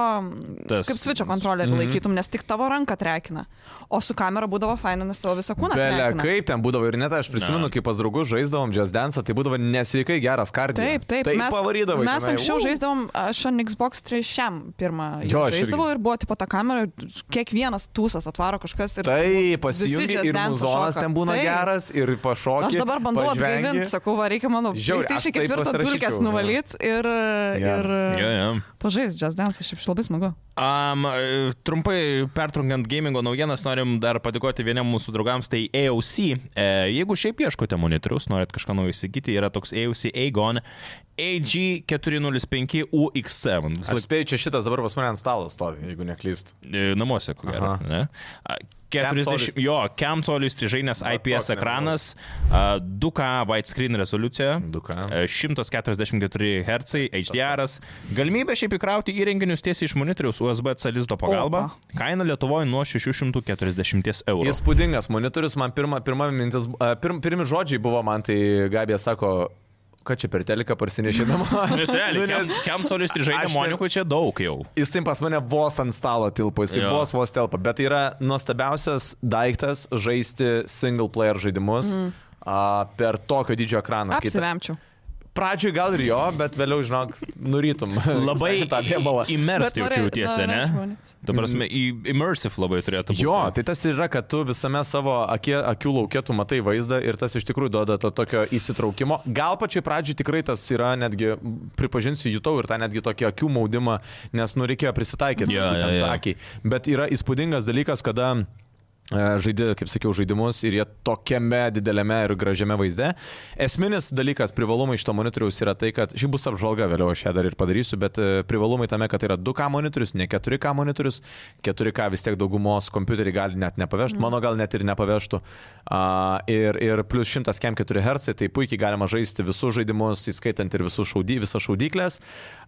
Tas- Tas, kaip switcho kontrolerį Mhm. mm -hmm. laikytum, nes tik tavo ranką trekina. O su kamera būdavo faina, nes tavo visą kūną. Belia, trekina. kaip ten būdavo ir net aš prisimenu, Ne. kai pas draugus žaisdavom Just Dance, tai būdavo nesveikai geras kartas. Taip, taip. Tai mes pavarydavai. mes tenai, anksčiau "Uu." žaisdavom, aš ant Xbox 3 pirmą Jo, jo, aš irgi. žaisdavau ir buvo tipo ta kamera, ir kiekvienas tūsas atvaro kažkas ir... Tai Visi pasijungi Just ir Dance'o muzonas šoka. ten būna Taip. geras, ir pašokiai. Aš dabar bandau atgaivinti, sakau, va, reikia mano Žiauriai, žaisti aš iš taip ketvirto pasirašyčiau, dulkės jo. nuvalyt ir, ir Geras. Jo, jo. pažaisti jazz dance, aš šiaip labai smagu. Um, trumpai pertrunkiant gamingo naujienas, norim dar padėkoti vieniem mūsų draugams, tai AOC. E, jeigu šiaip ieškote monitorius, norit kažką naujo įsigyti, yra toks AOC Aegon AG405UX7. Visą Aš spėju, čia šitas dabar pas mane ant stalo stovi, jeigu neklystu. laiką e, namuose, ko gero. Aha. ne? A, 40, Camsolis. jo, Kemsolius trižainės Va, IPS toks ekranas, a, 2K widescreen rezoliucija. 2K. e, 144 Hz, HDR. Galimybė šiaip įkrauti įrenginius tiesiai iš monitoriaus USB-C lizdo pagalba. Opa. Kaina Lietuvoje nuo 640 eurų. Jis... Įspūdingas monitorius, man pirma, pirma mintis, a, pirm, pirmi žodžiai buvo, man tai Gabija sako, kad čia per teliką parsinešinama. Nes realiai, nu, nes... Kemsolis trižainė Aš ne- monikų čia daug jau. Jisai pas mane vos ant stalo tilpo, jisai Jo. jo. vos vos telpa, bet tai yra nuostabiausias daiktas žaisti single player žaidimus mm. a, per tokio didžio ekraną. Kai ta- Apsivemčiau. Pradžioj gal ir jo, bet vėliau, žinok, nurytum. Labai tą vėbalą. immersive Bet jaučiu norė- tiesą, norėčiau, ne? ne? Tu prasme, į- immersive labai turėtų būti. Jo, tai tas ir yra, kad tu visame savo akie, akių laukėtų matai vaizdą ir tas iš tikrųjų duoda to tokio įsitraukimo. Gal pačioj pradžioj tikrai tas yra netgi, pripažinsiu, jutau ir tą netgi tokį akių maudimą, nes nu reikėjo prisitaikyti Jo, būtent jo, jo. akiai. Bet yra įspūdingas dalykas, kada e, žaidi, kaip sakiau, žaidimus ir jie tokiame dideliame ir gražiame vaizde. Esminis dalykas, privalumai šito monitoriaus yra tai, kad šiaip bus apžvalga, vėliau aš ją dar ir padarysiu, bet e, privalumai tame, kad tai yra 2K monitorius, ne 4K monitorius, 4K vis tiek daugumos kompiuterį gali net nepavežti, mano gal net ir nepavežtų. A, ir, ir plus 104 Hz, tai puikiai galima žaisti visus žaidimus, įskaitant ir visus šaudy, visas šaudyklės.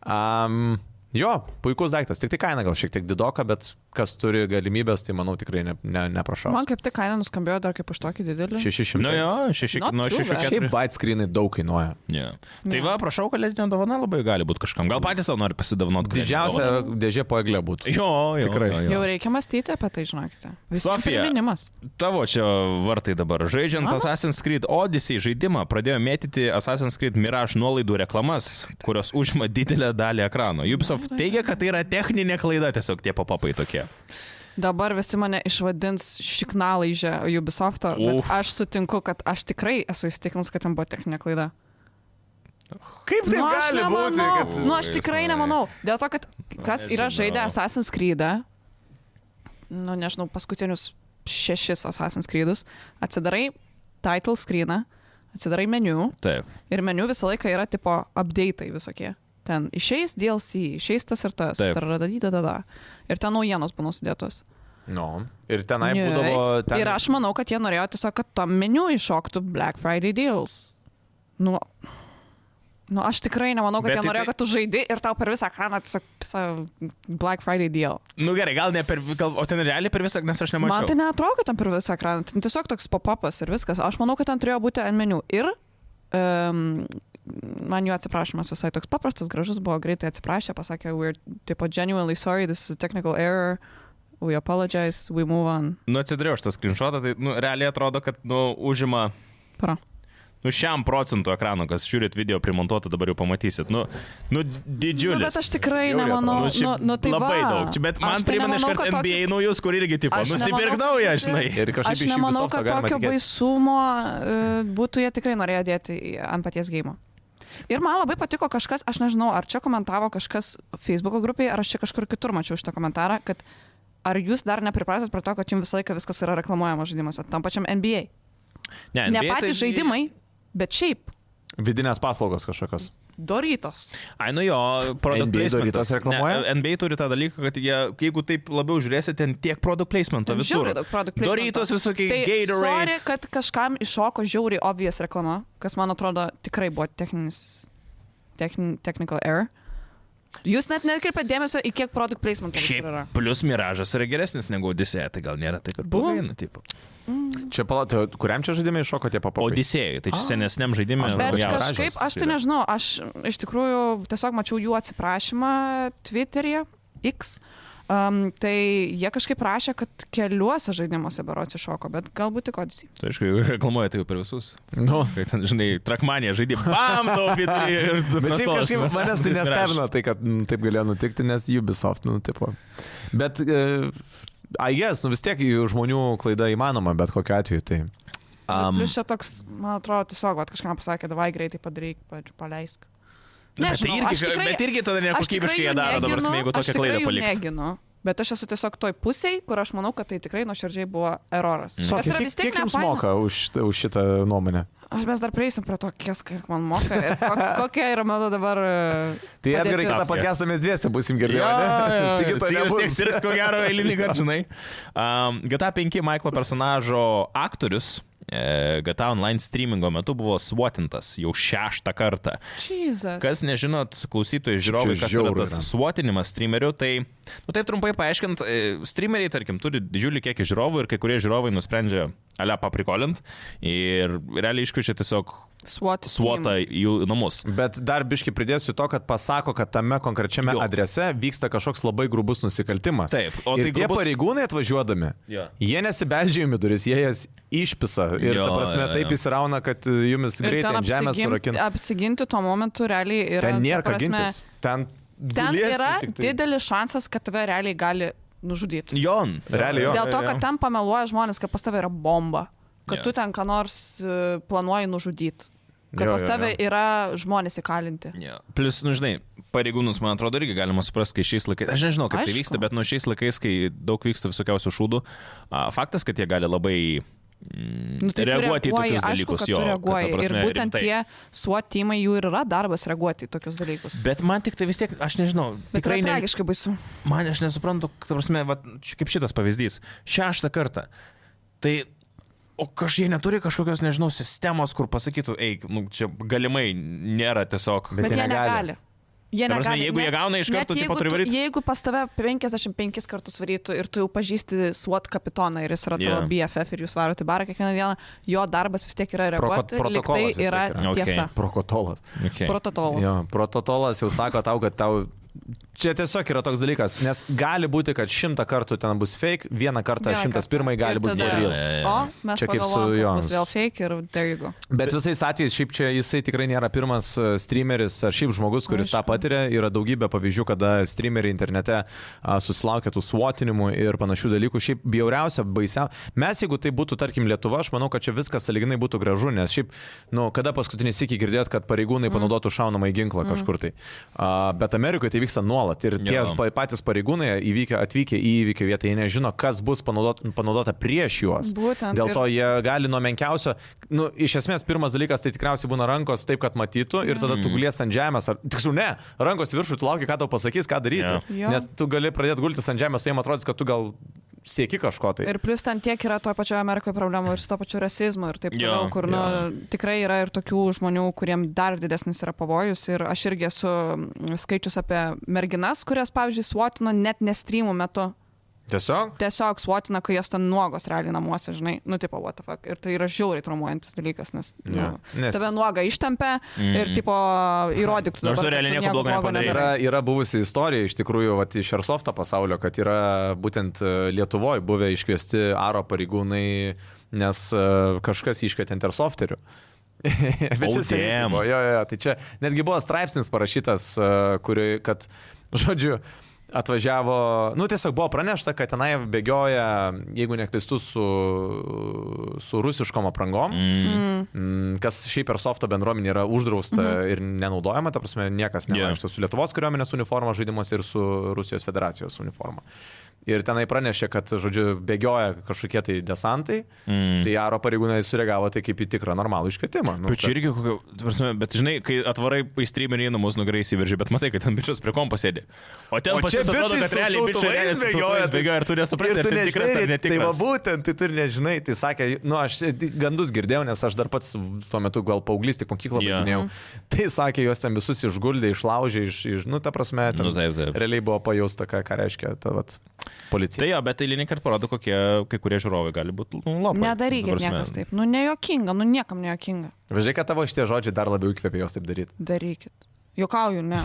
Um, Jo, puikus daiktas, tik tai kaina gal šiek tiek didoka, bet kas turi galimybės, tai manau tikrai ne, ne, neprašau. Man kaip tik kaina nuskambėjo dar kaip už tokį didelį. 600. Nu jo, šeši, Not nuo true, bet. 6-4. Šiaip bitescreenai daug kainuoja. Yeah. Tai Ne. va, prašau, kalėdinė dovana labai gali būti kažkam. Gal patys savo nori pasidovanoti. kalėdinę dovaną? Didžiausia dėžė po eglė būtų. Jo, jo, Tikrai. Jo, jo. Jau reikia mąstyti apie tai, žinokite. Visą Sofija. priminimas. Tavo čia vartai dabar. Žaidžiant Mano? Assassin's Creed Odyssey žaidimą pradėjo mėtyti Assassin's Creed Mirage nuolaidų reklamas, kurios užima didelę dalį ekrano. Ubisoft teigia, kad tai yra techninė klaida, tiesiog tie papapai tokie. Dabar visi mane išvadins šiknalaižę Ubisofto, Uf. bet aš sutinku, kad aš tikrai esu įsitikinus, kad ten buvo techninė klaida. Kaip tai Nu, aš gali nemanau. būti? Kad... Nu, aš tikrai Oi, nemanau. Dėl to, kad kas yra nežinau. žaidę Assassin's Creed, nu, nežinau, paskutinius šešis Assassin's Creedus, atsidarai title screeną, atsidarai meniu Taip. ir meniu visą laiką yra tipo update'ai visokie. Ten išeis DLC, išeis tas ir tas. Taip. taradadidadada. Ir ten naujienos būna sudėtos. Nu. Ir tenai Nice. būdavo... Ten... Ir aš manau, kad jie norėjo tiesiog, kad tam meniu iššoktų Black Friday deals. Nu, Nu, aš tikrai nemanau, kad Bet jie tai- norėjo, kad tu žaidi ir tau per visą ekraną tiesiog visą Black Friday deal. Nu gerai, gal ne per, gal, o ten realiai per visą, nes aš Mačiau. Man tai nemačiau. neatrodo, kad ten per visą ekraną, ten tiesiog toks pop-upas ir viskas. Aš manau, kad ten turėjo būti ant meniu. Ir um, man jų atsiprašymas visai toks paprastas, gražus buvo, greitai atsiprašė, pasakė, we're tipo, genuinely sorry, this is a technical error, we apologize, we move on. Nu atsidariau aš tą screenshotą, tai nu, realiai atrodo, kad nu, užima Para. Nu, šiam procentu ekrano, kas žiūrit video primontuotą, dabar jau pamatysit. Nu, nu Nu, didžiulis. bet aš tikrai Žiauriai nemanau, Nu, nu, šiaip nu, nu, tai labai va. daug. Čia, bet man Aš tai primena iš nemanau, karto kad tokį- NBA naujus, kur irgi tipo, Aš nusipirk nemanau, naują, kad- žinai. Ir Tai kažkaip Aš iš nemanau, Ubisofto kad galima tokio tikėtis. baisumo e, būtų jie tikrai norėjo dėti į- ant paties gėjimo. Ir man labai patiko kažkas, aš nežinau, ar čia komentavo kažkas Facebook'o grupėje, ar aš čia kažkur kitur mačiau šitą komentarą, kad ar jūs dar nepripratot prie to, kad jums visą laiką viskas yra reklamuojama žaidimuose, tam pačiam NBA. Ne, NBA Ne tai- patys žaidimai, bet šiaip Vidinės paslaugos kažkokios. darytos. Ai, nu jo, produkt NBA placementas. Doritos reklamuoja? Ne, NBA turi tą dalyką, kad jie, jeigu taip labiau žiūrėsite, ten tiek produkt placemento Ten visur. žiauriai daug product placemento. Doritos visokiai, Tai sorry, Gatorade. kad kažkam iššoko žiauriai obvious reklama, kas man atrodo tikrai buvo techninis, techn, technical error. Jūs net netkreipėt dėmesio, į kiek produkt placement yra. Šiaip plus miražas yra geresnis negu Odisėja, tai gal nėra taip, kad buvo. Nu, tipo. Čia palato, kuriam čia žaidimai iššoko tie papagai? Odisėjui, tai čia senesniam žaidimui. Aš nu, Bet jo, jaunas. gražios kažkaip, aš tai yra. nežinau, aš iš tikrųjų tiesiog mačiau jų atsiprašymą Twitter'yje, X. Um, tai jie kažkaip rašė, kad keliuose žaidimuose berots iššoko, bet galbūt tik odisi. Tai aišku, jeigu reklamuoja tai jau per visus. Nu. Kai ten, žinai, trakmanė žaidė, bam, daug vidury ir du Bet šiaip nasos, kažkaip mes- manęs tai ir nestebina tai, kad mm, taip galėjo nutikti, nes Ubisoft, nu, tipo. Bet, uh, I guess, nu vis tiek jų žmonių klaida įmanoma, bet kokiu atveju. Tai Am. Um, Plius čia toks, man atrodo, tiesiog vat, kažkam pasakė, davai greitai padaryk, pa- paleisk. Bet tai Nežinau, irgi, aš tikrai- bet irgi tada Aš tikrai nekokybiškai jie jų daro dabar, neginu, jeigu aš tokią tikrai klaidą jų palikti. Neginu, bet aš esu tiesiog toj pusėj, kur aš manau, kad tai tikrai nuoširdžiai buvo eroras. Mm. Sofija, kiek, kiek jums moka už, šitą- už šitą nuomonę? Aš mes dar prieisim prie to, kiek kiek man moka ir ko, kokia yra mano dabar... e, Tai Edgarai, Padėtis. kitą pakestą mes dviese būsim girdėję. Sigito nebus. Jis tirs, ko gero, eilinį kartą, žinai. Um, GTA 5 Michaelo personažo aktorius e, GTA online streamingo metu buvo suotintas jau šeštą kartą. Jesus. Kas nežinot, klausytojai, žiūrovai, Šiaip čia kas yra žiauru tas yra. suotinimas streamerių, tai, nu taip trumpai paaiškint, e, streameriai, tarkim, turi didžiulį kiekį žiūrovų ir kai kurie žiūrovai nusprendžia ale paprikolint ir realiai iškviečia tiesiog SWAT. suotą team. į jų namus. Bet dar biški pridėsiu to, kad pasako, kad tame konkrečiame Jo. jo. adrese vyksta kažkoks labai grubus nusikaltimas. Taip, o o tai tai tie grubus- pareigūnai atvažiuodami, Jo. jie nesibeldžia jumi duris, jie jas išpisa ir Jo, ta prasme jo, jo. taip įsirauna, kad e, jumis Ir greitai ten ant žemės apsiginti, surakinti. apsiginti tuo momentu realiai yra... Ten nėra ta ką prasme, gintis. Ten, Ten guliesi yra tik tai. didelis šansas, kad tave realiai gali nužudyti. Jon. Realiai jo. Dėl to, kad ten pameluoja žmonės, kad pas tave yra bomba, kad Jo. tu ten ką nors e, planuoji nužudyti, kad Jo, pas jo, tave jo. yra žmonės įkalinti. Yeah. Plus, nu žinai, pareigūnus, man atrodo, irgi galima suprasti, kai šiais laikais, aš nežinau, kaip Aišku. Aišku. tai vyksta, bet nu šiais laikais, kai daug vyksta visokiausių šūdų, a, faktas, kad jie gali labai mm, Nu, tai tu reaguoti į reaguoji, tokius dalykus, aišku, jo. jo, kad, ta reaguoji. Prasme, prasme, ir būtent rimtai. tie suotimai jų ir yra darbas reaguoti į tokius dalykus. Bet man tik tai vis tiek, aš nežinau, Bet tikrai tikrai ne, tragiškai baisu. man aš nesuprantu, ta prasme, va, ši- kaip šitas pavyzdys, šeštą kartą. Tai, o kažkaip neturi kažkokios, nežinau, sistemos, kur pasakytų, eik, nu, čia galimai nėra tiesiog. Bet jie Bet, bet jie negali. negali. Jie Ta prasme, jeigu jie Net- gauna iš net karto, tai jeigu po turi tu- varyt. Jeigu pas tave 55 kartus varytų ir tu jau pažįsti SWAT kapitoną ir jis yra tavo Jo. BFF ir jūs varote į barą kiekvieną dieną, jo darbas vis tiek yra reaguoti. protokolas lyg Tai vis tiek yra yra. Okay. tiesa. Prokotolas. Okay. Protokolas. Jo, protokolas jau sako tau, kad tau... Čia tiesiog yra toks dalykas, nes gali būti, kad šimtą kartų ten bus fake, vieną kartą Vieną šimtas kartą. pirmai gali Ir būti tada- for real. O, mes Čia kaip su pagalvojom, kad bus Jonas. vėl fake ir there you go. Bet visais atvejais, šiaip čia jisai tikrai nėra pirmas e, streameris ar šiaip žmogus, kuris Aišku. tą Aišku. patiria. Yra daugybė pavyzdžių, kada streameriai internete a, susilaukia tų suotinimų ir panašių dalykų. Šiaip bjauriausia, baisia. Mes, jeigu tai būtų, tarkim, Lietuva, aš manau, kad čia viskas saliginai būtų gražu, nes šiaip, nu, kada paskutinį sėkį girdėt, kad pareigūnai panaudotų šaunamą į ginklą kažkur tai. A, bet Amerikoje tai vyksta nuolat ir tie Jo. pa- patys pareigūnai įvykę, atvykę į įvykio vietą, jie nežino, kas bus panaudot, panaudota prieš juos. Būtent. Dėl Ir- to jie gali nuo menkiausio, nu, iš esmės pirmas dalykas tai tikriausiai būna rankos taip, kad matytų ir tada Mm. tu gulies ant žemės, ar tiksliau ne, rankos viršų tu lauki, ką tau pasakys, ką daryti. Jo. Jo. Nes tu gali pradėti gultis ant žemės, o jiem tai atrodys, kad tu gal sieki kažko tai. Ir plus ten tiek yra toje pačioje Amerikoje problemų ir su to pačiu rasizmu ir taip Jo, toliau, kur nu, jo. tikrai yra ir tokių žmonių, kuriem dar didesnis yra pavojus. Ir aš irgi esu mm, skaičius apie merginas, kurias, pavyzdžiui, suotino net nestreamų metu. Tiesiog? Tiesiog suotina, kai jos ten nuogos realiai namuose, žinai, nu tipo, what the fuck. Ir tai yra žiauriai traumuojantis dalykas, nes, nu, Jo. Nes- tave nuoga ištempia ir, Mm. tipo, įrodyk, tu Nors tu dabar, kad realiai tu nieko nieko blogo blogo nepadarei. nedarai. Yra, yra buvusi istorija iš tikrųjų vat, iš Airsofto pasaulio, kad yra būtent e, Lietuvoje buvę iškviesti aro pareigūnai, nes e, kažkas iškvietė Intersofterių. Bet Oh, čia seniai tai damn. buvo, jo, jo, jo, tai čia netgi buvo straipsnis parašytas, e, kuri, kad, žodžiu, atvažiavo, nu tiesiog buvo pranešta, kad tenai bėgioja, jeigu neklistu, su, su rusiškom aprangom. Mm. Mm, kas šiaip per softo bendruomenį yra uždrausta mhm. ir nenaudojama, ta prasme, niekas Jo. nevaikšto su Lietuvos kariuomenės uniforma žaidimuose ir su Rusijos federacijos uniforma. Ir tenai pranešė, kad, žodžiu, bėgioja kažkokie tai desantai, mm. tai aro pareigūnai sureagavo tai kaip į tikrą normalų iškvietimą. Nu, Bet čia kad- irgi, kokio, ta prasme, bet žinai, kai atvarai į streamerį į namus, nugarai įsiveržė, bet matai, kad ten bičias prie kompo sėdi. O ten O pas čia jus atrodo, bičai kad su realiai bičias šautuvais realiai su bėgioja, šautuvais tai- bėgioja, ir tu Ir nesupranti, tu ar tai tikras nežinai, ar tai va netikras. būtent, tai tu ir nežinai, tai sakė, nu aš čia tik gandus girdėjau, nes aš dar pats tuo metu gal paauglys tik mokyklą Jo. baiginėjau. Tai sakė, juos ten visus išguldė, išlaužė, iš, iš nu ta prasme, ten, Nu, taip, taip. realiai buvo pajausta, ką, ką reiškia ta vat, Tai policija. jo, bet eilinį kartą parodo, kokie kai kurie žiūrovai gali būti nu, labai. Nedarykit niekas taip. Nu, nejuokinga, nu, niekam nejuokinga. Važiuokai, kad tavo šitie žodžiai dar labiau įkvėpė jos taip daryti. Darykit. Jokauju, ne.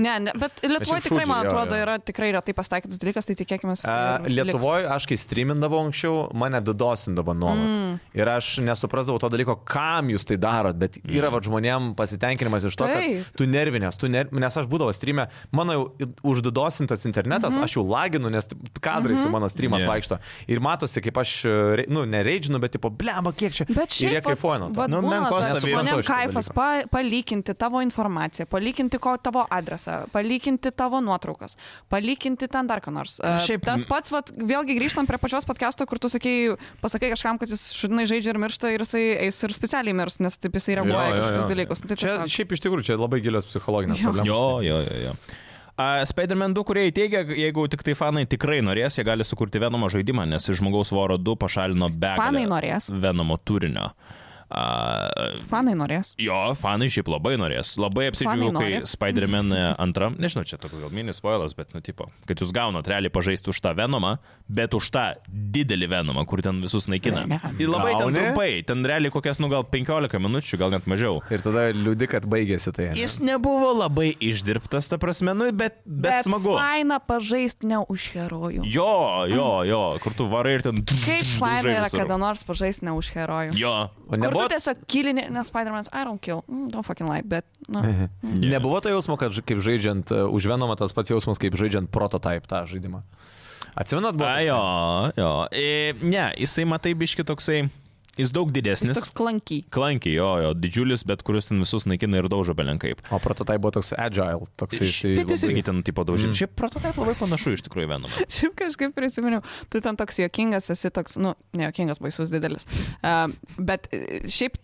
ne, ne. Bet Lietuvoje jau tikrai, šūdžiu, man jo, atrodo, jo. yra tikrai retai pastaikytas dalykas, tai tikėkime. Uh, Lietuvoje aš kai streamindavau anksčiau, mane didosindavo nuolat. Mm. Ir aš nesuprasdavau to dalyko, kam jūs tai darot, bet yra mm. žmonėm pasitenkinimas iš to, Taip. kad tu nervinės, tu ner... nes aš būdavo streame, mano jau uždidosintas internetas, mm Mhm. -hmm. aš jau laginu, nes kadrais mm -hmm. jau mano streamas Jo. yeah. vaikšto. Ir matosi, kaip aš, e, rei- nu, nereidžinu, bet tipo, blema, kiek čia. Bet ir jie šiaip, kaifuoja. vat- vat Nu, būna menkos tas, savijautos Žmonėm šito kaifas dalyko. pa, palyginti tavo informaciją, palyginti ko, tavo adresą, palyginti tavo nuotraukas, palyginti ten dar ką nors. E, šiaip- Tas pats, vat, vėlgi grįžtam prie pačios podcast'o, kur tu sakei, pasakai kažkam, kad jis šudinai žaidžia ir miršta ir jisai eis ir specialiai mirs, nes taip jisai reaguoja į kažkokius dalykus. Tai čia, tiesiog- šiaip iš tikrųjų, čia labai gilios psichologinės Jo. problemos. Jo, jo, jo. jo. A, Spider-Man 2, kurie įteigia, jeigu tik tai fanai tikrai norės, jie gali sukurti Venomą žaidimą, nes iš žmogaus voro 2 pašalino begalę Fanai norės. Venomo turinio. A, Fanai norės. Jo, fanai šiaip labai norės. Labai apsidžiaugiau, Fanai kai nori. Spider-Man antrą, nežinau, čia toks gal mini spoilas, bet, nu, tipo, kad jūs gaunat realiai pažaisti už tą Venomą, bet už tą didelį Venomą, kur ten visus naikina. Venom. Ir labai ten Gauni? trumpai, ten realiai kokias, nu, gal 15 minučių, gal net mažiau. Ir tada liūdi, kad baigėsi tai. ane? Jis nebuvo labai išdirbtas, ta prasme, nu, bet, bet, bet smagu. Faina pažaisti ne už herojų. Jo, jo, jo, kur tu varai ir ten. Kaip dužai faina yra visur. kada nors pažaisti ne už herojų. Jo. O Kur nebuvo tu tiesiog kilinė, nes Spider-Man's I don't kill, mm, don't fucking lie, bet... Nu. Jo. Nebuvo to jausmo, kad ž- kaip žaidžiant e, už Venomą tas pats jausmas, kaip žaidžiant prototype tą žaidimą. Atsimenat, buvo. A, toksai? jo, jo. E, ne, jisai matai biški toksai. Jis daug didesnis. Jis toks klankiai. Klankiai, jo, jo, didžiulis, bet kuris ten visus naikina ir daužo belenkaip. O prototype buvo toks agile, toks jis. Bet jis irgi ten tipo daužė. Mm. Šiaip prototipai labai panašu iš tikrųjų vienam. Šiaip kažkaip prisiminiau, tu ten toks juokingas, esi toks, nu, ne juokingas, baisus didelis. Uh, bet e, šiaip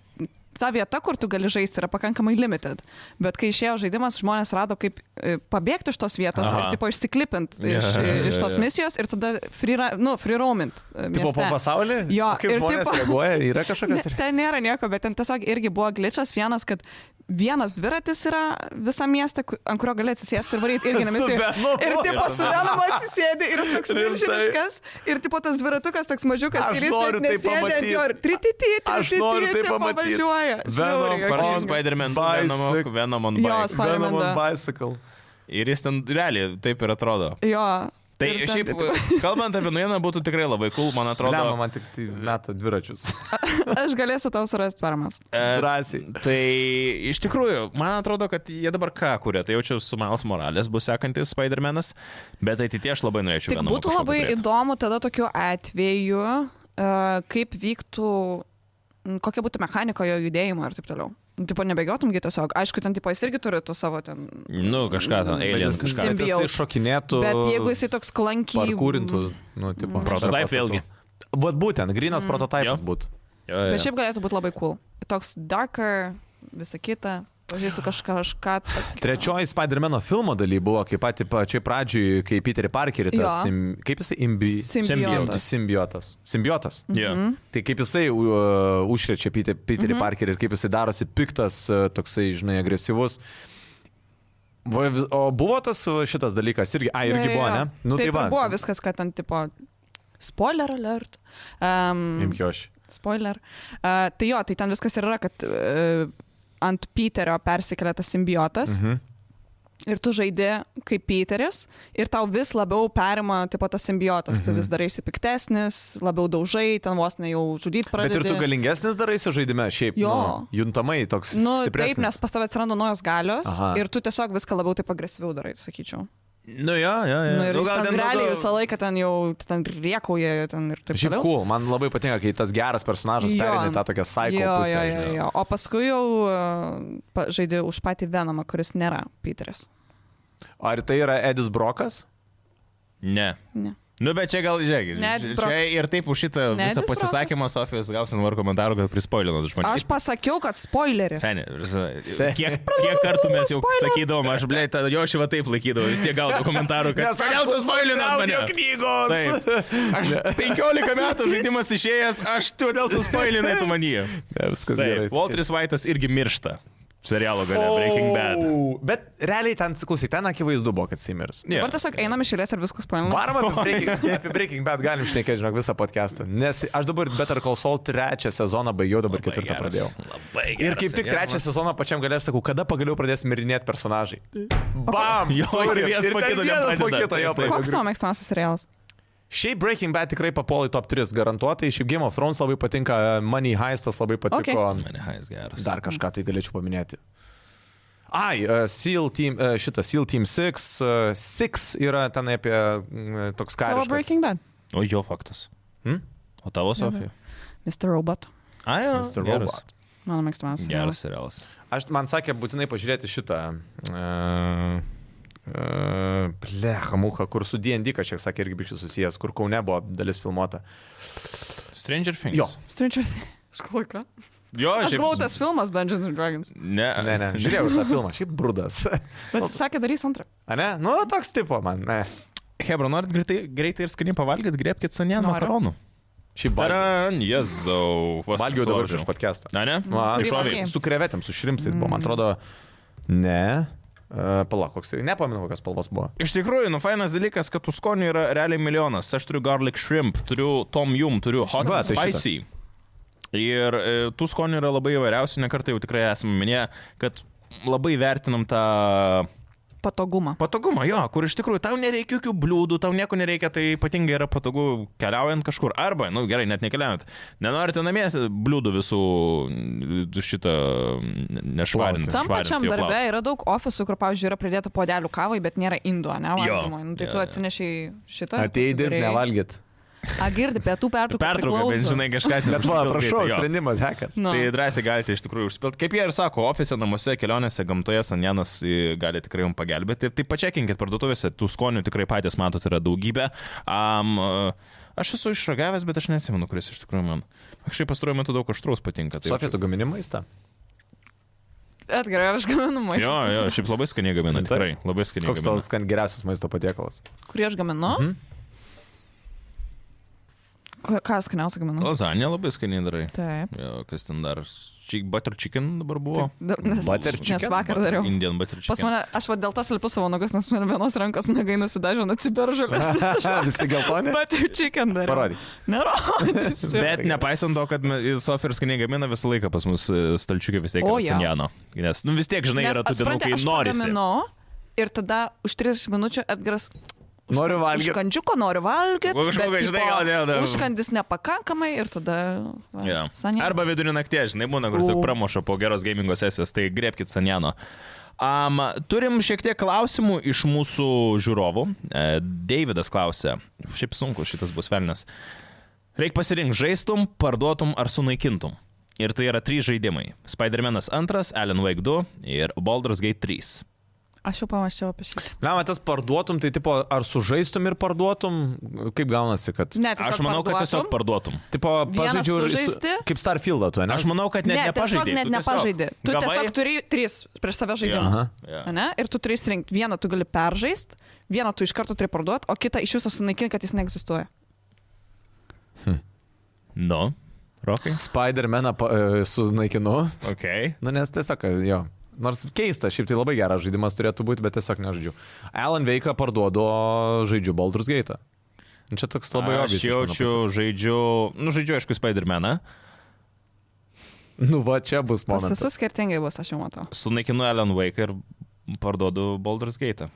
ta vieta, kur tu gali žaisti, yra pakankamai limited. Bet kai išėjo žaidimas, žmonės rado, kaip e, pabėgti iš tos vietos Aha. Aha. ir, tipo, išsiklipint iš, Jo, jo, iš tos jo. misijos ir tada free, ra- nu, free roamint. Tipo po pasaulį? Jo, kaip ir žmonės tipo- reaguoja, yra kažkas. Ne, ten nėra nieko, bet ten tiesiog irgi buvo glitčas vienas, kad vienas dviratis yra visą miestą, ku- ant kurio gali atsisėsti ir varyti irgi Su nemisiu. Venomu. Ir tipo su Venomu atsisėdi ir jis toks Rimtai. milžiniškas, ir tipo tas dviratukas toks mažiukas, Aš ir jis noriu net tai nesėdi ant jo ir pamatyt. trititį, Aš noriu tai trititį pamatyt. pavažiuoja. Venom, Žiauriai parodys O, juokinga. Spider-Man, Bicycle. Venom, Venom on Jo, Bike. Spider-Man Venom on da. bicycle. Ir jis ten realiai taip ir atrodo. Jo. Tai Ir ten, šiaip, tipo, kalbant apie naujieną, būtų tikrai labai cool, man atrodo. Problema, man tik tai meta dviračius. Aš galėsiu tau surasti parmas. E, Drąsiai. Tai iš tikrųjų, man atrodo, kad jie dabar ką kuria, tai jaučiu su Miles Morales bus sekantis Spider-Man'as, bet ateitie aš labai norėčiau. Tik Venomą būtų kažkokį labai turėt. įdomu tada tokiu atveju, e, kaip vyktų, m, kokia būtų mechanika jo judėjimo ir taip toliau. Tipo, nebegiotumgi tiesiog. Aišku, ten tipo jis irgi turi tu savo ten. Nu, kažką Mm. ten, Alien kažką. Jis sim- kažkaip Symbiote. šokinėtų. Bet jeigu jisai toks klankiai... Parkūrintų, nu, tipo. Prototype šalia pastatų. vėlgi. Vat būtent, grinas prototipas Jo. būtų. Jo, jo, jo. Bet šiaip galėtų būti labai cool. Toks darker, visa kita. Pažįstu kažką, kažką tokio. Trečioji Spider-Man filmo daly buvo, kaip pati pačiai pradžioj, kai Peterį Parkerį, tas, Jo. sim, kaip jisai imbi... Simbiotas. Simbiotas. Simbiotas. Yeah. Mhm. Mm -hmm. Tai kaip jisai uh, užkrečia Peter, Peterį mhm. Parkerį ir kaip jisai darosi piktas, uh, toksai, žinai, agresyvus. Va, vis- O buvo tas uh, šitas dalykas irgi, a, irgi Jo, jo, buvo, jo. ne? Nu, Taip tai va. ir buvo viskas, kad ten tipo... Spoiler alert. Um, Imk jo aš. Spoiler. Uh, tai jo, tai ten viskas ir yra, kad uh, ant Peterio persikelia tas simbiotas. Mhm. Ir tu žaidži kaip Peteris ir tau vis labiau perima tipo, tas simbiotas, mhm. tu vis darai įsipiktesnis, labiau daužai, ten vos ne jau žudyti Bet pradedi. ir tu galingesnis darai su žaidime, šiaip. Jo. Nu, juntamai toks. Nu, stipresnis. taip, nes pas tavai atsiranda naujos galios Aha. Aha. ir tu tiesiog viską labiau taip agresyviau darai, sakyčiau. Nu, jo, jo, jo. Yeah. Nu, ir nu, ten daugiau- realiai visą laiką ten jau ten riekauja ten ir taip Šiaip toliau. cool, man labai patinka, kai tas geras personažas Jo. tai perina į tą tokią psycho Jo, pusę. jo, jo, žinai. jo. O paskui jau uh, pa- žaidė už patį Venomą, kuris nėra Peteris. Ar tai yra Edis Brokas? Ne. Ne. Nu, bet čia gal žiūrėkit. Ne Čia Edis Brokas. ir taip už šitą Ne visą Edis pasisakymą Sofijos gausim dabar komentarų, kad prispoilinot žmonės. Aš pasakiau, kad spoileris. Seniai, Se- kiek, kiek kartų mes jau sakydavom, aš, blei, tą jošį va taip laikydavau, vis tiek gaudavau komentarų, kad... audio suspoilinai! knygos. Aš 15 metų žaidimas išėjęs, aš tu dėl suspoilinai tu manyje. Ne, viskas gerai. Taip, Walteris White'as irgi miršta. Serialo gale Breaking Bad. O, Bet realiai ten, klausyk, ten akivaizdu buvo, kad Simirs. Ne. Dabar tiesiog einam iš eilės ir viskas spoilinam. Varom apie Breaking, apie Breaking Bad galim šnekėti, žinok, visą podcastą. Nes aš dabar Better Call Saul trečią sezoną baigiau, dabar Labai ketvirtą Oh geras, pradėjau. Labai gerai. Ir kaip tik trečią sezoną pačiam galiu, aš sakau, kada pagaliau pradės mirinėti personažai. Bam! Jo, ir turim. viens po ten kito vienas po nepradeda. kito, Taip, jo, taip. pagaliau. Koks tavo mėgstamiausias serialas? Šiaip Breaking Bad tikrai papuolai top 3 garantuotai, šiaip Game of Thrones labai patinka, Money Heistas labai patiko. Okay. Mane hais geras. Dar kažką tai galėčiau paminėti. Ai, uh, SEAL Team, uh, šitas SEAL Team 6, uh, 6 yra ten apie mm, toks Tavo kariškas. Breaking Bad. O jo faktas. Hm? Hmm? O tavo Sofija? Mr. Robot. Ai, jo. Mr. geras. Robot. Mano mėgstamiausias. Geras serialas. Aš man sakė būtinai pažiūrėti šitą. Uh, uh, Blecha, muha, kur su D&D kažkiek sakė irgi biškai susijęs, kur Kaune buvo dalis filmuota. Stranger Things. Jo. Stranger Things. Aš galvoju, ką? Jo, Aš šiaip- galvoju, tas filmas Dungeons and Dragons. Ne, Ne, ne, žiūrėjau ir tą filmą, šiaip brudas. Bet jis sakė, darys antrą. A ne? Nu, toks tipo man, ne. Hebra, norit greitai, greitai ir skaniai pavalgyti, grėpkit sanien Noriu. makaronų. Šiaip valgiau. Taran, jezau. vos Valgiau dabar nesulaužiau. prieš podcastą. Na, ne? Va, Tai Mm. Iššovė. sakei. Mm. Su krevetėm, su šrimsais buvo, man atrodo. Ne. Uh, Palauk, koks tai. Nepamenu, kokios spalvos buvo. Iš tikrųjų, nu fainas dalykas, kad tų skonių yra realiai milijonas. Aš turiu garlic shrimp, turiu tom yum, turiu hot Va, Va, tai tai spicy. Ir e, tų skonių yra labai įvairiausių, nekartai jau tikrai esame minėję, kad labai vertinam tą Patogumą. patogumą, jo, kur iš tikrųjų tau nereikia jokių bliūdų, tau nieko nereikia, tai ypatingai yra patogu keliaujant kažkur. Arba, na nu, gerai, net nekeliaujant. Nenorite namie bliūdų visų n- šitą n- nešvarint. Tam švarint, pačiam jo, plaut. darbe yra daug ofisų, kur, pavyzdžiui, yra pridėta podelių kavai, bet nėra indo, ne? Jo. Valgymui. Nu, tai Jo, tu jo. atsinešiai šitą. Atei dirbti, pasidarei. nevalgyt. A, girdi, pietų pertrauką. Pertrauka, bet žinai kažką. ten Bet va, užsipildai, prašau, tai jo. sprendimas, hekas. Nu. Tai drąsiai galite iš tikrųjų užsipilti. Kaip jie ir sako, ofise, namuose, kelionėse, gamtoje, Sanjanas i, gali tikrai jums pagelbėti. Tai pačiakinkit parduotuvėse, tų skonių tikrai patys matote yra daugybė. Um, aš esu išragavęs, bet aš nesimenu, kuris iš tikrųjų man. Akšai pastaruoju metu daug aštrus patinka. Tai Sofija, tu gamini maistą? Atgerai, aš gaminu Jo, maistą. jo, šiaip labai skaniai gamina, Taip. tikrai. Labai skaniai Koks gamina. tavas skan geriausias maisto patiekalas? Kurį aš gaminu? Mhm. Kur- Ką aš skaniausiai gaminu? Lazanė labai skaniai darai. Taip. Jo, kas ten dar? Chi- Butter chicken dabar buvo. Da- Nes, Butter nes chicken? vakar Butter- dariau. Indian butter chicken. Pas mane, aš va dėl to slipu savo nagus, nes man vienos rankos nagai nusidažė, atsiberžalės. Visi geltoni? Bet ir chicken dar. Parodyk. Nerodysiu. Bet nepaisant to, kad Sofija ir skaniai gamina visą laiką pas mus stalčiukė vis tiek O, yra jo. Sanjano. Nes, nu vis tiek, žinai, Nes, yra tų dienų, supranti, kai aš nori. pagaminu Ir tada už 30 minučių atgras. Noriu Už valgyti. kandžiuko noriu valgyti. Už kažkokio, žinai, gal ne, ne. Užkandis nepakankamai ir tada... va, Yeah. saniai. Arba vidurį nakties, žinai, būna, kur tiesiog U. pramoša po geros gamingo sesijos, tai griebkit Sanjano. Um, turim šiek tiek klausimų iš mūsų žiūrovų. E, Davidas klausė, šiaip sunku šitas bus velnas. Reikia pasirinkti žaistum, parduotum ar sunaikintum. Ir tai yra trys žaidimai. Spider-Man'as 2, Alan Wake 2 ir Baldur's Gate 3. Aš jau pamačiau apie šį. Lema, tas parduotum, tai tipo, ar sužaistum ir parduotum, kaip gaunasi, kad... Ne, tiesiog Aš manau, kad tiesiog parduotum. parduotum. Tipo, Vienas pažaidžiu ir... su- sužaisti? Kaip Starfieldą tu, ne? Aš manau, kad net ne, nepažaidai. tu tiesiog net tiesiog nepažaidai. Tu gavai- tiesiog turi tris prieš save žaidimus. Jo, jo. Yeah. Yeah. Ir tu turi rinkti. Vieną tu gali peržaisti, vieną tu iš karto turi parduoti, o kitą iš viso sunaikinti, kad jis neegzistuoja. Nu, rokai. Spider-Maną pa, e, sunaikinu. Ok. Nu, nes tiesiog, jo. Nors keista, šiaip tai labai geras žaidimas turėtų būti, bet tiesiog nežaidžiu. Alan Veiką parduodu, o žaidžiu Baldur's Gate. Nu, Čia toks labai Aš obvious iš mano jaučiu, žaidžiu, nu, žaidžiu, aišku, Spider-Maną. pusės. Nu, va, čia bus Pas momentas. visus skirtingai bus, aš jau matau. Sunaikinu Alan Wake ir parduodu Baldur's Gate.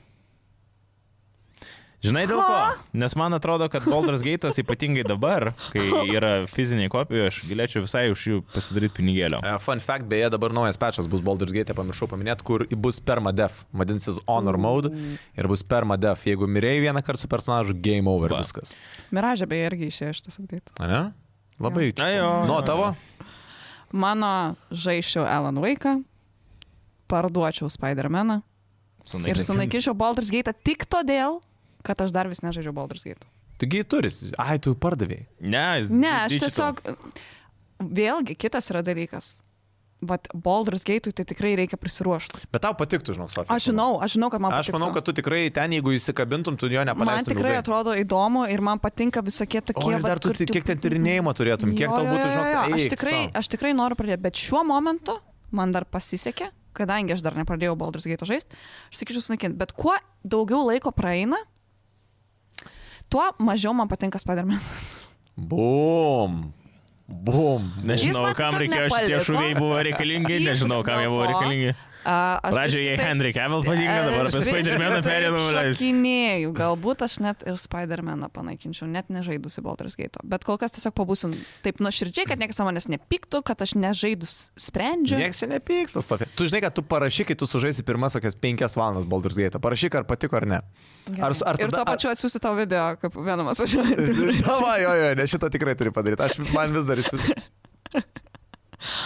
Žinai dėl ko? Nes man atrodo, kad Baldur's Gate ypatingai dabar, kai yra fiziniai kopijai, aš galėčiau visai už jų pasidaryti pinigėlio. E, Fun fact, beje, dabar naujas pečas bus Baldur's Gate, pamiršau paminėti, kur bus permadef, vadinsis Honor Mode ir bus permadef. Jeigu mirėjai vieną kartą su personažu, game over Va. Va. viskas. Miražė beje irgi išėjo šitas apdėtas. A ne? Labai. A, jo, jo, Nuo tavo? Mano žaišiau Alan Vaiką, parduočiau Spider-Maną ir sunaikinčiau Baldur's Gate tik todėl, kad aš dar vis nežaidžiu Baldur's Gate. Taigi turis. Ai, tu pardavėjai. Ne, jis Ne, aš digital. tiesiog. Vėlgi, kitas yra dalykas. Bet Baldur's Gate'ui tai tikrai reikia prisiruošti. Bet tau patiktų, žinok, Sofija. Aš žinau, aš žinau, kad man Aš patiktų. manau, kad tu tikrai ten, jeigu įsikabintum, tu jo nepaleistum. Man tikrai ilgai. atrodo įdomu ir man patinka visokie tokie... O ir va, dar tu, kur ti- kiek ten tyrinėjimo turėtum, kiek Jo, tau jo, būtų, jo, žinok, jo. Aš eik tikrai, sau. aš tikrai noriu pradėti, bet šiuo momentu man dar pasisekė, kadangi aš dar nepradėjau Baldur's Gate žaisti, aš sakyčiau sunaikinti. Bet kuo daugiau laiko praeina, tuo mažiau man patinka Spider-Man'as. Bum. Bum. Jis Nežinau, man kam tiesiog reikėjo šitie nepaliko. šuviai buvo reikalingi, Jis nežinau, kam jie buvo dėl to- reikalingi. A, aš tai- Pradžioje biškį jai taip- Henry Cavill patinka, dabar apie Spider-Maną Aš perėdavau. kinėjau, galbūt aš net ir Spider-Maną panaikinčiau, net nežaidusi Baldur's Gate. Bet kol kas tiesiog pabūsiu taip nuoširdžiai, kad niekas ant manęs nepyktų, kad aš nežaidus sprendžiu. Niekas čia nepyksta, Sofija. Tu žinai, kad tu parašyk, kai tu sužaisi pirmas kokias penkias valandas Baldur's Gate. Parašyk, ar patiko ar ne. Gerai. Ar, su- ar ir tuo tada- pačiu atsiųsiu tavo video, kaip vienamas važiuoja. Tava, jo, jo, ne, šitą tikrai turi padaryti. Aš man vis dar įsivaizduoju.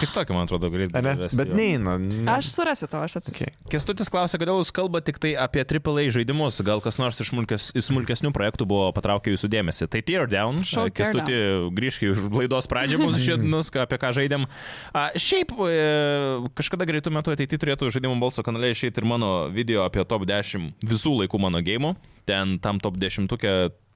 Tik tokį, man atrodo, galėtum. Ne, bet neina. Ne. Aš surasiu to, aš atsiųsiu. Okay. Okay. Kestutis klausia, kodėl jūs kalbate tik tai apie AAA žaidimus, gal kas nors iš, smulkes, iš smulkesnių projektų buvo patraukę jūsų dėmesį. Tai Teardown, Prašau, Kestutį grįžk į laidos pradžią mūsų šiandienus, ką- apie ką žaidėm. A, šiaip e, kažkada greitų metų ateityje turėtų žaidimų balso kanale išeiti ir mano video apie top 10 visų laikų mano gėjimų. Ten tam top 10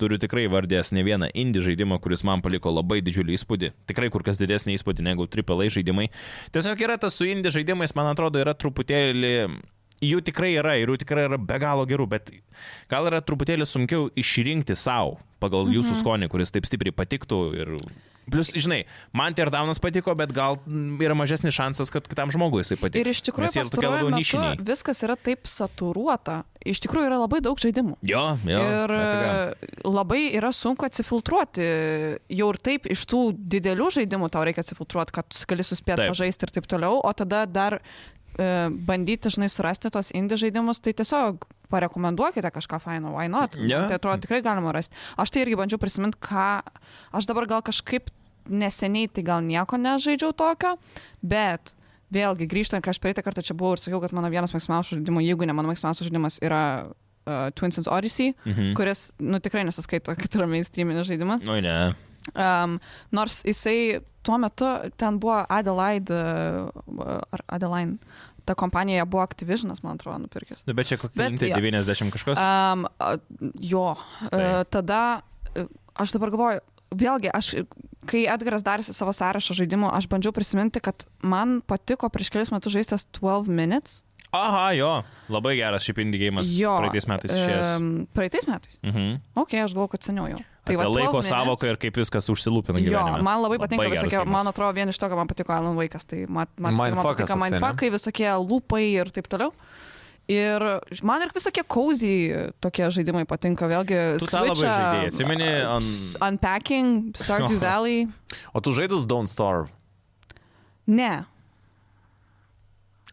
turiu tikrai vardęs ne vieną indį žaidimą, kuris man paliko labai didžiulį įspūdį. Tikrai kur kas didesnį įspūdį negu AAA žaidimai. Tiesiog yra tas su indį žaidimais, man atrodo, yra truputėlį jų tikrai yra ir jų tikrai yra be galo gerų, bet gal yra truputėlį sunkiau išrinkti savo pagal jūsų Mhm. skonį, kuris taip stipriai patiktų. Ir... Plus, žinai, man Teardownas patiko, bet gal mm, yra mažesnis šansas, kad kitam žmogui jisai patiks. Ir iš tikrųjų, nes jie tokie pastaruoju labiau metu nišiniai. viskas yra taip saturuota. Iš tikrųjų, yra labai daug žaidimų. Jo, jo. ir nefiga. labai yra sunku atsifiltruoti. Jau ir taip iš tų didelių žaidimų tau reikia atsifiltruoti, kad gali suspėti Taip. pažaisti ir taip toliau, o tada dar e, bandyti, žinai, surasti tos indie žaidimus, tai tiesiog parekomenduokite kažką faino, why not? Jo. Tai atrodo tikrai galima rasti. Aš tai irgi bandžiau prisiminti, ką aš dabar gal kažkaip neseniai tai gal nieko nežaidžiau tokio, bet vėlgi grįžtant, ką aš praeitą kartą čia buvau ir sakiau, kad mano vienas mėgstamiausių žaidimų, jeigu ne mano mėgstamiausias žaidimas yra uh, Twin Sins Odyssey, Mhm. kuris, nu tikrai nesaskaito, kad yra mainstreaminis žaidimas. Nu, ne. Um, nors jisai tuo metu ten buvo Adelaide, uh, ar Adeline, ta kompanija buvo Activisionas, man atrodo, nupirkęs. Nu, bet čia kokie Bet bet, jo. 90 kažkas. A, Um, a, jo, Tai. tai. tada e, aš dabar galvoju, vėlgi, aš, e, kai Edgaras darėsi savo sąrašą žaidimų, aš bandžiau prisiminti, kad man patiko prieš kelias metus žaistas 12 Minutes. Aha, jo. Labai geras šiaip indie game. Jo. Praeitais metais išėjęs. Em, praeitais metais. Mhm. Ok, aš galvoju, kad seniau jau. Tai va, 12 laiko minutes. savoka ir kaip viskas užsilūpina. Jo, gyvenime. man labai patinka geras visokie, geimas. man atrodo, vien iš to, kad man patiko Alan Vaikas, tai man, man, tiesiog man Mindfuckas patinka toksai, ne? mindfuckai, visokie lūpai ir taip toliau. Ir man ir visokie cozy tokie žaidimai patinka, vėlgi. Tu tą labai Switch'ą, žaidei, atsimeni, a, an- s- Unpacking, Stardew Valley. O tu žaidus Don't Starve. Ne.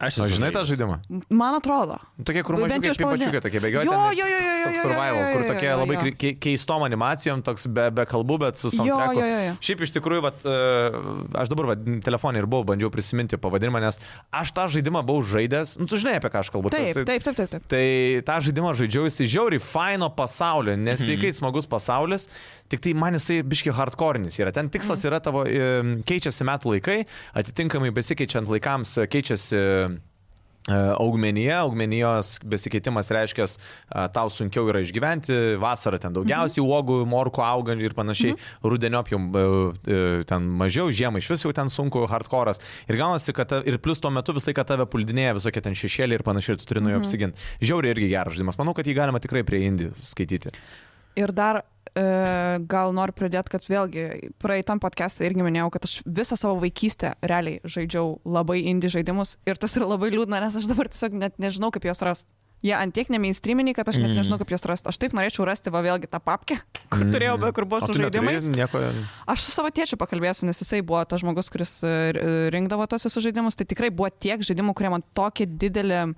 Aš O esu žinai tą žaidęs. žaidimą? Man atrodo. Nu, Tokie, kur Bent mažiau jau kaip iš pradžių. pačiukai tokie bėgioja. Jo, ten jo, jo, jo, toks jo, jo, Survival, jo, jo, kur jo, tokie jo, labai jo. kri- kei- keistom animacijom, toks be, be kalbų, bet su soundtracku. jo, jo, jo. Šiaip iš tikrųjų, vat, e, aš dabar vat, telefonį ir buvau, bandžiau prisiminti pavadinimą, nes aš tą žaidimą buvau žaidęs, nu tu žinai apie ką aš kalbu. Taip, tai- taip, taip, taip. taip. Tai tą žaidimą žaidžiau, jisai žiauri faino pasaulio, nesveikai smagus pasaulis, tik tai man jisai biški hardcore'nis yra. Ten tikslas yra tavo, e, keičiasi metų laikai, atitinkamai besikeičiant laikams e, keičiasi e, augmenija, augmenijos besikeitimas reiškia, e, tau sunkiau yra išgyventi, vasarą ten daugiausiai Mhm. uogų, morko auga ir panašiai, rudeniop jau e, e, ten mažiau, žiemą iš vis jau ten sunku, hardcore'as. Ir gaunasi, kad ta, ir plus tuo metu visą laiką tave puldinėja visokie ten šešėliai ir panašiai, ir tu turi nuo Mhm. jo apsiginti. Žiauriai irgi geras žaidimas. Manau, kad jį galima tikrai prie indį skaityti. Ir dar e, gal noriu pridėti, kad vėlgi praeitam podcast'e irgi minėjau, kad aš visą savo vaikystę realiai žaidžiau labai indie žaidimus ir tas yra labai liūdna, nes aš dabar tiesiog net nežinau, kaip juos rasti. Jie antiek nemainstreaminiai, kad aš net Mm. Mhm. nežinau, kaip juos rasti. Aš taip norėčiau rasti, va vėlgi tą papkę, kur Mm. turėjau, be- kur buvo O su tu neturi žaidimais. Nieko... Aš su savo tėčiu pakalbėsiu, nes jisai buvo tas žmogus, kuris e, r- e, rinkdavo tos visus žaidimus. Tai tikrai buvo tiek žaidimų, kurie man tokį didelį,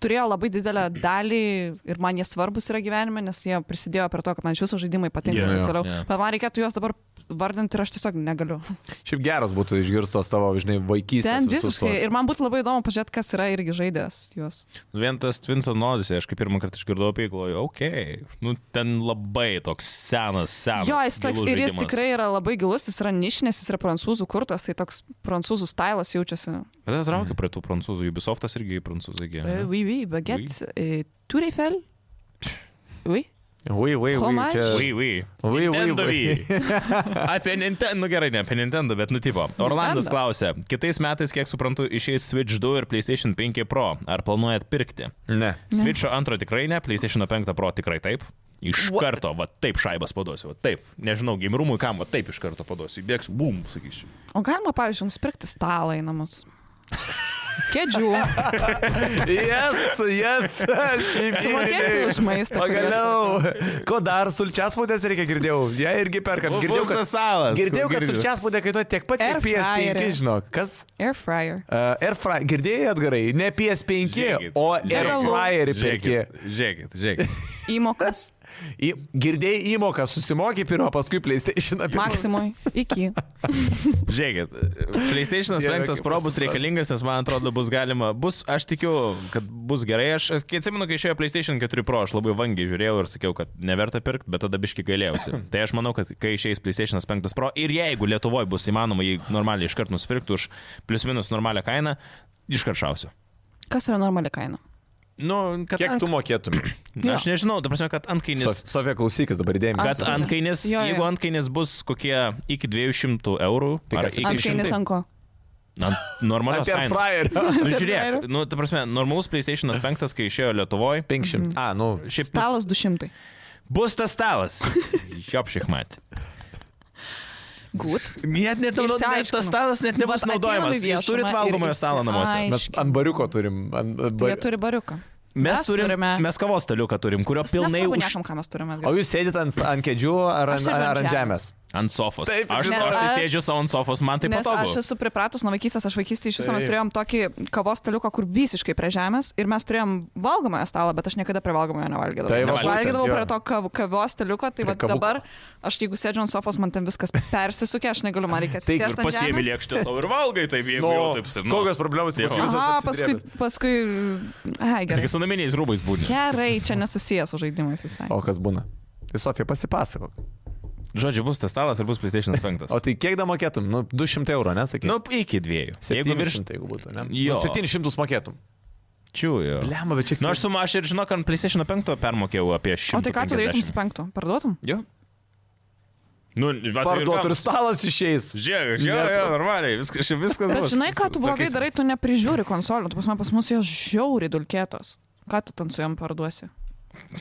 turėjo labai didelę dalį ir man jie svarbus yra gyvenime, nes jie prisidėjo prie to, kad man iš viso žaidimai patinka Jo, ir jo, taip toliau. jo. Bet man reikėtų juos dabar vardinti ir aš tiesiog negaliu. Šiaip geras būtų išgirstos tavo, žinai, vaikystės. Ten visus visiškai. tuos. Ir man būtų labai įdomu pažiūrėti, kas yra irgi žaidęs juos. Vien tas Twinson Nodis, aš kaip pirmą kartą išgirdau apie jį, galvoju, okei, okay. nu ten labai toks senas, senas. Jo, jis toks gilus ir jis žaidimas. tikrai yra labai gilus, jis yra nišinės, jis yra prancūzų kurtas, tai toks prancūzų stilas jaučiasi. Bet atraukia prie tų prancūzų, Ubisoftas irgi prancūzai Euh, gėda. oui, oui, baguette, et tout les fels. Oui. Ui, ui, ui. Fromage. Čia... Ui, ui. Ui, ui, E, Nintendo ui. Wii. Apie Nintendo, nu gerai, ne apie Nintendo, bet nutipo. Orlandas Nintendo. klausė, kitais metais, kiek suprantu, išeis Switch 2 ir PlayStation 5 Pro. Ar planuojat pirkti? Ne. Switch'o antro tikrai ne, PlayStation 5 Pro tikrai taip. Iš What? karto, va taip šaibas paduosiu, va taip. Nežinau, gimrumui kam, va taip iš karto paduosiu. Bėgs, bum, sakysiu. O galima, pavyzdžiui, nusipirkti stalą į namus. Kėdžių. Yes, yes. Šiaip Sumokėti už maistą. Pagaliau, ko dar sulčiaspūdės reikia girdėjau? Jie irgi perkam. Girdėjau, kad, salas. girdėjau, kad sulčiaspūdė kainuoja tiek pat, Air kiek PS5, fryery. žinok. Kas? Air fryer. Uh, Airfry, girdėjai atgarai, ne PS5, Žiūrėkit, o žiūrėkit, Airfryerį perki. Žiūrėkit, žiūrėkit, žiūrėkit. Įmokas. Į- Girdėjai įmoką, susimokė pirmą, paskui PlayStation apie. Maksimui. Iki. žiūrėkit. PlayStation Dieve, 5 kaip Pro aš bus suprantu. reikalingas, nes man atrodo bus galima, bus, aš tikiu, kad bus gerai. Aš, aš kai atsimenu, kai išėjo PlayStation 4 Pro, aš labai vangiai žiūrėjau ir sakiau, kad neverta pirkti, bet tada biški gailėjausi. tai aš manau, kad kai išeis PlayStation 5 Pro ir jeigu Lietuvoje bus įmanoma jį normaliai iškart nusipirkti už plius minus normalią kainą, iškaršausiu. Kas yra normali kaina? Nu, kad Kiek ant- tu mokėtum? Aš nežinau, ta prasme, kad antkainis. Sofija, klausykis dabar įdėmiai. Aš- Kad supratau. antkainis, Jo, jo. jeigu antkainis bus kokie iki 200 eurų, Tai ar kas, iki Antkainis šimtai- ant ko? ant normalios Apie kainos. Airfryerio. Nu, žiūrėk, nu, ta prasme, normalus PlayStation 5, kai išėjo Lietuvoje, 500. A, nu. šiaip nu, Stalas 200. bus tas stalas. Jop šiek mat. Good. Net, net, Ir net, net išsiaiškinom. tas stalas net nebus Vat ateinam į naudojamas. Jūs viešumą turit ir valgomojo stalą namuose. išsiaiškinam. Mes ant bariuko turim. Ant, ant Jie bari... turi bariuką. Mes, Mes turim, turime- mes kavos staliuką turim, kurio pilnai Nesvarbu, už... nekam, ką mes turime. O jūs sėdite ant, ant kėdžių ar Aš ant, sėdžiu ant ar ant žemės. žemės? ant sofos. Taip, Aš, nes aš tai aš- sėdžiu savo ant sofos, man tai Nes aš patogu. esu pripratus nuo vaikystės, aš vaikystėje iš viso mes Taip. turėjom tokį kavos staliuką, kur visiškai prie žemės ir mes turėjom valgomojo stalą, bet aš niekada prie valgomojo nevalgydavau. Tai va aš būtent, valgydavau jo. prie to kav, kavos staliuko, tai Prie va kavuko. dabar aš jeigu sėdžiu ant sofos, man ten viskas persisukia, aš negaliu, man reikia Taip, ir Ir atsisėsti. ant pasiemi žemės. lėkštę savo ir valgai, tai jeigu Nu, jau taip sėdžiu. kokios problemos Jo. bus visas Aha, paskui, atsidrėbęs. paskui... Taigi Ai, gerai. su naminiais rūbais būdini. Gerai, čia nesusijęs su žaidimais visai. O kas būna? Tai Sofija pasipasako. Žodžiu, bus tas stalas ar bus PlayStation 5? O tai kiek dar mokėtum? Nu, 200 eurų, nesakyk. Nu, iki dviejų. Jeigu virš... 700 jeigu būtų, ne? Jo. Nu, 700 mokėtum. Čiūjo. Lemma, bet čia Na, aš suma, aš ir žinok, ant PlayStation 5 permokėjau apie 100. O tai ką tu darytum su penktu? Parduotum? Jo. Nu, va, tai Parduotų ir stalas išeis. Žiūrėk, žiūrėk, jo, normaliai, viskas, čia viskas. Bet bus. žinai, ką tu blogai Sakysim. darai, tu neprižiūri konsolių, tu pas, pas mus jos žiauri dulkėtos. Ką tu ten su jom parduosi?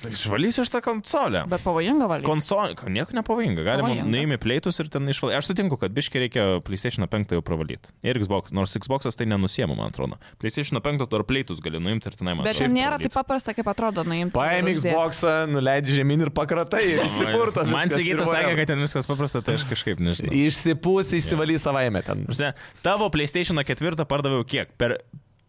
Tai Išvalysiu aš tą konsolę. Bet pavojinga valgyti. Konsolė, nieko nepavojinga, galima Pavojinga. nuimti pleitus ir ten išvalyti. Aš sutinku, kad biškai reikia PlayStation 5 jau pravalyti. Ir Xbox, nors Xbox tai nenusiema, man atrodo. PlayStation 5 tu ar pleitus gali nuimti ir tenai man. Bet atrodo, ten nėra pravalyt. taip paprasta, kaip atrodo nu, nuimti. Paėmė Xboxą, nuleidži žemyn ir pakratai ir išsipurto. Man viskas, ir Sigitas važiavo. sakė, kad ten viskas paprasta, tai aš kažkaip nežinau. Išsipūs, išsivalys savaime ten. Prasme, tavo PlayStation 4 pardaviau kiek? Per,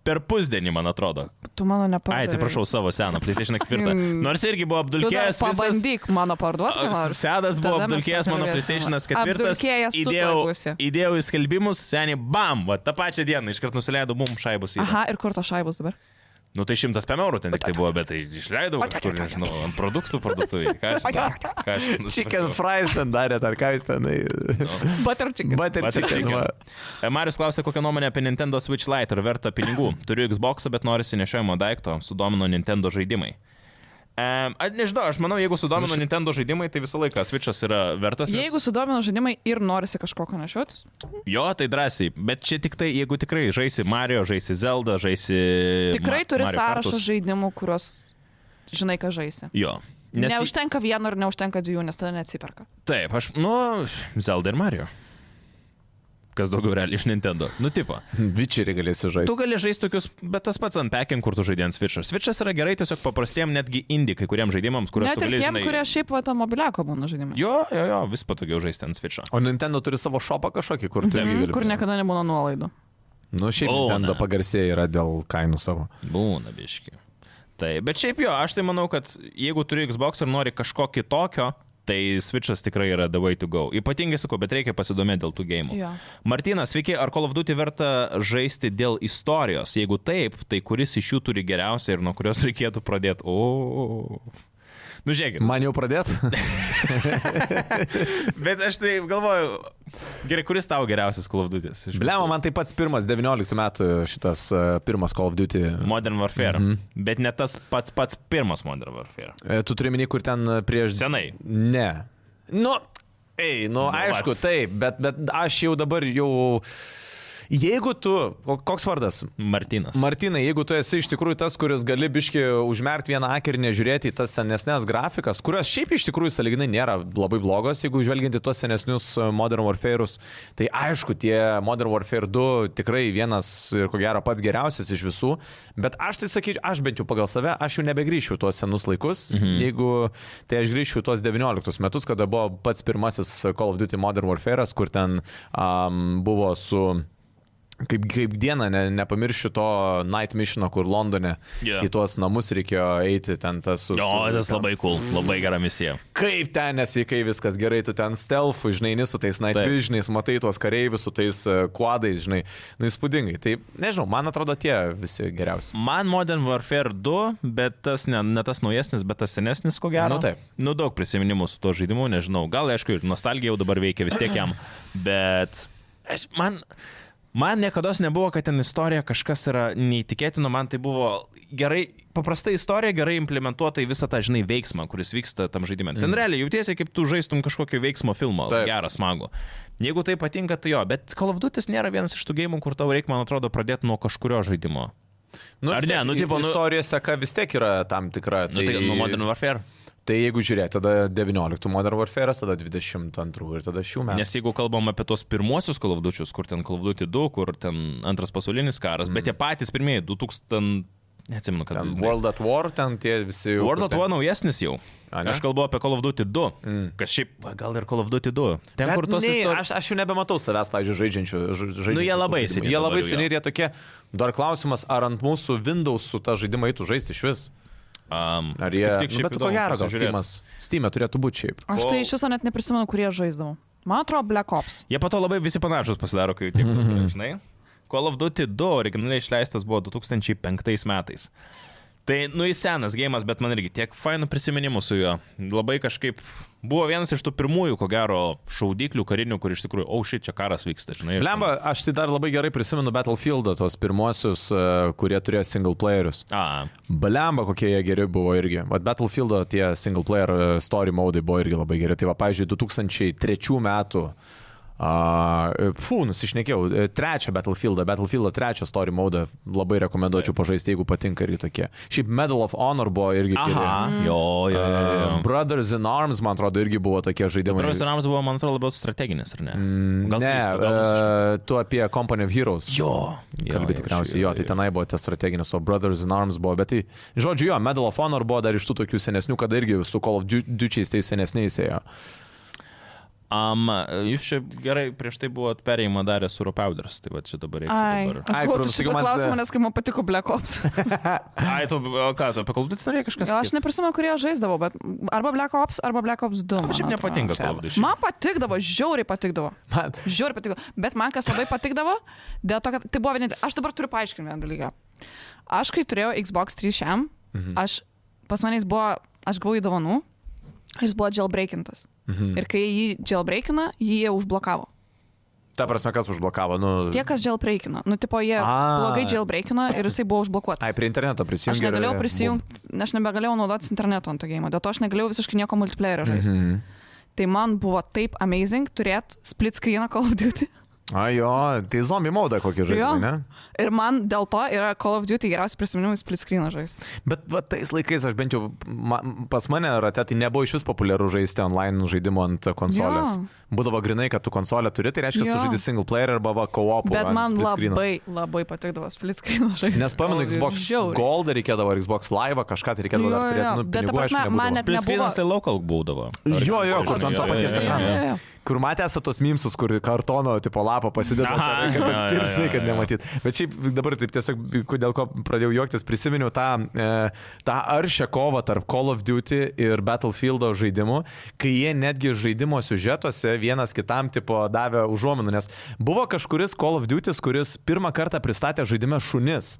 per pusdienį, man atrodo. Tu mano nepavadinai. Ai, atsiprašau, savo seną PlayStation 4. Mm. Nors irgi buvo Tu dar apdulkėjęs. visas- pabandyk mano parduoti, ką nors. Sedas buvo Tada mes apdulkėjęs mano pakalbėsim. PlayStation 4. Apdulkėjęs tu tuoj Įdėjau, būsi. įdėjau į skelbimus, seniai, bam, va, tą pačią dieną iškart nusileidau, mum šaibus į. Aha, ir kur tos šaibos dabar? Nu tai 105 eurų ten tik tai buvo, bet tai išleidau kažkur, nežinau, ant produktų parduotuvėje. Ką aš žinau, ką aš žinau, Chicken nusipirkau. fries ten darėt, ar ką jūs ten... Butter chicken. Butter Butter chicken. chicken. va. E, Marius klausė, kokią nuomonę apie Nintendo Switch Lite, ar verta pinigų. Turiu Xbox, bet noriu sinešiojimo daikto, sudomino Nintendo žaidimai. E, Aš nežinau, aš manau, jeigu sudomino Nintendo žaidimai, tai visą laiką Switch'as yra vertas. nes- Jeigu sudomino žaidimai ir norisi kažko konešiotis, Jo, tai drąsiai, bet čia tik tai, jeigu tikrai žaisi Mario, žaisi Zelda, žaisi... tikrai Ma- turi Mario sąrašą Kartus. žaidimų, kuriuos žinai, ką žaisi. Jo. Nes... Nes... Neužtenka vieno ir neužtenka dviejų, nes tada neatsiperka. Taip, aš, nu, Zelda ir Mario. Kas daugiau realiai iš Nintendo. Nu, tipo. Vičerį Tu galėsi žaisti. gali žaisti tokius, bet tas pats ant pekin, kur tu žaidėjai ant Switch'o. Switch'as yra gerai tiesiog paprastiem netgi indikai, kuriems žaidimams, kuriuos Net tu ir gali tiem, žinai- kurie šiaip va tą mobiliako būna žaidimai. Jo, jo, jo, vis patogiau žaisti ant Switch'o. O Nintendo turi savo šopą kažkokį, kur Mhm, tu... Mm, irgi gali kur prisijungt. niekada nebūna nuolaidų. Nu, šiaip Būna. Nintendo pagarsėja yra dėl kainų savo. Būna biški. Tai, bet šiaip jo, aš tai manau, kad jeigu turi Xbox ir nori kažko kitokio, tai Switch'as tikrai yra the way to go. Ypatingai sakau, bet reikia pasidomėti dėl tų gėjimų. Jo. Martinas, sveiki, ar Call of Duty verta žaisti dėl istorijos? Jeigu taip, tai kuris iš jų turi geriausią ir nuo kurios reikėtų pradėti? O. Nu, žiūrėkit. Man jau pradėt? Bet aš tai galvoju, gerai, kuris tau geriausias Call of Duty? Blemo, man tai pats pirmas, 19 metų šitas e, pirmas Call of Duty. Modern Warfare. Mm -hmm. Bet ne tas pats pats pirmas Modern Warfare. E, Tu turi minį, kur ten e, prieš... Senai. Ne. Nu, ei, nu, Nu, nu aišku, vat. taip, bet, bet aš jau dabar jau... Jeigu tu, ko- koks vardas? Martinas. Martinai, jeigu tu esi iš tikrųjų tas, kuris gali biški užmerkti vieną akį ir nežiūrėti į tas senesnės grafikas, kurios šiaip iš tikrųjų saliginai nėra labai blogos, jeigu žvelgiant į tuos senesnius e, Modern Warfare'us, tai aišku, tie Modern Warfare 2 tikrai vienas ir ko gero pats geriausias iš visų, bet aš tai sakyčiau, aš bent jau pagal save, aš jau nebegrįšiu į tuos senus laikus, mhm. jeigu tai aš grįšiu į tuos 19 metus, kada buvo pats pirmasis Call of Duty Modern Warfare'as, kur ten um, buvo su Kaip, kaip diena, ne, nepamiršiu to night missiono, kur Londone Jo. yeah. į tuos namus reikėjo eiti, ten tas su... Jo, su- tas ten- labai cool, labai gera misija. Kaip ten nesveikai viskas gerai, tu ten stealthu, žinai, nesu tais night Taip. visionais, matai tuos kareivius su tais kuadais, žinai, nu įspūdingai. Tai nežinau, man atrodo tie visi geriausi. Man Modern Warfare 2, bet tas ne, ne tas naujesnis, bet tas senesnis, ko gero. Nu, taip. Nu daug prisiminimų su to žaidimu, nežinau. Gal, aišku, ir nostalgija jau dabar veikia vis tiek jam, bet aš, man... Man niekada nebuvo, kad ten istorija kažkas yra neįtikėtino, man tai buvo gerai, paprasta istorija gerai implementuota į visą tą, žinai, veiksmą, kuris vyksta tam žaidimui. Ten realiai jautiesi, kaip tu žaistum kažkokio veiksmo filmo, Mm. Taip. gerą, smagu. Jeigu tai patinka, tai jo, bet Call of Duty nėra vienas iš tų gėjimų, kur tau reikia, man atrodo, pradėti nuo kažkurio žaidimo. Nu, Ar vis ne, tiek nu, tipo, nu- Istorijose, ką vis tiek yra tam tikra. Nu, tai nuo Modern Warfare. tai jeigu žiūrėti, tada 19 Modern Warfare, tada 22 ir tada šių metų. Nes jeigu kalbam apie tos pirmuosius kalvdučius, kur ten kalvduti 2, kur ten antras pasaulinis karas, mm. bet tie patys pirmieji 2000, neatsimenu, kad Ten World at War, ten tie visi... jau- World of War naujesnis jau. A, ne? Aš kalbu apie Call of Duty 2, mm. kas šiaip, va, gal ir Call of Duty 2. Ten, Bet kur tos nei, istorijos. aš, aš jau nebematau savęs, pavyzdžiui, žaidžiančių. ž- žaidžiančių Nu, jie tų labai žaidimų. seni Jie dabar labai jau, seniai jo. ir jie tokie. Dar klausimas, ar ant mūsų Windows su tą žaidimą eitų žaisti iš vis? Um, Ar jie... kaip tik nu, šiaip bet ko įdomu gero, gal pasižiūrėt. Steamas. Steam'e turėtų būti šiaip. Aš Kol- tai iš viso net neprisimenu, kurie žaisdavau. Man atrodo, Black Ops. Jie pato labai visi panašus pasidaro, kai jų tiek, daug, žinai. Call of Duty 2 originaliai išleistas buvo 2005 metais. Tai, nu, jis senas gėjimas, bet man irgi tiek fainų prisiminimų su juo. Labai kažkaip buvo vienas iš tų pirmųjų, ko gero, šaudiklių karinių, kur iš tikrųjų, o oh, šit čia karas vyksta, žinai. ir ten- Lemba, aš tai dar labai gerai prisimenu Battlefieldą, tos pirmosius, e, kurie turėjo single playerius. A, Blemba, kokie jie geri buvo irgi. Vat Battlefieldo tie single player e, story modai buvo irgi labai geri. Tai va, pavyzdžiui, 2003 metų. Uh, fū, nusišnekėjau. e, Trečią Battlefieldą, Battlefieldo trečią story modą labai rekomenduočiau pažaisti, jeigu patinka irgi tokie. Šiaip Medal of Honor buvo irgi. geri. aha, Mm. jo, jo, jo. jo. Uh, Brothers in Arms, man atrodo, irgi buvo tokie žaidimai. Brothers Rams buvo, man atrodo, labiau strateginis, ar Mm, ne? Gal Ne, klystu, gal nusišneku. uh, tu apie Company of Heroes. Jo, Kalbė tikriausiai, jo, tai tenai buvo tas strateginis, o Brothers in Arms buvo, bet tai, žodžiu, jo, Medal of Honor buvo dar iš tų tokių senesnių, kada irgi su Call of Duty tais senesniais ėjo. Um, jūs čia gerai prieš tai buvo perėjimą darę su Ropauders, tai va čia dabar reikia. Ai, Dabar... Ai, aš buvau kur šitą sakiau, man- klausimą, nes kai man patiko Black Ops. Ai, tu, o ką, tu apie kalbutį norėjai kažkas? Jo, aš neprisimenu, kurie žaisdavo, bet arba Black Ops, arba Black Ops 2. Man šiaip man atrodo. nepatinka Call of Duty. Man patikdavo, žiauriai patikdavo. Man, Žiūri, patiko. Bet man kas labai patikdavo, dėl to, kad tai buvo vienintelis. Aš dabar turiu paaiškinti vieną dalyką. Aš, kai turėjau Xbox 3 šiam, mhm. aš pas manęs buvo, aš gavau į dovanų, jis buvo jailbreakintas. Mhm. Ir kai jį jailbreakina, jį jie užblokavo. ta prasme, kas užblokavo, nu... Tie, kas jailbreakino, nu, tipo, jie A. blogai jailbreakino ir jisai buvo užblokuotas. Ai, prie interneto Aš prisijungti. negalėjau prisijungti, aš nebegalėjau naudotis internetu ant to gėjimo, dėl to aš negalėjau visiškai nieko multiplayerio žaisti. Mm -hmm. Mhm. Tai man buvo taip amazing turėti split screeną Call of Duty. A jo, tai zombi mauda kokį Jo. žaidimą, ne? Ir man dėl to yra Call of Duty geriausi prisiminimai split screen žaisti. Bet va, tais laikais aš bent jau ma, pas mane rate tai nebuvo iš vis populiaru žaisti online žaidimų ant konsolės. Jo. Būdavo grinai, kad tu konsolę turi, tai reiškia, kad tu Jo. žaidži single player arba va, co-op. Bet ant man split screeno. labai, labai patikdavo split screen žaisti. Nes pamenu, Xbox Gold reikėdavo, ar Xbox Live, kažką tai reikėdavo Jo, dar turėti. jo, Nu, bet ta pinigų, aišku, prasme, nebūdavo. man net- Split nebuvo- screenas tai local būdavo. Jo, jo, Ar- kur ant to Jo, paties jo, jo, ekrano. jo. Kur matęs tos mimsus, kur kartono tipo lapą pasideda, Aha, kad jo, jo, atskiršai, jo, kad jo. nematyt. Bet šiaip dabar taip tiesiog, dėl ko pradėjau juoktis, prisiminiau tą, e, tą aršę kovą tarp Call of Duty ir Battlefieldo žaidimų, kai jie netgi žaidimo siužetuose vienas kitam tipo davė užuominų, nes buvo kažkuris Call of Duty, kuris pirmą kartą pristatė žaidime šunis.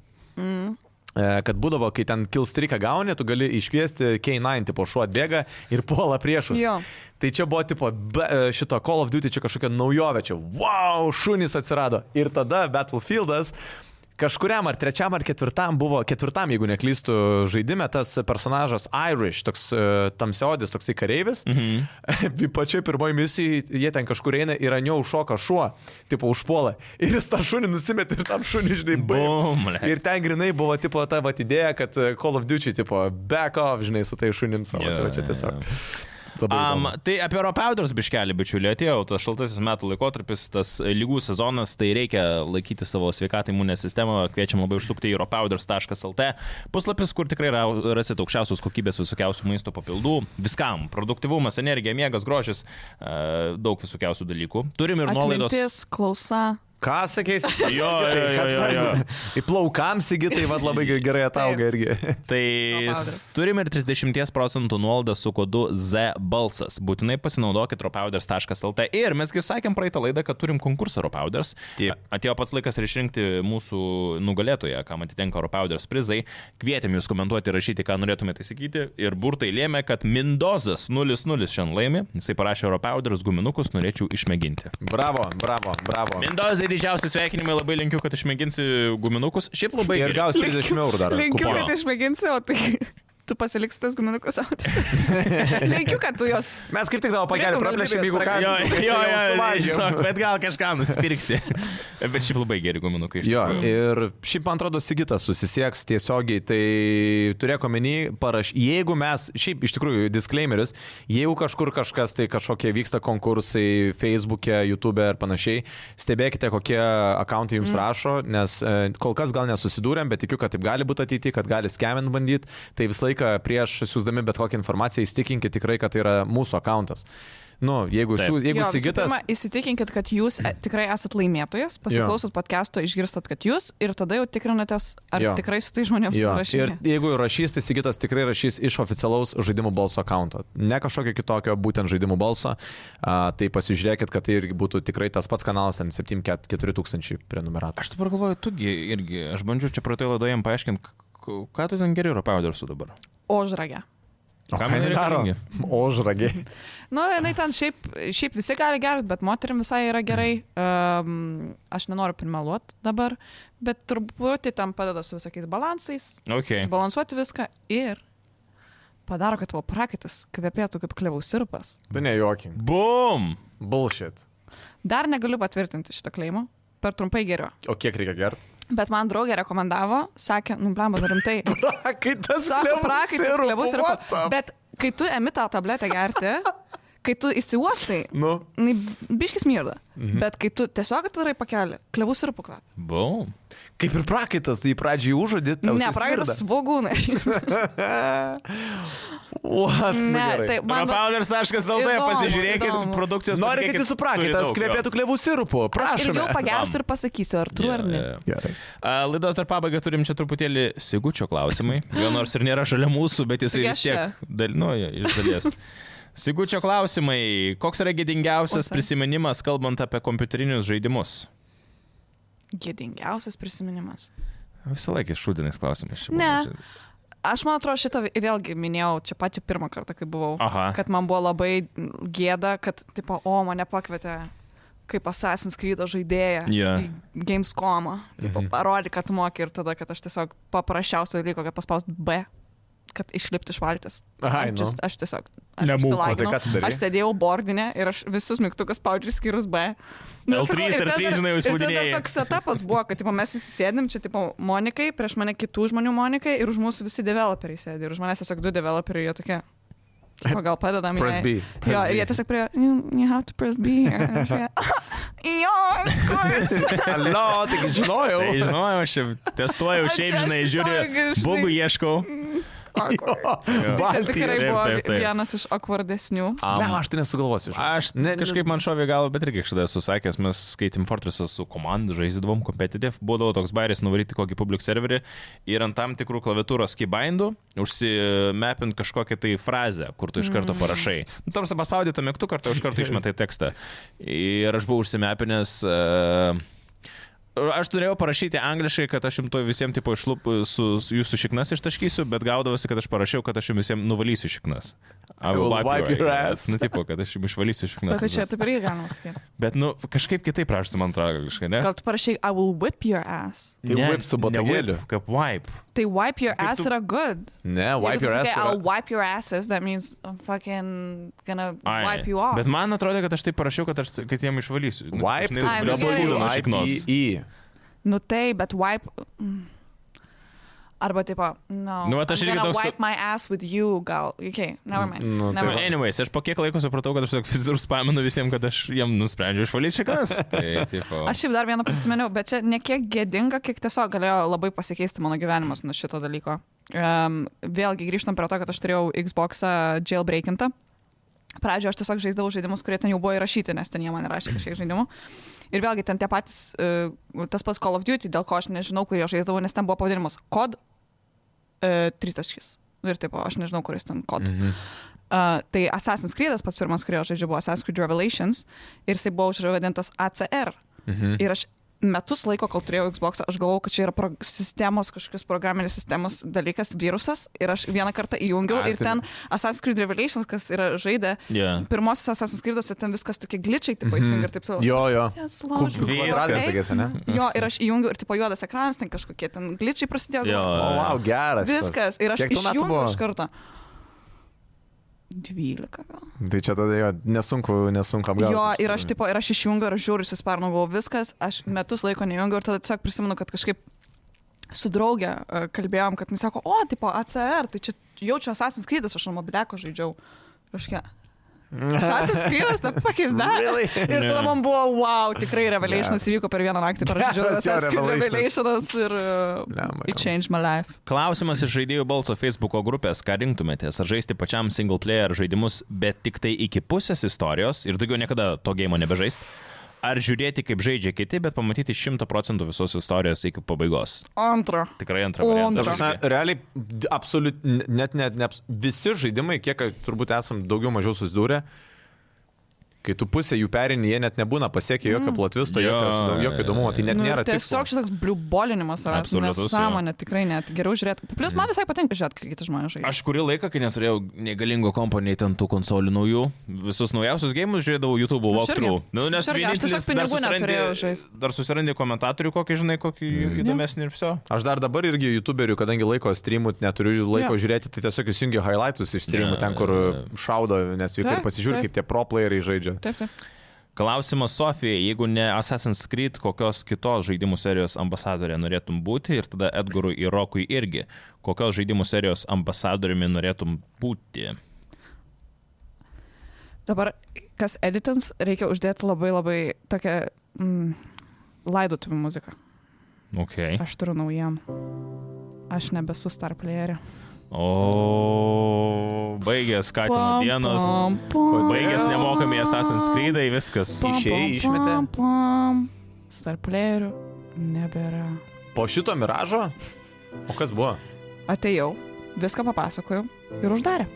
E, kad būdavo, kai ten kilstriką gauni, tu gali iškviesti K9, tipo šuo atbėga ir puola priešus. Jo. Tai čia buvo tipo be, e, šito Call of Duty čia kažkokia naujovė, čia wow, šunys atsirado. Ir tada Battlefieldas kažkuriam ar trečiam ar ketvirtam buvo, ketvirtam, jeigu neklystu, žaidime tas personažas Irish, toks e, tamsiodis, toksai kareivis. Mhm. Pačioj pirmoji misija, jie ten kažkur eina ir ant jo užšoka šuo, tipo užpuola. Ir jis tą šunį nusimetė ir tam šunį, žinai, buvo. Bum, blet. Ir ten grinai buvo tipo ta vat idėja, kad e, Call of Duty tipo back off, žinai, su tai šunim savo. Jo, Yeah, tai va čia jo, tiesiog. jo. Yeah. Um, Labai. Um, tai apie ropauders biškelį, bičiuliai, atėjo tas šaltasis metų laikotarpis, tas lygų sezonas, tai reikia laikyti savo sveikatą imuninę sistemą, kviečiam labai užsukti į ropauders.lt puslapis, kur tikrai ra- rasite aukščiausios kokybės visokiausių maisto papildų, viskam, produktivumas, energija, miegas, grožis, e, daug visokiausių dalykų. Turim ir nuolaidos. Atmintis, klausa. Ką sakys? Jo, jo, jo, jo, jo. Į plaukams įgytai vad labai ge- gerai atauga irgi. Tai Ropauderis. s- turim ir 30 procentų nuolaidą su kodu Z balsas. Būtinai pasinaudokit ropauders.lt. Ir mesgi sakėm praeitą laidą, kad turim konkursą ropauders. Taip. Atėjo pats laikas ir išrinkti mūsų nugalėtoją, kam atitenka ropauders prizai. Kvietėm jūs komentuoti, rašyti, ką norėtumėte įsigyti. Ir burtai lėmė, kad Mindozas 00 šiandien laimi. Jisai parašė ropauders guminukus, norėčiau išmėginti. Bravo, bravo, bravo. Mindozai didžiausi sveikinimai, labai linkiu, kad išmėginsi guminukus. Šiaip labai Ir gaus 30 eurų dar. Linkiu, kupono. kad išmėginsi, o tai tu pasiliksi tas guminukus savo. Linkiu, kad tu jos. Mes kaip tik tavo pagelį Turėtum praplėšėm, galimybės jeigu ką. Jo, kad jo, jau jo, suvalgėm. žinok, bet gal kažką nusipirksi. Bet šiaip labai geri guminukai. iš Jo, tikrųjų. ir šiaip man atrodo, Sigitas susisieks tiesiogiai, tai turėk omeny, paraš, jeigu mes, šiaip iš tikrųjų, disclaimeris, jeigu kažkur kažkas, tai kažkokie vyksta konkursai Facebook'e, YouTube'e ir panašiai, stebėkite, kokie akauntai jums mm. rašo, nes e, kol kas gal nesusidūrėm, bet tikiu, kad taip gali būti ateityje, kad gali skeminti bandyti, tai visą laiką prieš siūsdami bet kokią informaciją įstikinkit tikrai, kad tai yra mūsų akauntas. Nu, jeigu, Taip. siūs, jeigu Jo, visų Sigitas... pirma, Įsitikinkit, kad jūs e, tikrai esat laimėtojas, pasiklausot podcast'o, išgirstat, kad jūs ir tada jau tikrinatės, ar Jo. jo. tikrai su tai žmonėms Jo, ir rašysite. jeigu rašys, tai Sigitas tikrai rašys iš oficialaus žaidimų balso akonto. Ne kažkokio kitokio, būtent žaidimų balso. A, tai pasižiūrėkit, kad tai irgi būtų tikrai tas pats kanalas N74000 prenumeratų. Aš dabar galvoju, tugi irgi, aš bandžiau čia praeitoje laidoje jam paaiškinti, k- ką tu ten geri Europaudersu dabar. Ožragė. O kam jinai reikalingi? Ožragi. Nu, jinai ten šiaip, šiaip visi gali gerti, bet moterim visai yra gerai. Um, aš nenoriu primeluoti dabar, bet turbūt tai tam padeda su visokiais balansais, Okay. išbalansuoti viską ir padaro, kad tavo prakaitas kvepėtų kaip kliaus sirpas. Tu nejuokim. Bum! Nu, Bullshit. Dar negaliu patvirtinti šito kleimo, per trumpai geriau. O kiek reikia gerti? Bet man draugė rekomendavo, sakė, nu, blemba, dar rimtai. Prakaitas. Sako, prakaitas klevus ir... Bet kai tu emi tą tabletę gerti, kai tu įsiuostai, Nu. nu, biškis mirda. Mhm. Bet kai tu tiesiog atvirai pakelį, klevų ir pakvep. Bum. Kaip ir prakaitas, tu jį pradžiai užuodit. Ne, praeitas svogūnai. What? Nu, ne, gerai. tai man... va- Rapowders.lt Įdomu, pasižiūrėkit įdomu. produkcijos. Nori, kad pažiūrėkit, jūsų turi prakaitas daug jo. kvepėtų klevų sirupu. Aš Prašau. ilgiau pagersiu ir pasakysiu, ar tu ar ne. Jo, jo, jo. Gerai. A, Laidos dar pabaigai turim čia truputėlį Sigučio klausimai. Jo nors ir nėra šalia mūsų, bet jisai Taigi vis aš tiek dalinuoja iš dalies. Sigučio klausimai. Koks yra gėdingiausias Oi, sorry. prisiminimas, kalbant apie kompiuterinius žaidimus? Gėdingiausias prisiminimas. Visą laiką šūdinis klausimas. čia Ne. buvo. Aš man atrodo šitą vėlgi minėjau čia patį pirmą kartą, kai buvau, Aha. kad man buvo labai gėda, kad, tipo, o mane pakvietė kaip Assassin's Creed žaidėją Jo. Mhm. į Gamescomą. Tipo, Parodyk, kad tu moki ir tada, kad aš tiesiog paprasčiausio dalyko, kad paspaust B, kad išlipti iš valtis. Ai, nu. aš, ties- aš tiesiog... Aš, Nemūko, tai išsilaikinau. ką tu darei? aš sėdėjau bordinė ir aš visus mygtukus spaudžiu skyrus B. L3 ir tada- R3, žinai, ir tada užspaudinėjai. toks etapas buvo, kad tipo, mes įsėdėm čia, tipo, Monikai, prieš mane kitų žmonių Monikai ir už mūsų visi developeriai sėdė. Ir už manęs tiesiog du developeriai, jie tokie. O gal padedam jai. Press B, press Jo, B. ir jie tiesiog prie, you, you have to press B. Ir aš tokia, jo, of course. Alo, taigi žinojau. Tai žinojau, aš čia testuoju, Aš- šiaip aš žinai, žiūriu, tiesiog, žinai- bugų ieškau. Awkward. Tai Baltija. tikrai Taip, buvo taip, taip. vienas iš akvardesnių. Ne, aš tai nesugalvosiu. žinok. Aš ne, kažkaip man šovė galvo, bet irgi kažkada esu sakęs, mes skaitėm Fortressą su komanda, žaisdavom competitive, būdavo toks bairis nuvaryti kokį public serverį ir ant tam tikrų klaviatūros keybindų užsimepint kažkokią tai frazę, kur tu iš karto Mm. parašai. Nu, tarsi paspaudė tą mygtuką, kartą iš karto išmetai tekstą. Ir aš buvau užsimepinęs. Uh, Aš turėjau parašyti angliškai, kad aš jums to visiems tipo išlup, su, su jūsų šiknas ištaškysiu, bet gaudavosi, kad aš parašiau, kad aš jums visiems nuvalysiu šiknas. I will wipe your ass. Nu, tipo, kad aš jums išvalysiu šiknas. Bet tai čia taip irgi galima sakyti. Bet, nu, kažkaip kitaip rašyti, man atrodo, kažkaip, ne? Gal tu parašai, I will whip your ass. Tai Ne, whip su ne botagėliu. whip, Kaip wipe. Tai wipe your Kaip ass tu- yra good. Ne, wipe Jeigu tu your ass. sakai, tai I'll yra- wipe your asses, that means I'm fucking gonna Ai. wipe you off. Bet man atrodo, kad aš taip parašiau, kad aš kad jiem išvalysiu. Nu, Wipe, E. žinai, Ai, nu, dabar gerai. būdama šiknos. I. Nu tai, bet wipe. mm. Arba tipo, no. Nu, vat aš I'm irgi gonna toks- Wipe my ass with you, gal. Okay, never mind. Nu, never Nu, mind. Anyways, aš po kiek laiko supratau, kad aš tiesiog visur spaminu visiems, kad aš jiem nusprendžiau išvalyti šiknas. tai, tipo. Aš šiaip dar vieną prisiminiau, bet čia ne kiek gėdinga, kiek tiesiog galėjo labai pasikeisti mano gyvenimas nuo šito dalyko. Um, vėlgi grįžtam prie to, kad aš turėjau Xbox'ą jailbreakintą. Pradžioje aš tiesiog žaisdavau žaidimus, kurie ten jau buvo įrašyti, nes ten jie man rašė kažkiek žaidimų. Ir vėlgi ten tie patys, uh, tas pats Call of Duty, dėl ko aš nežinau, kurį aš žaisdavau, nes ten buvo pavadinimas kod uh, tritaškis. Ir taip, aš nežinau, kuris ten kod. Mhm. Uh, tai Assassin's Creed'as pats pirmas, kurio aš žaidžiu, buvo Assassin's Creed Revelations ir jisai buvo užvadintas ACR. Mhm. Ir aš metus laiko, kol turėjau Xbox, aš galvojau, kad čia yra pro sistemos, kažkokios programinės sistemos dalykas, virusas. Ir aš vieną kartą įjungiau Ai, ir tai- ten Assassin's Creed Revelations, kas yra žaidę, Yeah. pirmosios Assassin's Creed'ose ten viskas tokie glitčiai, tai paisijungi ir taip toliau. Jo, jo. Yes, Kub- laužau, Viskas. Kvadratinė, okay. sakėsi, ne? Jo, ir aš įjungiau ir tipo juodas ekranas, ten kažkokie ten glitčiai prasidėjo. Jo. O, O, Oh, wow, geras. šitas. Viskas. Ir aš Kiek tau metų išjungiau buvo? iš karto. 12 gal. Tai čia tada jo, nesunku, nesunku apgauti. Jo, ir aš, tipo, ir aš išjungiu, ir aš žiūriu, susparnau, galvoju, viskas, aš metus laiko nejungiu ir tada tiesiog prisimenu, kad kažkaip su draugė e, kalbėjom, kad jis sako, o, tipo, ACR, tai čia jaučiu Assassin's Creed'as, aš ant mobiliako žaidžiau. Kažkiek. Assassin's Creed'as, ta pakės dar. Really? Ir tada Ne. man buvo, wow, tikrai Revelations įvyko per vieną naktį, per žodžiu, Geras jo Assassin's Creed Revelations. Revelations ir Blemba, uh, jo. it changed my life. Klausimas iš žaidėjų balso Facebook grupės, ką rinktumėtės, ar žaisti pačiam single player žaidimus, bet tik tai iki pusės istorijos ir daugiau niekada to gėjimo nebežaisti, ar žiūrėti, kaip žaidžia kiti, bet pamatyti 100 procentų visos istorijos iki pabaigos. Antra. Tikrai antrą O, variantą. Ta prasme, žaidžiu. realiai, d- absoliut, n- net, net, net visi žaidimai, kiek aš turbūt esam daugiau mažiau susidūrę, kai tu pusę jų perini, jie net nebūna pasiekę jokio platvisto, Mm. Jo, jokio, jokio įdomumo, tai net Nu, ir nėra tiesiog. tiesiog šitoks bliubolinimas, Absoliutus, jo. nesąmonė, tikrai net geriau žiūrėti. Plius man visai patinka žiūrėti, kai kiti žmonės žaidžia. Aš kurį laiką, kai neturėjau negalingo kompanijai ten tų konsolių naujų, visus naujausius gėjimus žiūrėdavau YouTube Aš irgi. walkthrough. Nu, nes Aš irgi, aš tiesiog vienintelis dar pinigų susirandi- neturėjau žaist. Dar susirandi komentatorių kokį, žinai, kokį įdomesnį ir viso. Aš dar dabar irgi YouTuberių, kadangi laiko streamų neturiu laiko Jo. žiūrėti, tai tiesiog įsijungiu highlights iš streamų Jo, ten, kur šaudo, nes vykai ir Taip, pasižiūriu, taip. kaip tie pro playeriai žaidžia. Taip, taip. Klausimas Sofijai, jeigu ne Assassin's Creed, kokios kitos žaidimų serijos ambasadorė norėtum būti ir tada Edgarui ir Rokui irgi, kokios žaidimų serijos ambasadoriumi norėtum būti. Dabar, kas editins, reikia uždėti labai labai tokią mm, laidotuvių muziką. Ok. Aš turiu naujienų. Aš nebesu starplayerė. O, baigės Katino dienos. Baigės nemokami Assassin's Creed, viskas. Išėjai, išmetė. Starplayerių nebėra. Po šito miražo? O kas buvo? Atėjau, viską papasakojau ir uždarė.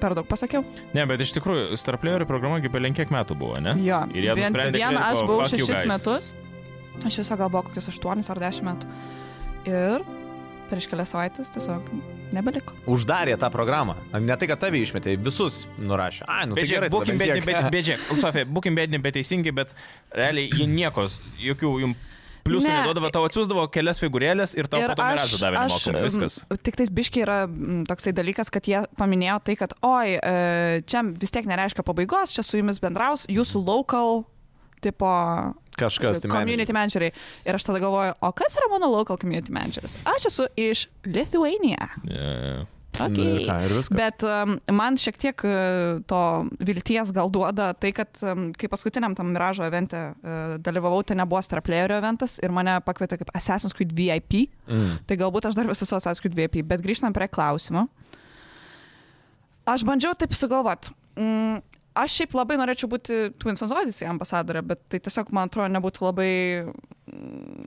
Per daug pasakiau. Ne, bet iš tikrųjų, Starplayerių programa kaip per lenkiek metų buvo, ne? Jo, Ir jie vien, nusprendė, vien kad, aš tipo, buvau fuck you šešis guys. metus, aš viso gal buvau kokius aštuonis ar dešimt metų. Ir prieš kelias savaitės tiesiog nebeliko. Uždarė tą programą. Ne tai, kad tave išmetė, visus nurašė. Ai, nu tai Bežiūrėk, gerai, tada būkim bent bėdini, tiek. bet bežiūrėk, Sofija, būkim bėdini, bet teisingi, bet realiai jie nieko, jokių jums pliusų Ne. ne. neduodavo, tau atsiųsdavo kelias figūrėlės ir tau ir po to miražą davė nemokamai. mm, Viskas. Tik tais biškiai yra mm, toksai dalykas, kad jie paminėjo tai, kad oi, e, čia vis tiek nereiškia pabaigos, čia su jumis bendraus jūsų local tipo Kažkas, tai community manageriai. Ir aš tada galvoju, o kas yra mano local community manageris? Aš esu iš Lithuania. Yeah. Okay. Nu ir ką, ir viskas. Bet um, man šiek tiek uh, to vilties gal duoda tai, kad um, kai paskutiniam tam miražo eventui uh, dalyvavau, tai nebuvo Straplėrio eventas ir mane pakvietė kaip Assassin's Creed VIP. Mm. Tai galbūt aš dar vis esu Assassin's Creed VIP, bet grįžtam prie klausimo. Aš bandžiau taip sugalvot. Mm, aš šiaip labai norėčiau būti Twinsons Odyssey ambasadorė, bet tai tiesiog, man atrodo, nebūtų labai mm,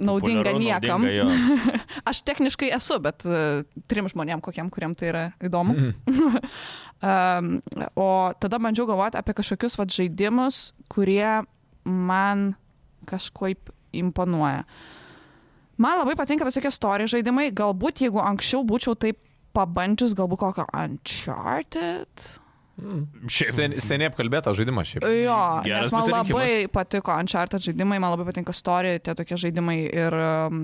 naudinga Populiaru, niekam. naudinga, jo. Aš techniškai esu, bet uh, trim žmonėm, kokiem, kuriem tai yra įdomu. um, o tada bandžiau galvoti apie kažkokius vat, žaidimus, kurie man kažkaip imponuoja. Man labai patinka visokie story žaidimai. Galbūt jeigu anksčiau būčiau taip pabandžius, galbūt kokio Uncharted. Šiaip. Sen, seniai apkalbėta žaidima šiaip. Jo, Geras nes man pasirinkimas. labai patiko Uncharted žaidimai, man labai patinka story, tie tokie žaidimai ir um,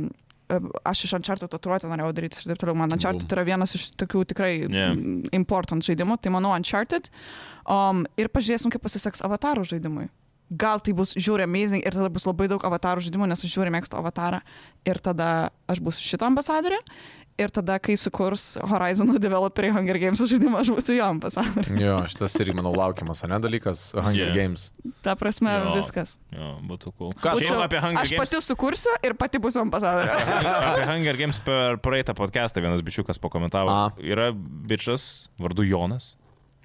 aš iš Uncharted tatuiruotę norėjau daryti ir taip toliau. Man Uncharted yra vienas iš tokių tikrai Yeah. yeah. important žaidimų, tai manau Uncharted. Um, ir pažiūrėsim, kaip pasiseks avatarų žaidimui. Gal tai bus žiūri amazing ir tada bus labai daug avatarų žaidimų, nes aš žiūri mėgstu avatarą ir tada aš būsiu šito ambasadorė ir tada, kai sukurs Horizon developeriai Hunger Games žaidimą, aš būsiu jo ambasadorė. Jo, šitas irgi, manau, laukiamas, ne dalykas. Hunger Yeah. yeah. Games. Ta prasme, Jo. jo. viskas. Jo, būtų cool. Ką tu- Šiaip apie Hunger aš Games. pati sukursiu ir pati būsiu ambasadorė. Apie Hunger Games per praeitą podcastą vienas bičiukas pakomentavo. A. A. Yra bičias vardu Jonas.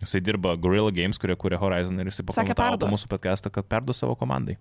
Jisai dirba Gorilla Games, kurie kūrė Horizon ir jisai Sakė, pakomentavo po perduos. mūsų podcastą, kad perdu savo komandai.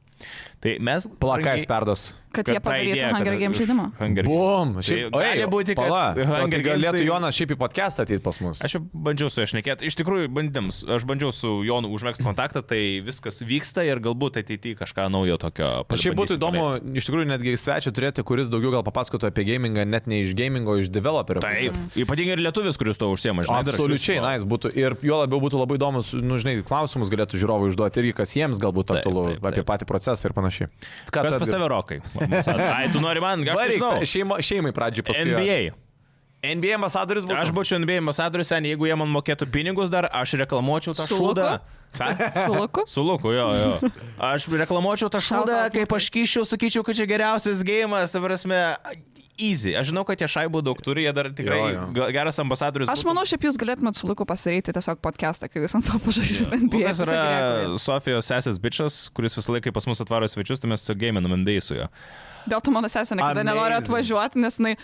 Tai mes... Plakais perdos. Kad, kad jie ta padarytų idėja, Hunger kad Games iš žaidimą. Hunger Games. Bum, šiaip, Tai oi, gali būti, kad pala, o Hunger tai Games galėtų tai- Jonas šiaip į podcastą ateiti pas mus. Aš jau bandžiau su juo šnekėti. Iš tikrųjų, bandėm, su- aš bandžiau su Jonu užmėgsti kontaktą, tai viskas vyksta ir galbūt ateityje kažką naujo tokio Aš šiaip būtų pabandysim įdomu, paleisti. iš tikrųjų, netgi svečią turėti, kuris daugiau gal papasakotų apie gamingą, net ne iš gamingo, iš developerio. pusės. Taip, ypatingai ir lietuvis, kuris to užsiema, žinai. dar aš Absoliučiai, vis- na, jis būtų. Ir jo labiau būtų labai įdomus, nu, žinai, klausimus galėtų žiūrovai užduoti irgi, kas jiems galbūt Taip, aktualu taip, apie taip. patį procesą ir panašiai. Ką Kas pas tave rokai? Ai, tu nori man, gal aš žinau. Šeima, šeimai pradžiai paskui. NBA. NBA ambasadoris būtų. Aš būčiau NBA ambasadorius, seniai, jeigu jie man mokėtų pinigus dar, aš reklamuočiau tą Su šūdą. Luku? Ką? Su Luku? Su Luku, jo, jo. Aš reklamuočiau tą Shout šūdą, out kaip aš kyščiau, sakyčiau, kad čia geriausias gėjimas, ta prasme, easy. Aš žinau, kad tie šaibų daug turi, jie dar tikrai Jo, jo. ga- geras ambasadorius. Aš būtų. manau, šiaip jūs galėtumėt su Luku pasidaryti tiesiog podcastą, kai jūs ant savo pažaidžiate NBA. Lukas yra Sofijos sesės bičias, kuris visą laiką pas mus atvaro svečius, tai mes su gėminam NBA su juo. Dėl to mano sesė niekada nenori Amazing. atvažiuoti, nes jinai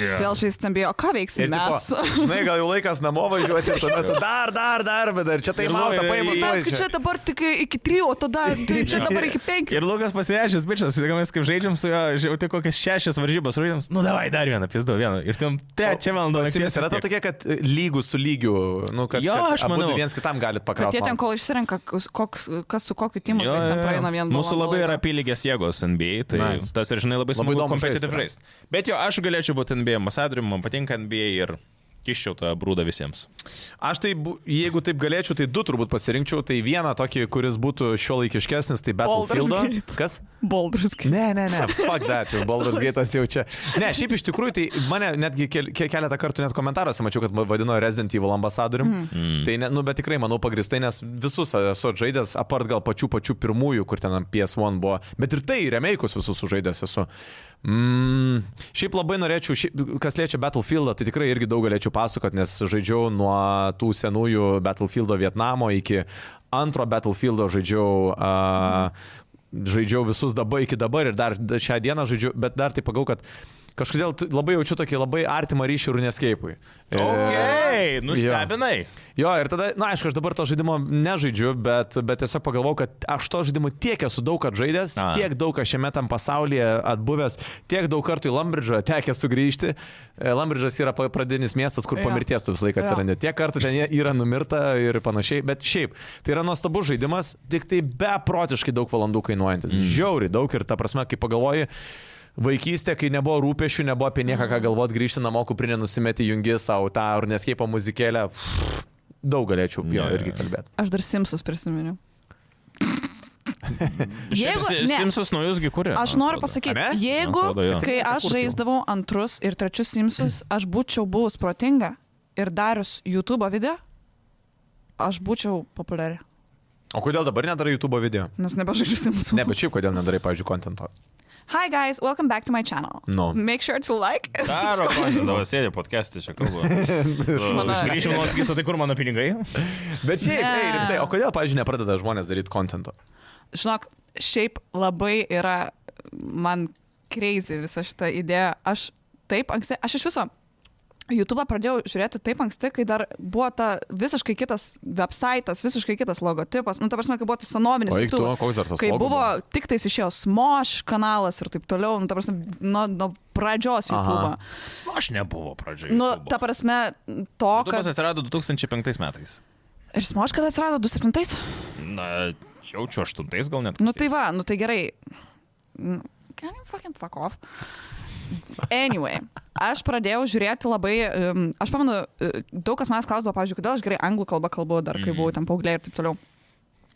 yeah. vėl žaisti NBA. O ką veiksim Ir tipo, mes? žinai, gal jau laikas namo važiuoti, tuomet dar, dar, dar, bet dar čia tai Ir malta nori- paimti. Tai Mes kai čia dabar tik iki trijų, o tada tai čia dabar iki penkių. Ir Lukas pasirešęs bičias, jeigu mes kaip žaidžiam su juo, jau tik kokias šešias varžybas žaidžiam, nu davai dar vieną, pizdau vieną. Ir tam trečią valandą. Nes nakties yra vis ta tiek. tokia, kad e, lygus su lygiu, nu, kad, Jo, kad aš abudu manau. viens kitam galit Kad pakrauti. jie ten kol išsirenka, kas- koks, kas su kokiu timu žais, ten praeina vien Mūsų valanda labai laiko. yra apylygės jėgos NBA, tai nice. Nice. tas ir žinai labai smagu įdomu kompetitiv žaist žaisti. Bet jo, aš galėčiau būti NBA ambasadoriumi, man patinka NBA ir kiščiau tą brūdą visiems. Aš tai, bu- jeigu taip galėčiau, tai du turbūt pasirinkčiau. Tai vieną tokį, kuris būtų šio laikiškesnis, tai Battlefield. Gate. Kas? Baldur's Gate. Ne, ne, ne, fuck that, jau Baldur's Gate'as jau čia. Ne, šiaip iš tikrųjų, tai mane netgi kel, ke- keletą kartų net komentaruose mačiau, kad ma- vadino Resident Evil ambasadorium. Mm. Tai, ne, nu, bet tikrai manau pagristai, nes visus esu atžaidęs, apart gal pačių pačių pirmųjų, kur ten ant PS1 buvo, bet ir tai remeikus visus sužaidęs esu. Mm, šiaip labai norėčiau, šiaip, kas liečia Battlefieldą, tai tikrai irgi daug galėčiau pasakoti, nes žaidžiau nuo tų senųjų Battlefieldo Vietnamo iki antro Battlefieldo žaidžiau. Uh, Žaidžiau visus dabar iki dabar ir dar šią dieną žaidžiu, bet dar tai pagau, kad kažkodėl tu- labai jaučiu tokį labai artimą ryšį ir neskeipui. E, Okei, nustebinai. Jo, ir tada, na, aišku, aš dabar to žaidimo nežaidžiu, bet, bet tiesiog pagalvojau, kad aš to žaidimo tiek esu daug atžaidęs, A. A. tiek daug aš šiame tam pasaulyje atbuvęs, tiek daug kartų į Lambridžą tekė sugrįžti. E, Lambridžas yra pa- pradinis miestas, kur Jo. ja. pamirties tu visą laiką Jo. atsirandi. Tiek kartų ten jie yra numirta ir panašiai, bet šiaip, tai yra nuostabus žaidimas, tik tai beprotiškai daug valandų kainuojantis. Mm. Žiauri daug ir ta prasme, kai pagalvoji, Vaikystė, kai nebuvo rūpešių, nebuvo apie nieką ką galvot, grįžti namo, kuprinė nusimeti jungi savo tą ar neskaipo muzikėlę. Pff, Daug galėčiau jo Ne. irgi kalbėti. Aš dar Simsus prisiminiau. Jeigu- Šiaip Si- ne. Simsus naujusgi kuria. Aš man noriu atrodo. pasakyti, Ane? jeigu, Man atrodo, jo. kai aš žaisdavau antrus ir trečius Simsus, aš būčiau buvus protinga ir darius YouTube video, aš būčiau populiari, O kodėl dabar nedarai YouTube video? nes nebežaidžiu Simsų. Ne, bet šiaip kodėl nedarai, pavyzdžiui, kontento. Hi guys, welcome back to my channel. No. Make sure to like and Daro, subscribe. kontentą, va, sėdi podcast'e čia kalbu. Mano- Grįžimo, sakys, o tai kur mano pinigai? Bet šiaip, Ne. ei, rimtai, o kodėl, pavyzdžiui, nepradeda žmonės daryti kontento? Žinok, šiaip labai yra man kreizį visą šitą idėją. Aš taip anksti, aš iš viso YouTube pradėjau žiūrėti taip anksti, kai dar buvo ta visiškai kitas websaitas, visiškai kitas logotipas. Nu, ta prasme, kai buvo tas senovinis. O eik tu, YouTube'as. koks dar tas Kai logo buvo, buvo? tik tais išėjo Smosh kanalas ir taip toliau, nu, ta prasme, nuo, nuo pradžios Aha. YouTube. Nu, aš nebuvo pradžioje. Nu, ta prasme, to, Tokas kad... atsirado 2005 metais. Ir Smosh kada atsirado 2007? Na, čia jau čia 8 gal net. Nu tai kokiais. va, nu tai gerai. Nu, Can you fucking fuck off? Anyway, aš pradėjau žiūrėti labai, um, aš pamenu, uh, daug kas manęs klausdavo, pavyzdžiui, kodėl aš gerai anglų kalbą kalbu dar, kai buvau ten paauglė ir taip toliau.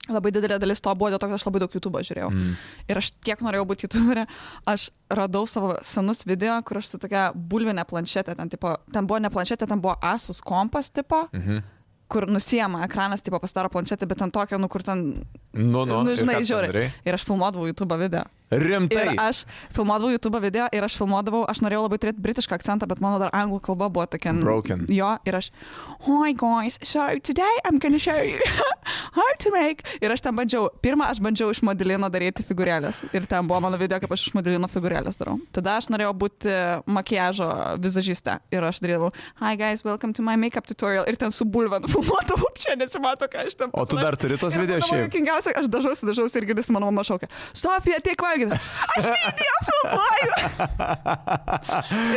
Labai didelė dalis to buvo dėl to, kad aš labai daug YouTube žiūrėjau. Mm. Ir aš tiek norėjau būti YouTuberė, aš radau savo senus video, kur aš su tokia bulvinė planšetė, ten, tipo, ten buvo ne planšetė, ten buvo Asus kompas tipo, mhm. kur nusijama ekranas, tipo pasidaro planšetė, bet ten tokia, nu kur ten Nu, nu, Nu, nu ir žinai, ką tu Tai. žiūri. darei? Ir aš filmuodavau YouTube video. Rimtai. Ir aš filmuodavau YouTube video ir aš filmuodavau, aš norėjau labai turėti britišką akcentą, bet mano dar anglų kalba buvo tokia. n- Broken. Jo, ir aš, hi guys, so today I'm gonna show you how to make. Ir aš ten bandžiau, pirmą aš bandžiau iš modelino daryti figūrėlės. Ir ten buvo mano video, kaip aš iš modelino figūrėlės darau. Tada aš norėjau būti makiažo vizažiste. Ir aš darydavau, hi guys, welcome to my makeup tutorial. Ir ten su bulvan filmuodavau, čia nesimato, ką aš ten O tu dar turi tos video šiaip? Kingiausia, aš dažausi, dažausi ir girdisi mano mama šaukia. Sofija, tiek valgyti. Aš video filmuoju.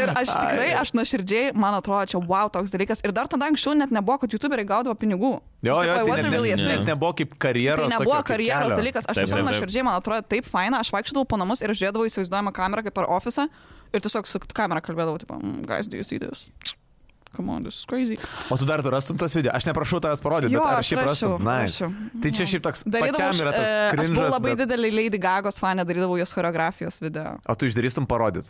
ir aš tikrai, aš nuoširdžiai, man atrodo, čia wow toks dalykas. Ir dar tada anksčiau net nebuvo, kad YouTuberiai gaudavo pinigų. Jo, jo, Tipo, it tai wasn't ne, really a ne, thing. ne, nebuvo kaip karjeros. Tai tokio nebuvo kaip karjeros kelio. dalykas, aš Taip, tiesiog taip, taip. nuoširdžiai, man atrodo, taip faina, aš vaikščiodavau po namus ir aš žiūrėdavau įsivaizduojamą kamerą kaip per ofisą ir tiesiog su kamera kalbėdavau, tipo, "Mm, guys, do you see this? Come on, this is crazy. O tu dar tu rastum tas video. Aš neprašau tavęs parodyti, Jo, bet ar aš šiaip rastum. rasčiau, Nice. rasčiau. Tai čia šiaip toks Darydavau, pačiam yra e, tas aš buvau krinžas. labai bet- didelį Lady Gagos fanę, darydavau jos choreografijos video. O tu išdarytum parodyti.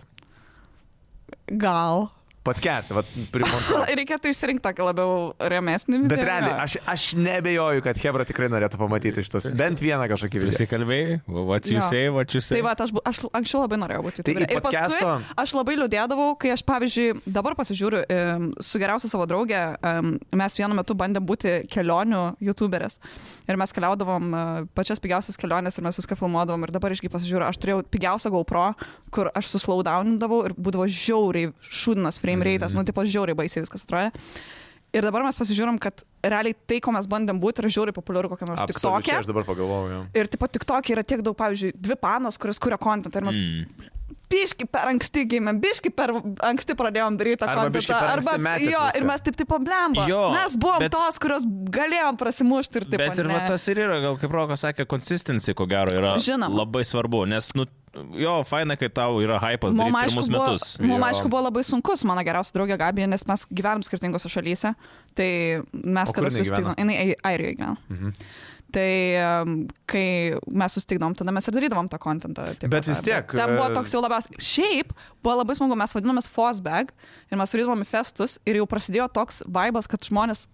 Gal. Podcast'ą, va, primontuoju. Reikėtų išsirinkti tokį labiau remesnį video. Bet realiai, aš, aš nebejoju, kad Hebra tikrai norėtų pamatyti šitos. Bent vieną kažkokį video. Prisikalbėjai, va, what you Jo. say, what you say. Tai va, aš, bu- aš anksčiau labai norėjau būti Tai į YouTuberė. Ir paskui podcast'o- aš labai liūdėdavau, kai aš, pavyzdžiui, dabar pasižiūriu em, su geriausia savo draugė, em, mes vienu metu bandėm būti kelionių YouTuberės. Ir mes keliaudavom e, pačias pigiausias keliones ir mes viską filmuodavom. Ir dabar iškai pasižiūriu, aš turėjau pigiausią GoPro, kur aš suslaudaunindavau ir būdavo žiauriai šūdinas frame rate'as, nu, tipo žiauriai baisiai viskas atrodė. Ir dabar mes pasižiūrim, kad realiai tai, ko mes bandėm būti, yra žiauriai populiaru kokiam nors tik tokia. Absoliučiai, Aš dabar pagalvojau. Ir taip pat tik tokia yra tiek daug, pavyzdžiui, dvi panos, kurios kuria kontentą. Ir mes mm. biški per anksti gimėm, biški per anksti pradėjom daryti tą Arba biškį kontentą. per anksti metėt jo, viską. ir mes taip taip pablemba. Jo, Mes buvom bet- bet... tos, kurios galėjom prasimušti ir taip. Bet ir ne. va, tas ir yra, gal kaip Rokas sakė, konsistencija, ko gero, yra Žinoma. labai svarbu, nes, nu, jo, faina, kai tau yra hypas Mum, daryti aišku, pirmus buvo, Mm. metus. mum Jo. aišku buvo labai sunkus, mano geriausia draugė Gabija, nes mes gyvenam skirtingose šalyse, tai mes O kur kada jinai susitikdom, gyvena? jinai Ai- Airijoje gyvena. Mhm. Tai um, kai mes susitikdom, tada mes ir darydavom tą kontentą. taip Bet pat, vis tiek, Ten buvo e, toks jau labiausiai. Šiaip buvo labai smagu, mes vadinomės Fosbag ir mes surydavom į festus ir jau prasidėjo toks vaibas, kad žmonės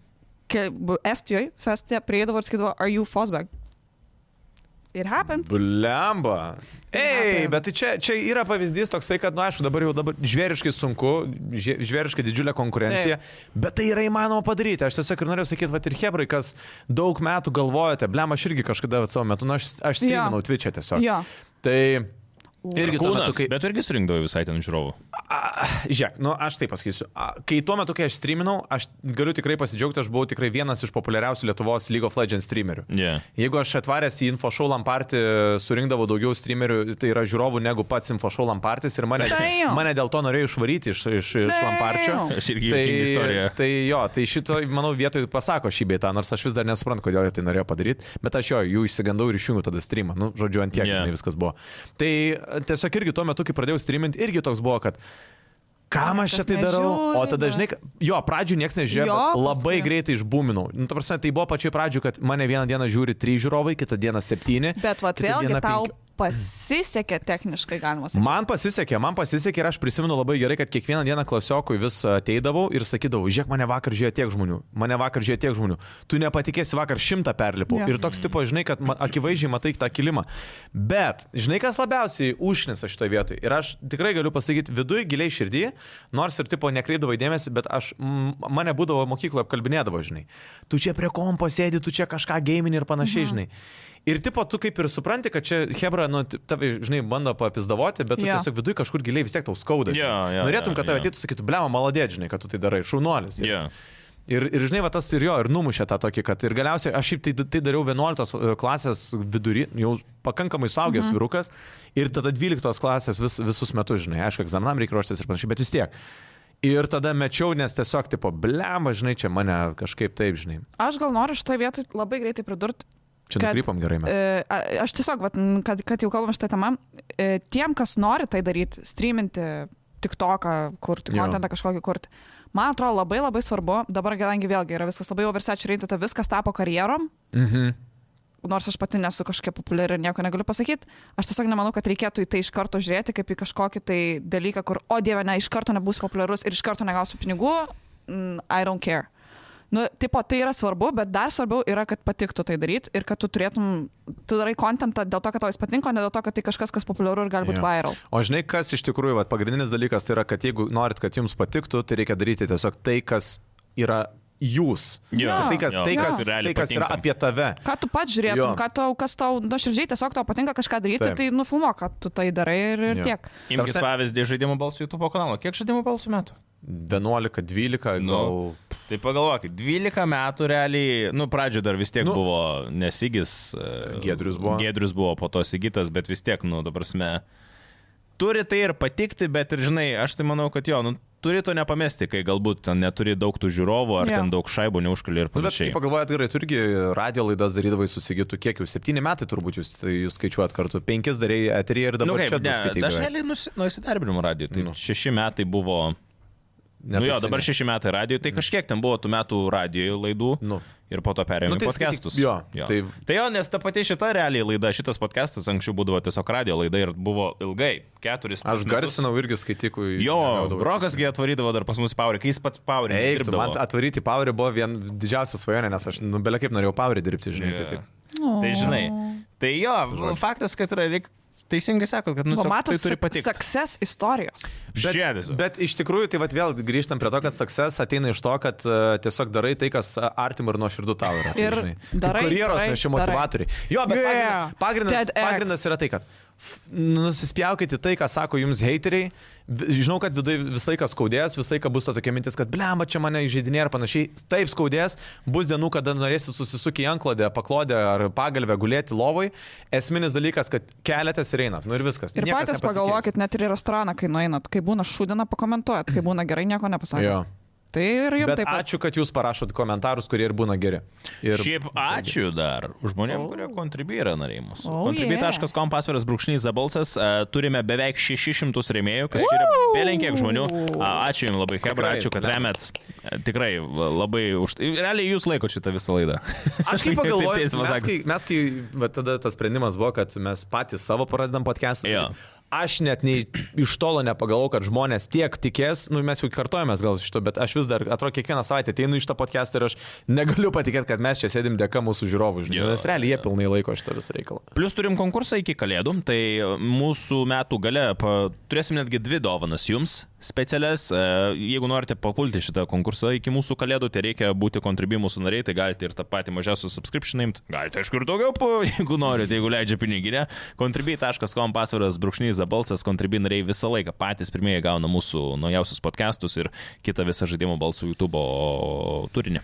ke- bu- Estijoje festė prieidavo ir sakydavo, are you Fosbag? It happened. Blemba. Ei, Blemba. bet tai čia, čia yra pavyzdys toksai, kad, na, nu, aišku, dabar jau dabar žvėriškai sunku, žvė- žvėriškai didžiulė konkurencija, Taip. bet tai yra įmanoma padaryti. Aš tiesiog ir norėjau sakyti, va ir Hebrai, kas daug metų galvojate, blem, aš irgi kažkada vat savo metu, na, nu, aš, aš Jo. streaminau Twitch'e tiesiog. Jo. Tai irgi tuo metu, Kūnas, kai... bet tu irgi surinkdavo visai ten žiūrovų. A, žiūrėk, nu aš taip pasakysiu. A, kai tuo metu, kai aš streaminau, aš galiu tikrai pasidžiaugti, aš buvau tikrai vienas iš populiariausių Lietuvos League of Legends streamerių. Ne. Jeigu aš atvaręs į InfoShow Lampartį surinkdavau daugiau streamerių, tai yra žiūrovų negu pats InfoShow Lampartis ir mane, Damn. mane dėl to norėjo išvaryti iš, iš, iš Damn. Lamparčio. Aš irgi juokinga istorija. tai jo, tai šito, manau, vietoj pasako šį beitą, nors aš vis dar nesuprantu, kodėl jie tai norėjo padaryti, bet aš jo, jų išsigandau ir išjungiau tada streamą. Nu, žodžiu, ant tiek, Yeah. yeah. žinai, viskas buvo. Tai e, tiesiog irgi tuo metu, kai pradėjau streaminti, irgi toks buvo, kad Kam aš čia Niekas tai darau? O nežiūri, tada, ne. žinai, ka- jo, pradžių niekas nežiūrėjo, Jo, bet labai paskui. greitai išbūminau. Nu, ta prasme, tai buvo pačioj pradžioj, kad mane vieną dieną žiūri 3 žiūrovai, kitą dieną 7. Bet vat vėlgi tau pasisekė techniškai, galima sakyti. Man pasisekė, man pasisekė ir aš prisimenu labai gerai, kad kiekvieną dieną klasiokui vis ateidavau ir sakydavau, žiūrėk, mane vakar žiūrėjo tiek žmonių, mane vakar žiūrėjo tiek žmonių, tu nepatikėsi vakar šimtą perlipau. Jo. Yeah. Ir toks tipo, žinai, kad ma- akivaizdžiai matai tą kilimą. Bet, žinai, kas labiausiai užnisa šitoje vietoje. Ir aš tikrai galiu pasakyti, viduje giliai širdį, nors ir tipo nekreidavo įdėmėsi, bet aš, m, mane būdavo mokykloje apkalbinėdavo, žinai, tu čia prie kompo sėdi, tu čia kažką gaming ir Mhm. panašiai, žinai. Ir tipo, tu kaip ir supranti, kad čia Hebra, nu, t- tave, žinai, bando papizdavoti, bet tu Jo. yeah. tiesiog viduje kažkur giliai vis tiek tau skauda. žinai. Jo, jo, Norėtum, jo, kad tave jo. ateitų, sakytų, blema, maladėdžinai, kad tu tai darai, šaunuolis. Ir- Yeah. Ir, ir žinai, va tas ir jo, ir numušė tą tokį, kad ir galiausiai aš šiaip tai, tai dariau 11 klasės vidury, jau pakankamai saugęs mhm. vyrukas, ir tada 12 klasės vis, visus metus, žinai, aišku, egzaminam reikia ruoštis ir panašiai, bet vis tiek. Ir tada mečiau, nes tiesiog, tipo, blema, žinai, čia mane kažkaip taip, žinai. Aš gal noriu šitoje vietoje labai greitai pridurti. Čia Kad, nukrypom gerai mes. E, a- Aš tiesiog, vat, n, kad, kad jau kalbam šitą temą, e, tiem, kas nori tai daryti, streaminti tik toką, kurti, Jo. kontentą kažkokį kurti, man atrodo labai labai svarbu, dabar kadangi vėlgi yra viskas labai oversaturated, viskas tapo karjerom, Mhm. nors aš pati nesu kažkiek populiari ir nieko negaliu pasakyti, aš tiesiog nemanau, kad reikėtų į tai iš karto žiūrėti kaip į kažkokį tai dalyką, kur, o dieve, ne, iš karto nebus populiarus ir iš karto negausiu pinigų, mm, I don't care. Nu, tipo, tai yra svarbu, bet dar svarbiau yra, kad patiktų tai daryti ir kad tu turėtum, tu darai kontentą dėl to, kad tau jis patinka, o ne dėl to, kad tai kažkas, kas populiaru ir galbūt Jo. yeah. viral. O žinai, kas iš tikrųjų, vat, pagrindinis dalykas tai yra, kad jeigu norit, kad jums patiktų, tai reikia daryti tiesiog tai, kas yra jūs. Jo, Kad Tai, kas, jo, tai, kas, kas realiai tai, kas yra patinka. apie tave. Ką tu pats žiūrėtum, Jo. ką tau, kas tau, nuoširdžiai tiesiog tau patinka kažką daryti, Taip. tai nufilmo, kad tu tai darai ir, ir Jo. tiek. Imkis prasme- pavyzdį iš žaidimų balsų YouTube kanalo. Kiek žaidimų balsų metų? 11, 12, Nu. gal. Tai pagalvokit, 12 metų realiai, nu pradžio dar vis tiek Nu. nu, buvo nesigis. e, Giedrius buvo. Giedrius buvo, po to sigitas, bet vis tiek, nu, dabar mes. Turi tai ir patikti, bet ir žinai, aš tai manau, kad jo, nu, turi to nepamesti, kai galbūt ten neturi daug tų žiūrovų ar Jo. yeah. ten daug šaibų neužkali ir Nu, bet panašiai. kaip pagalvojat, gerai, tu irgi radio laidas darydavai susigytų, kiek jau 7 metai turbūt jūs, tai jūs skaičiuojat kartu, 5 dariai eterį ir dabar nu, nu, kaip, čia 2 ne, aš skaičiai. realiai nusi- nuo įsidarbinimo radio. Tai Nu. nu. šeši metai buvo. Ne, nu jo, dabar šeši metai radio, tai kažkiek ten buvo tų metų radio laidų. Mhm. Nu. Ir po to perėjome Nu, nu, tai tai podcastus. skaityk- jo, Tai... tai- tai jo, nes ta pati šita realiai laida, šitas podcastas anksčiau būdavo tiesiog radio laida ir buvo ilgai, keturis. Aš metus. garsinau irgi skaitykų. Jo, Rokasgi atvarydavo dar pas mus Paurį, kai jis pats Paurį. Eik, tu, man atvaryti Powerį buvo vien didžiausia svajonė, nes aš, nu, belia kaip norėjau Powerį dirbti, žinai, yeah. tai taip. Tai Nu. žinai. Tai jo, faktas, kad yra, reik... teisingai sakot, kad nu, Va, tiesiog matot, tai turi tai patikti. success istorijos. Žiedis. Bet, bet iš tikrųjų, tai vat vėl grįžtam prie to, kad sukses ateina iš to, kad uh, tiesiog darai tai, kas uh, artim ir nuoširdų tau yra. Ir žinai. Kaip darai, Karjeros darai, nešimo darai. motivatoriai. Jo, bet yeah. Yeah. pagrindas, TEDx. pagrindas yra tai, kad f- nusispjaukite tai, ką sako jums heiteriai. Vi- Žinau, kad vidai visą laiką skaudės, visą laiką bus ta tokia mintis, kad blemba čia mane įžeidinė ir panašiai. Taip skaudės, bus dienų, kada norėsit susisukti į anklodę, paklodę ar pagalbę gulėti lovai. Esminis dalykas, kad keliatės ir einat. Nu ir viskas. Ir Niekas patys nepasikeis. pagalvokit, net ir į restoraną, kai nueinat, kai būna šūdina, pakomentuojat, kai būna gerai, nieko nepasakot. Mm. Jo. Tai ir jums Bet taip pat. ačiū, kad jūs parašot komentarus, kurie ir būna geri. Ir... Šiaip ačiū dar žmonėm, oh. kurie kontribuoja narimus. Oh, Oh, Kontribuoja.com yeah. pasviras brūkšnys zabalsas. A, Turime beveik 600 rėmėjų, kas čia yra belenkiek žmonių. A, Ačiū Jums labai, Hebra, Tikrai, ačiū, kad blemba. remet. A, Tikrai va, labai už... tai. Realiai Jūs laiko šitą visą laidą. Aš kaip Taip pagalvoju, teismas mes sakęs. kai, mes kai va, tada tas sprendimas buvo, kad mes patys savo pradedam podcastą. Jo. daryt. Aš net nei iš tolo nepagalvojau, kad žmonės tiek tikės, nu mes jau kartojamės gal šito, bet aš vis dar, atrodo, kiekvieną savaitę ateinu iš to podcast'o ir aš negaliu patikėti, kad mes čia sėdim dėka mūsų žiūrovų, žinai, Nu, Jo. nes realiai jie pilnai laiko šitą visą reikalą. Plus turim konkursą iki kalėdų, tai mūsų metų gale pa, turėsim netgi dvi dovanas jums specialias. E, Jeigu norite papulti šitą konkursą iki mūsų kalėdų, tai reikia būti kontribi mūsų nariai, tai galite ir tą patį mažiausią subscription imti. Galite, aišku, ir daugiau, po, jeigu norite, jeigu leidžia piniginė. Contribui.com pasvaras brūkšnys zabalsas, kontribi nariai visą laiką patys pirmieji gauna mūsų naujausius podcastus ir kitą visą žaidimo balsų YouTube turinį.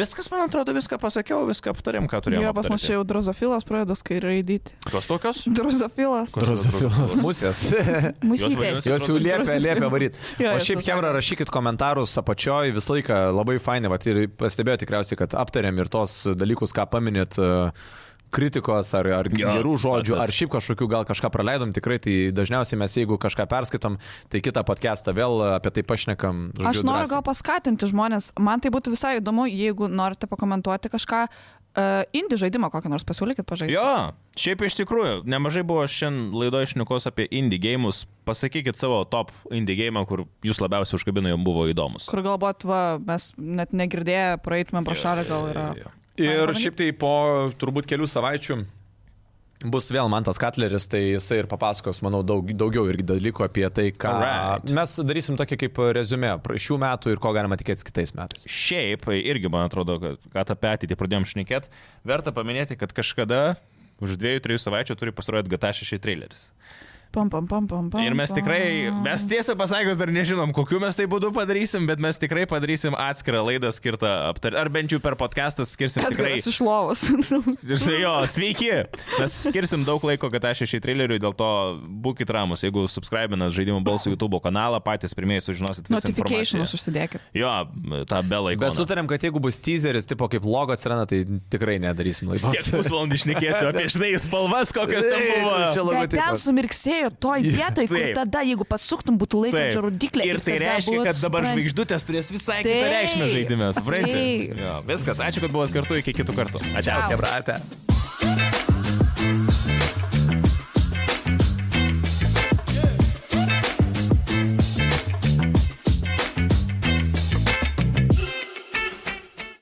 Viskas, man atrodo, viską pasakiau, viską aptarėm, ką turėjome. Jo, pas mus čia jau drozofilas pradeda skairaidyti. Kas tokios? Drozofilas. Drozofilos musės. vadinasi- Musytės. Jos jau liepia, Drozofilas. liepia varyti. Jo, O jos šiaip, visai- Kevra, rašykit komentarus apačioj, visą laiką labai fainai, vat ir pastebėjau tikriausiai, kad aptarėm ir tos dalykus, ką paminėt e, kritikos ar, ar Jo, gerų žodžių, faktas. ar šiaip kažkokių gal kažką praleidom, tikrai tai dažniausiai mes jeigu kažką perskaitom, tai kitą podcastą vėl apie tai pašnekam. žodžiu, Aš noriu drąsiai. gal paskatinti žmonės, man tai būtų visai įdomu, jeigu norite pakomentuoti kažką, uh, indį žaidimą kokį nors pasiūlykit pažaisti. Jo, šiaip iš tikrųjų, nemažai buvo šiandien laido išnekos apie indie gėjimus. Pasakykit savo top indie gėjimą, kur jūs labiausiai užkabino, jam buvo įdomus. Kur galbūt, va, mes net negirdėję, praeitumėm pro šalį gal yra. E, Ir Pabandyk. šiaip tai po turbūt kelių savaičių bus vėl man tas Katleris, tai jisai ir papasakos, manau, daug, daugiau irgi dalykų apie tai, ką Alright. mes darysim tokį kaip rezumė pra- šių metų ir ko galima tikėtis kitais metais. Šiaip, tai irgi man atrodo, kad, kad apie ateitį pradėjom šnekėti, verta paminėti, kad kažkada už dviejų, trijų savaičių turi pasirodyti GTA 6 traileris. Pam, pam, pam, pam, pam. Ir mes tikrai, pam. mes tiesą pasakius dar nežinom, kokiu mes tai būdu padarysim, bet mes tikrai padarysim atskirą laidą skirtą aptarti, ar bent jau per podcastą skirsim tikrai Atgaras iš lovos. Ir Tai štai jo, sveiki. Mes skirsim daug laiko, kad aš šį traileriui, dėl to būkit ramus. Jeigu subscribinat žaidimų balsų YouTube kanalą, patys pirmieji sužinosit visą Notificationus informaciją. užsidėkit. Jo, tą belą Bet įgūdį. sutarėm, kad jeigu bus teaseris, tipo kaip logo atsiranda, tai tikrai nedarysim Kiek laidos. pusvalandį išnekėsiu apie žinai spalvas, kokios ten buvo. Bet ten sumirksėjo toj vietoj, kur Taip. tada, jeigu pasuktum, būtų laikrodžio rodiklė. Ir tai reiškia, kad dabar žvaigždutės turės visai kitą Taip. reikšmę žaidimės. Taip. Viskas, ačiū, kad buvot kartu, iki kitų kartų. Ačiū. Ciao. Kebratė.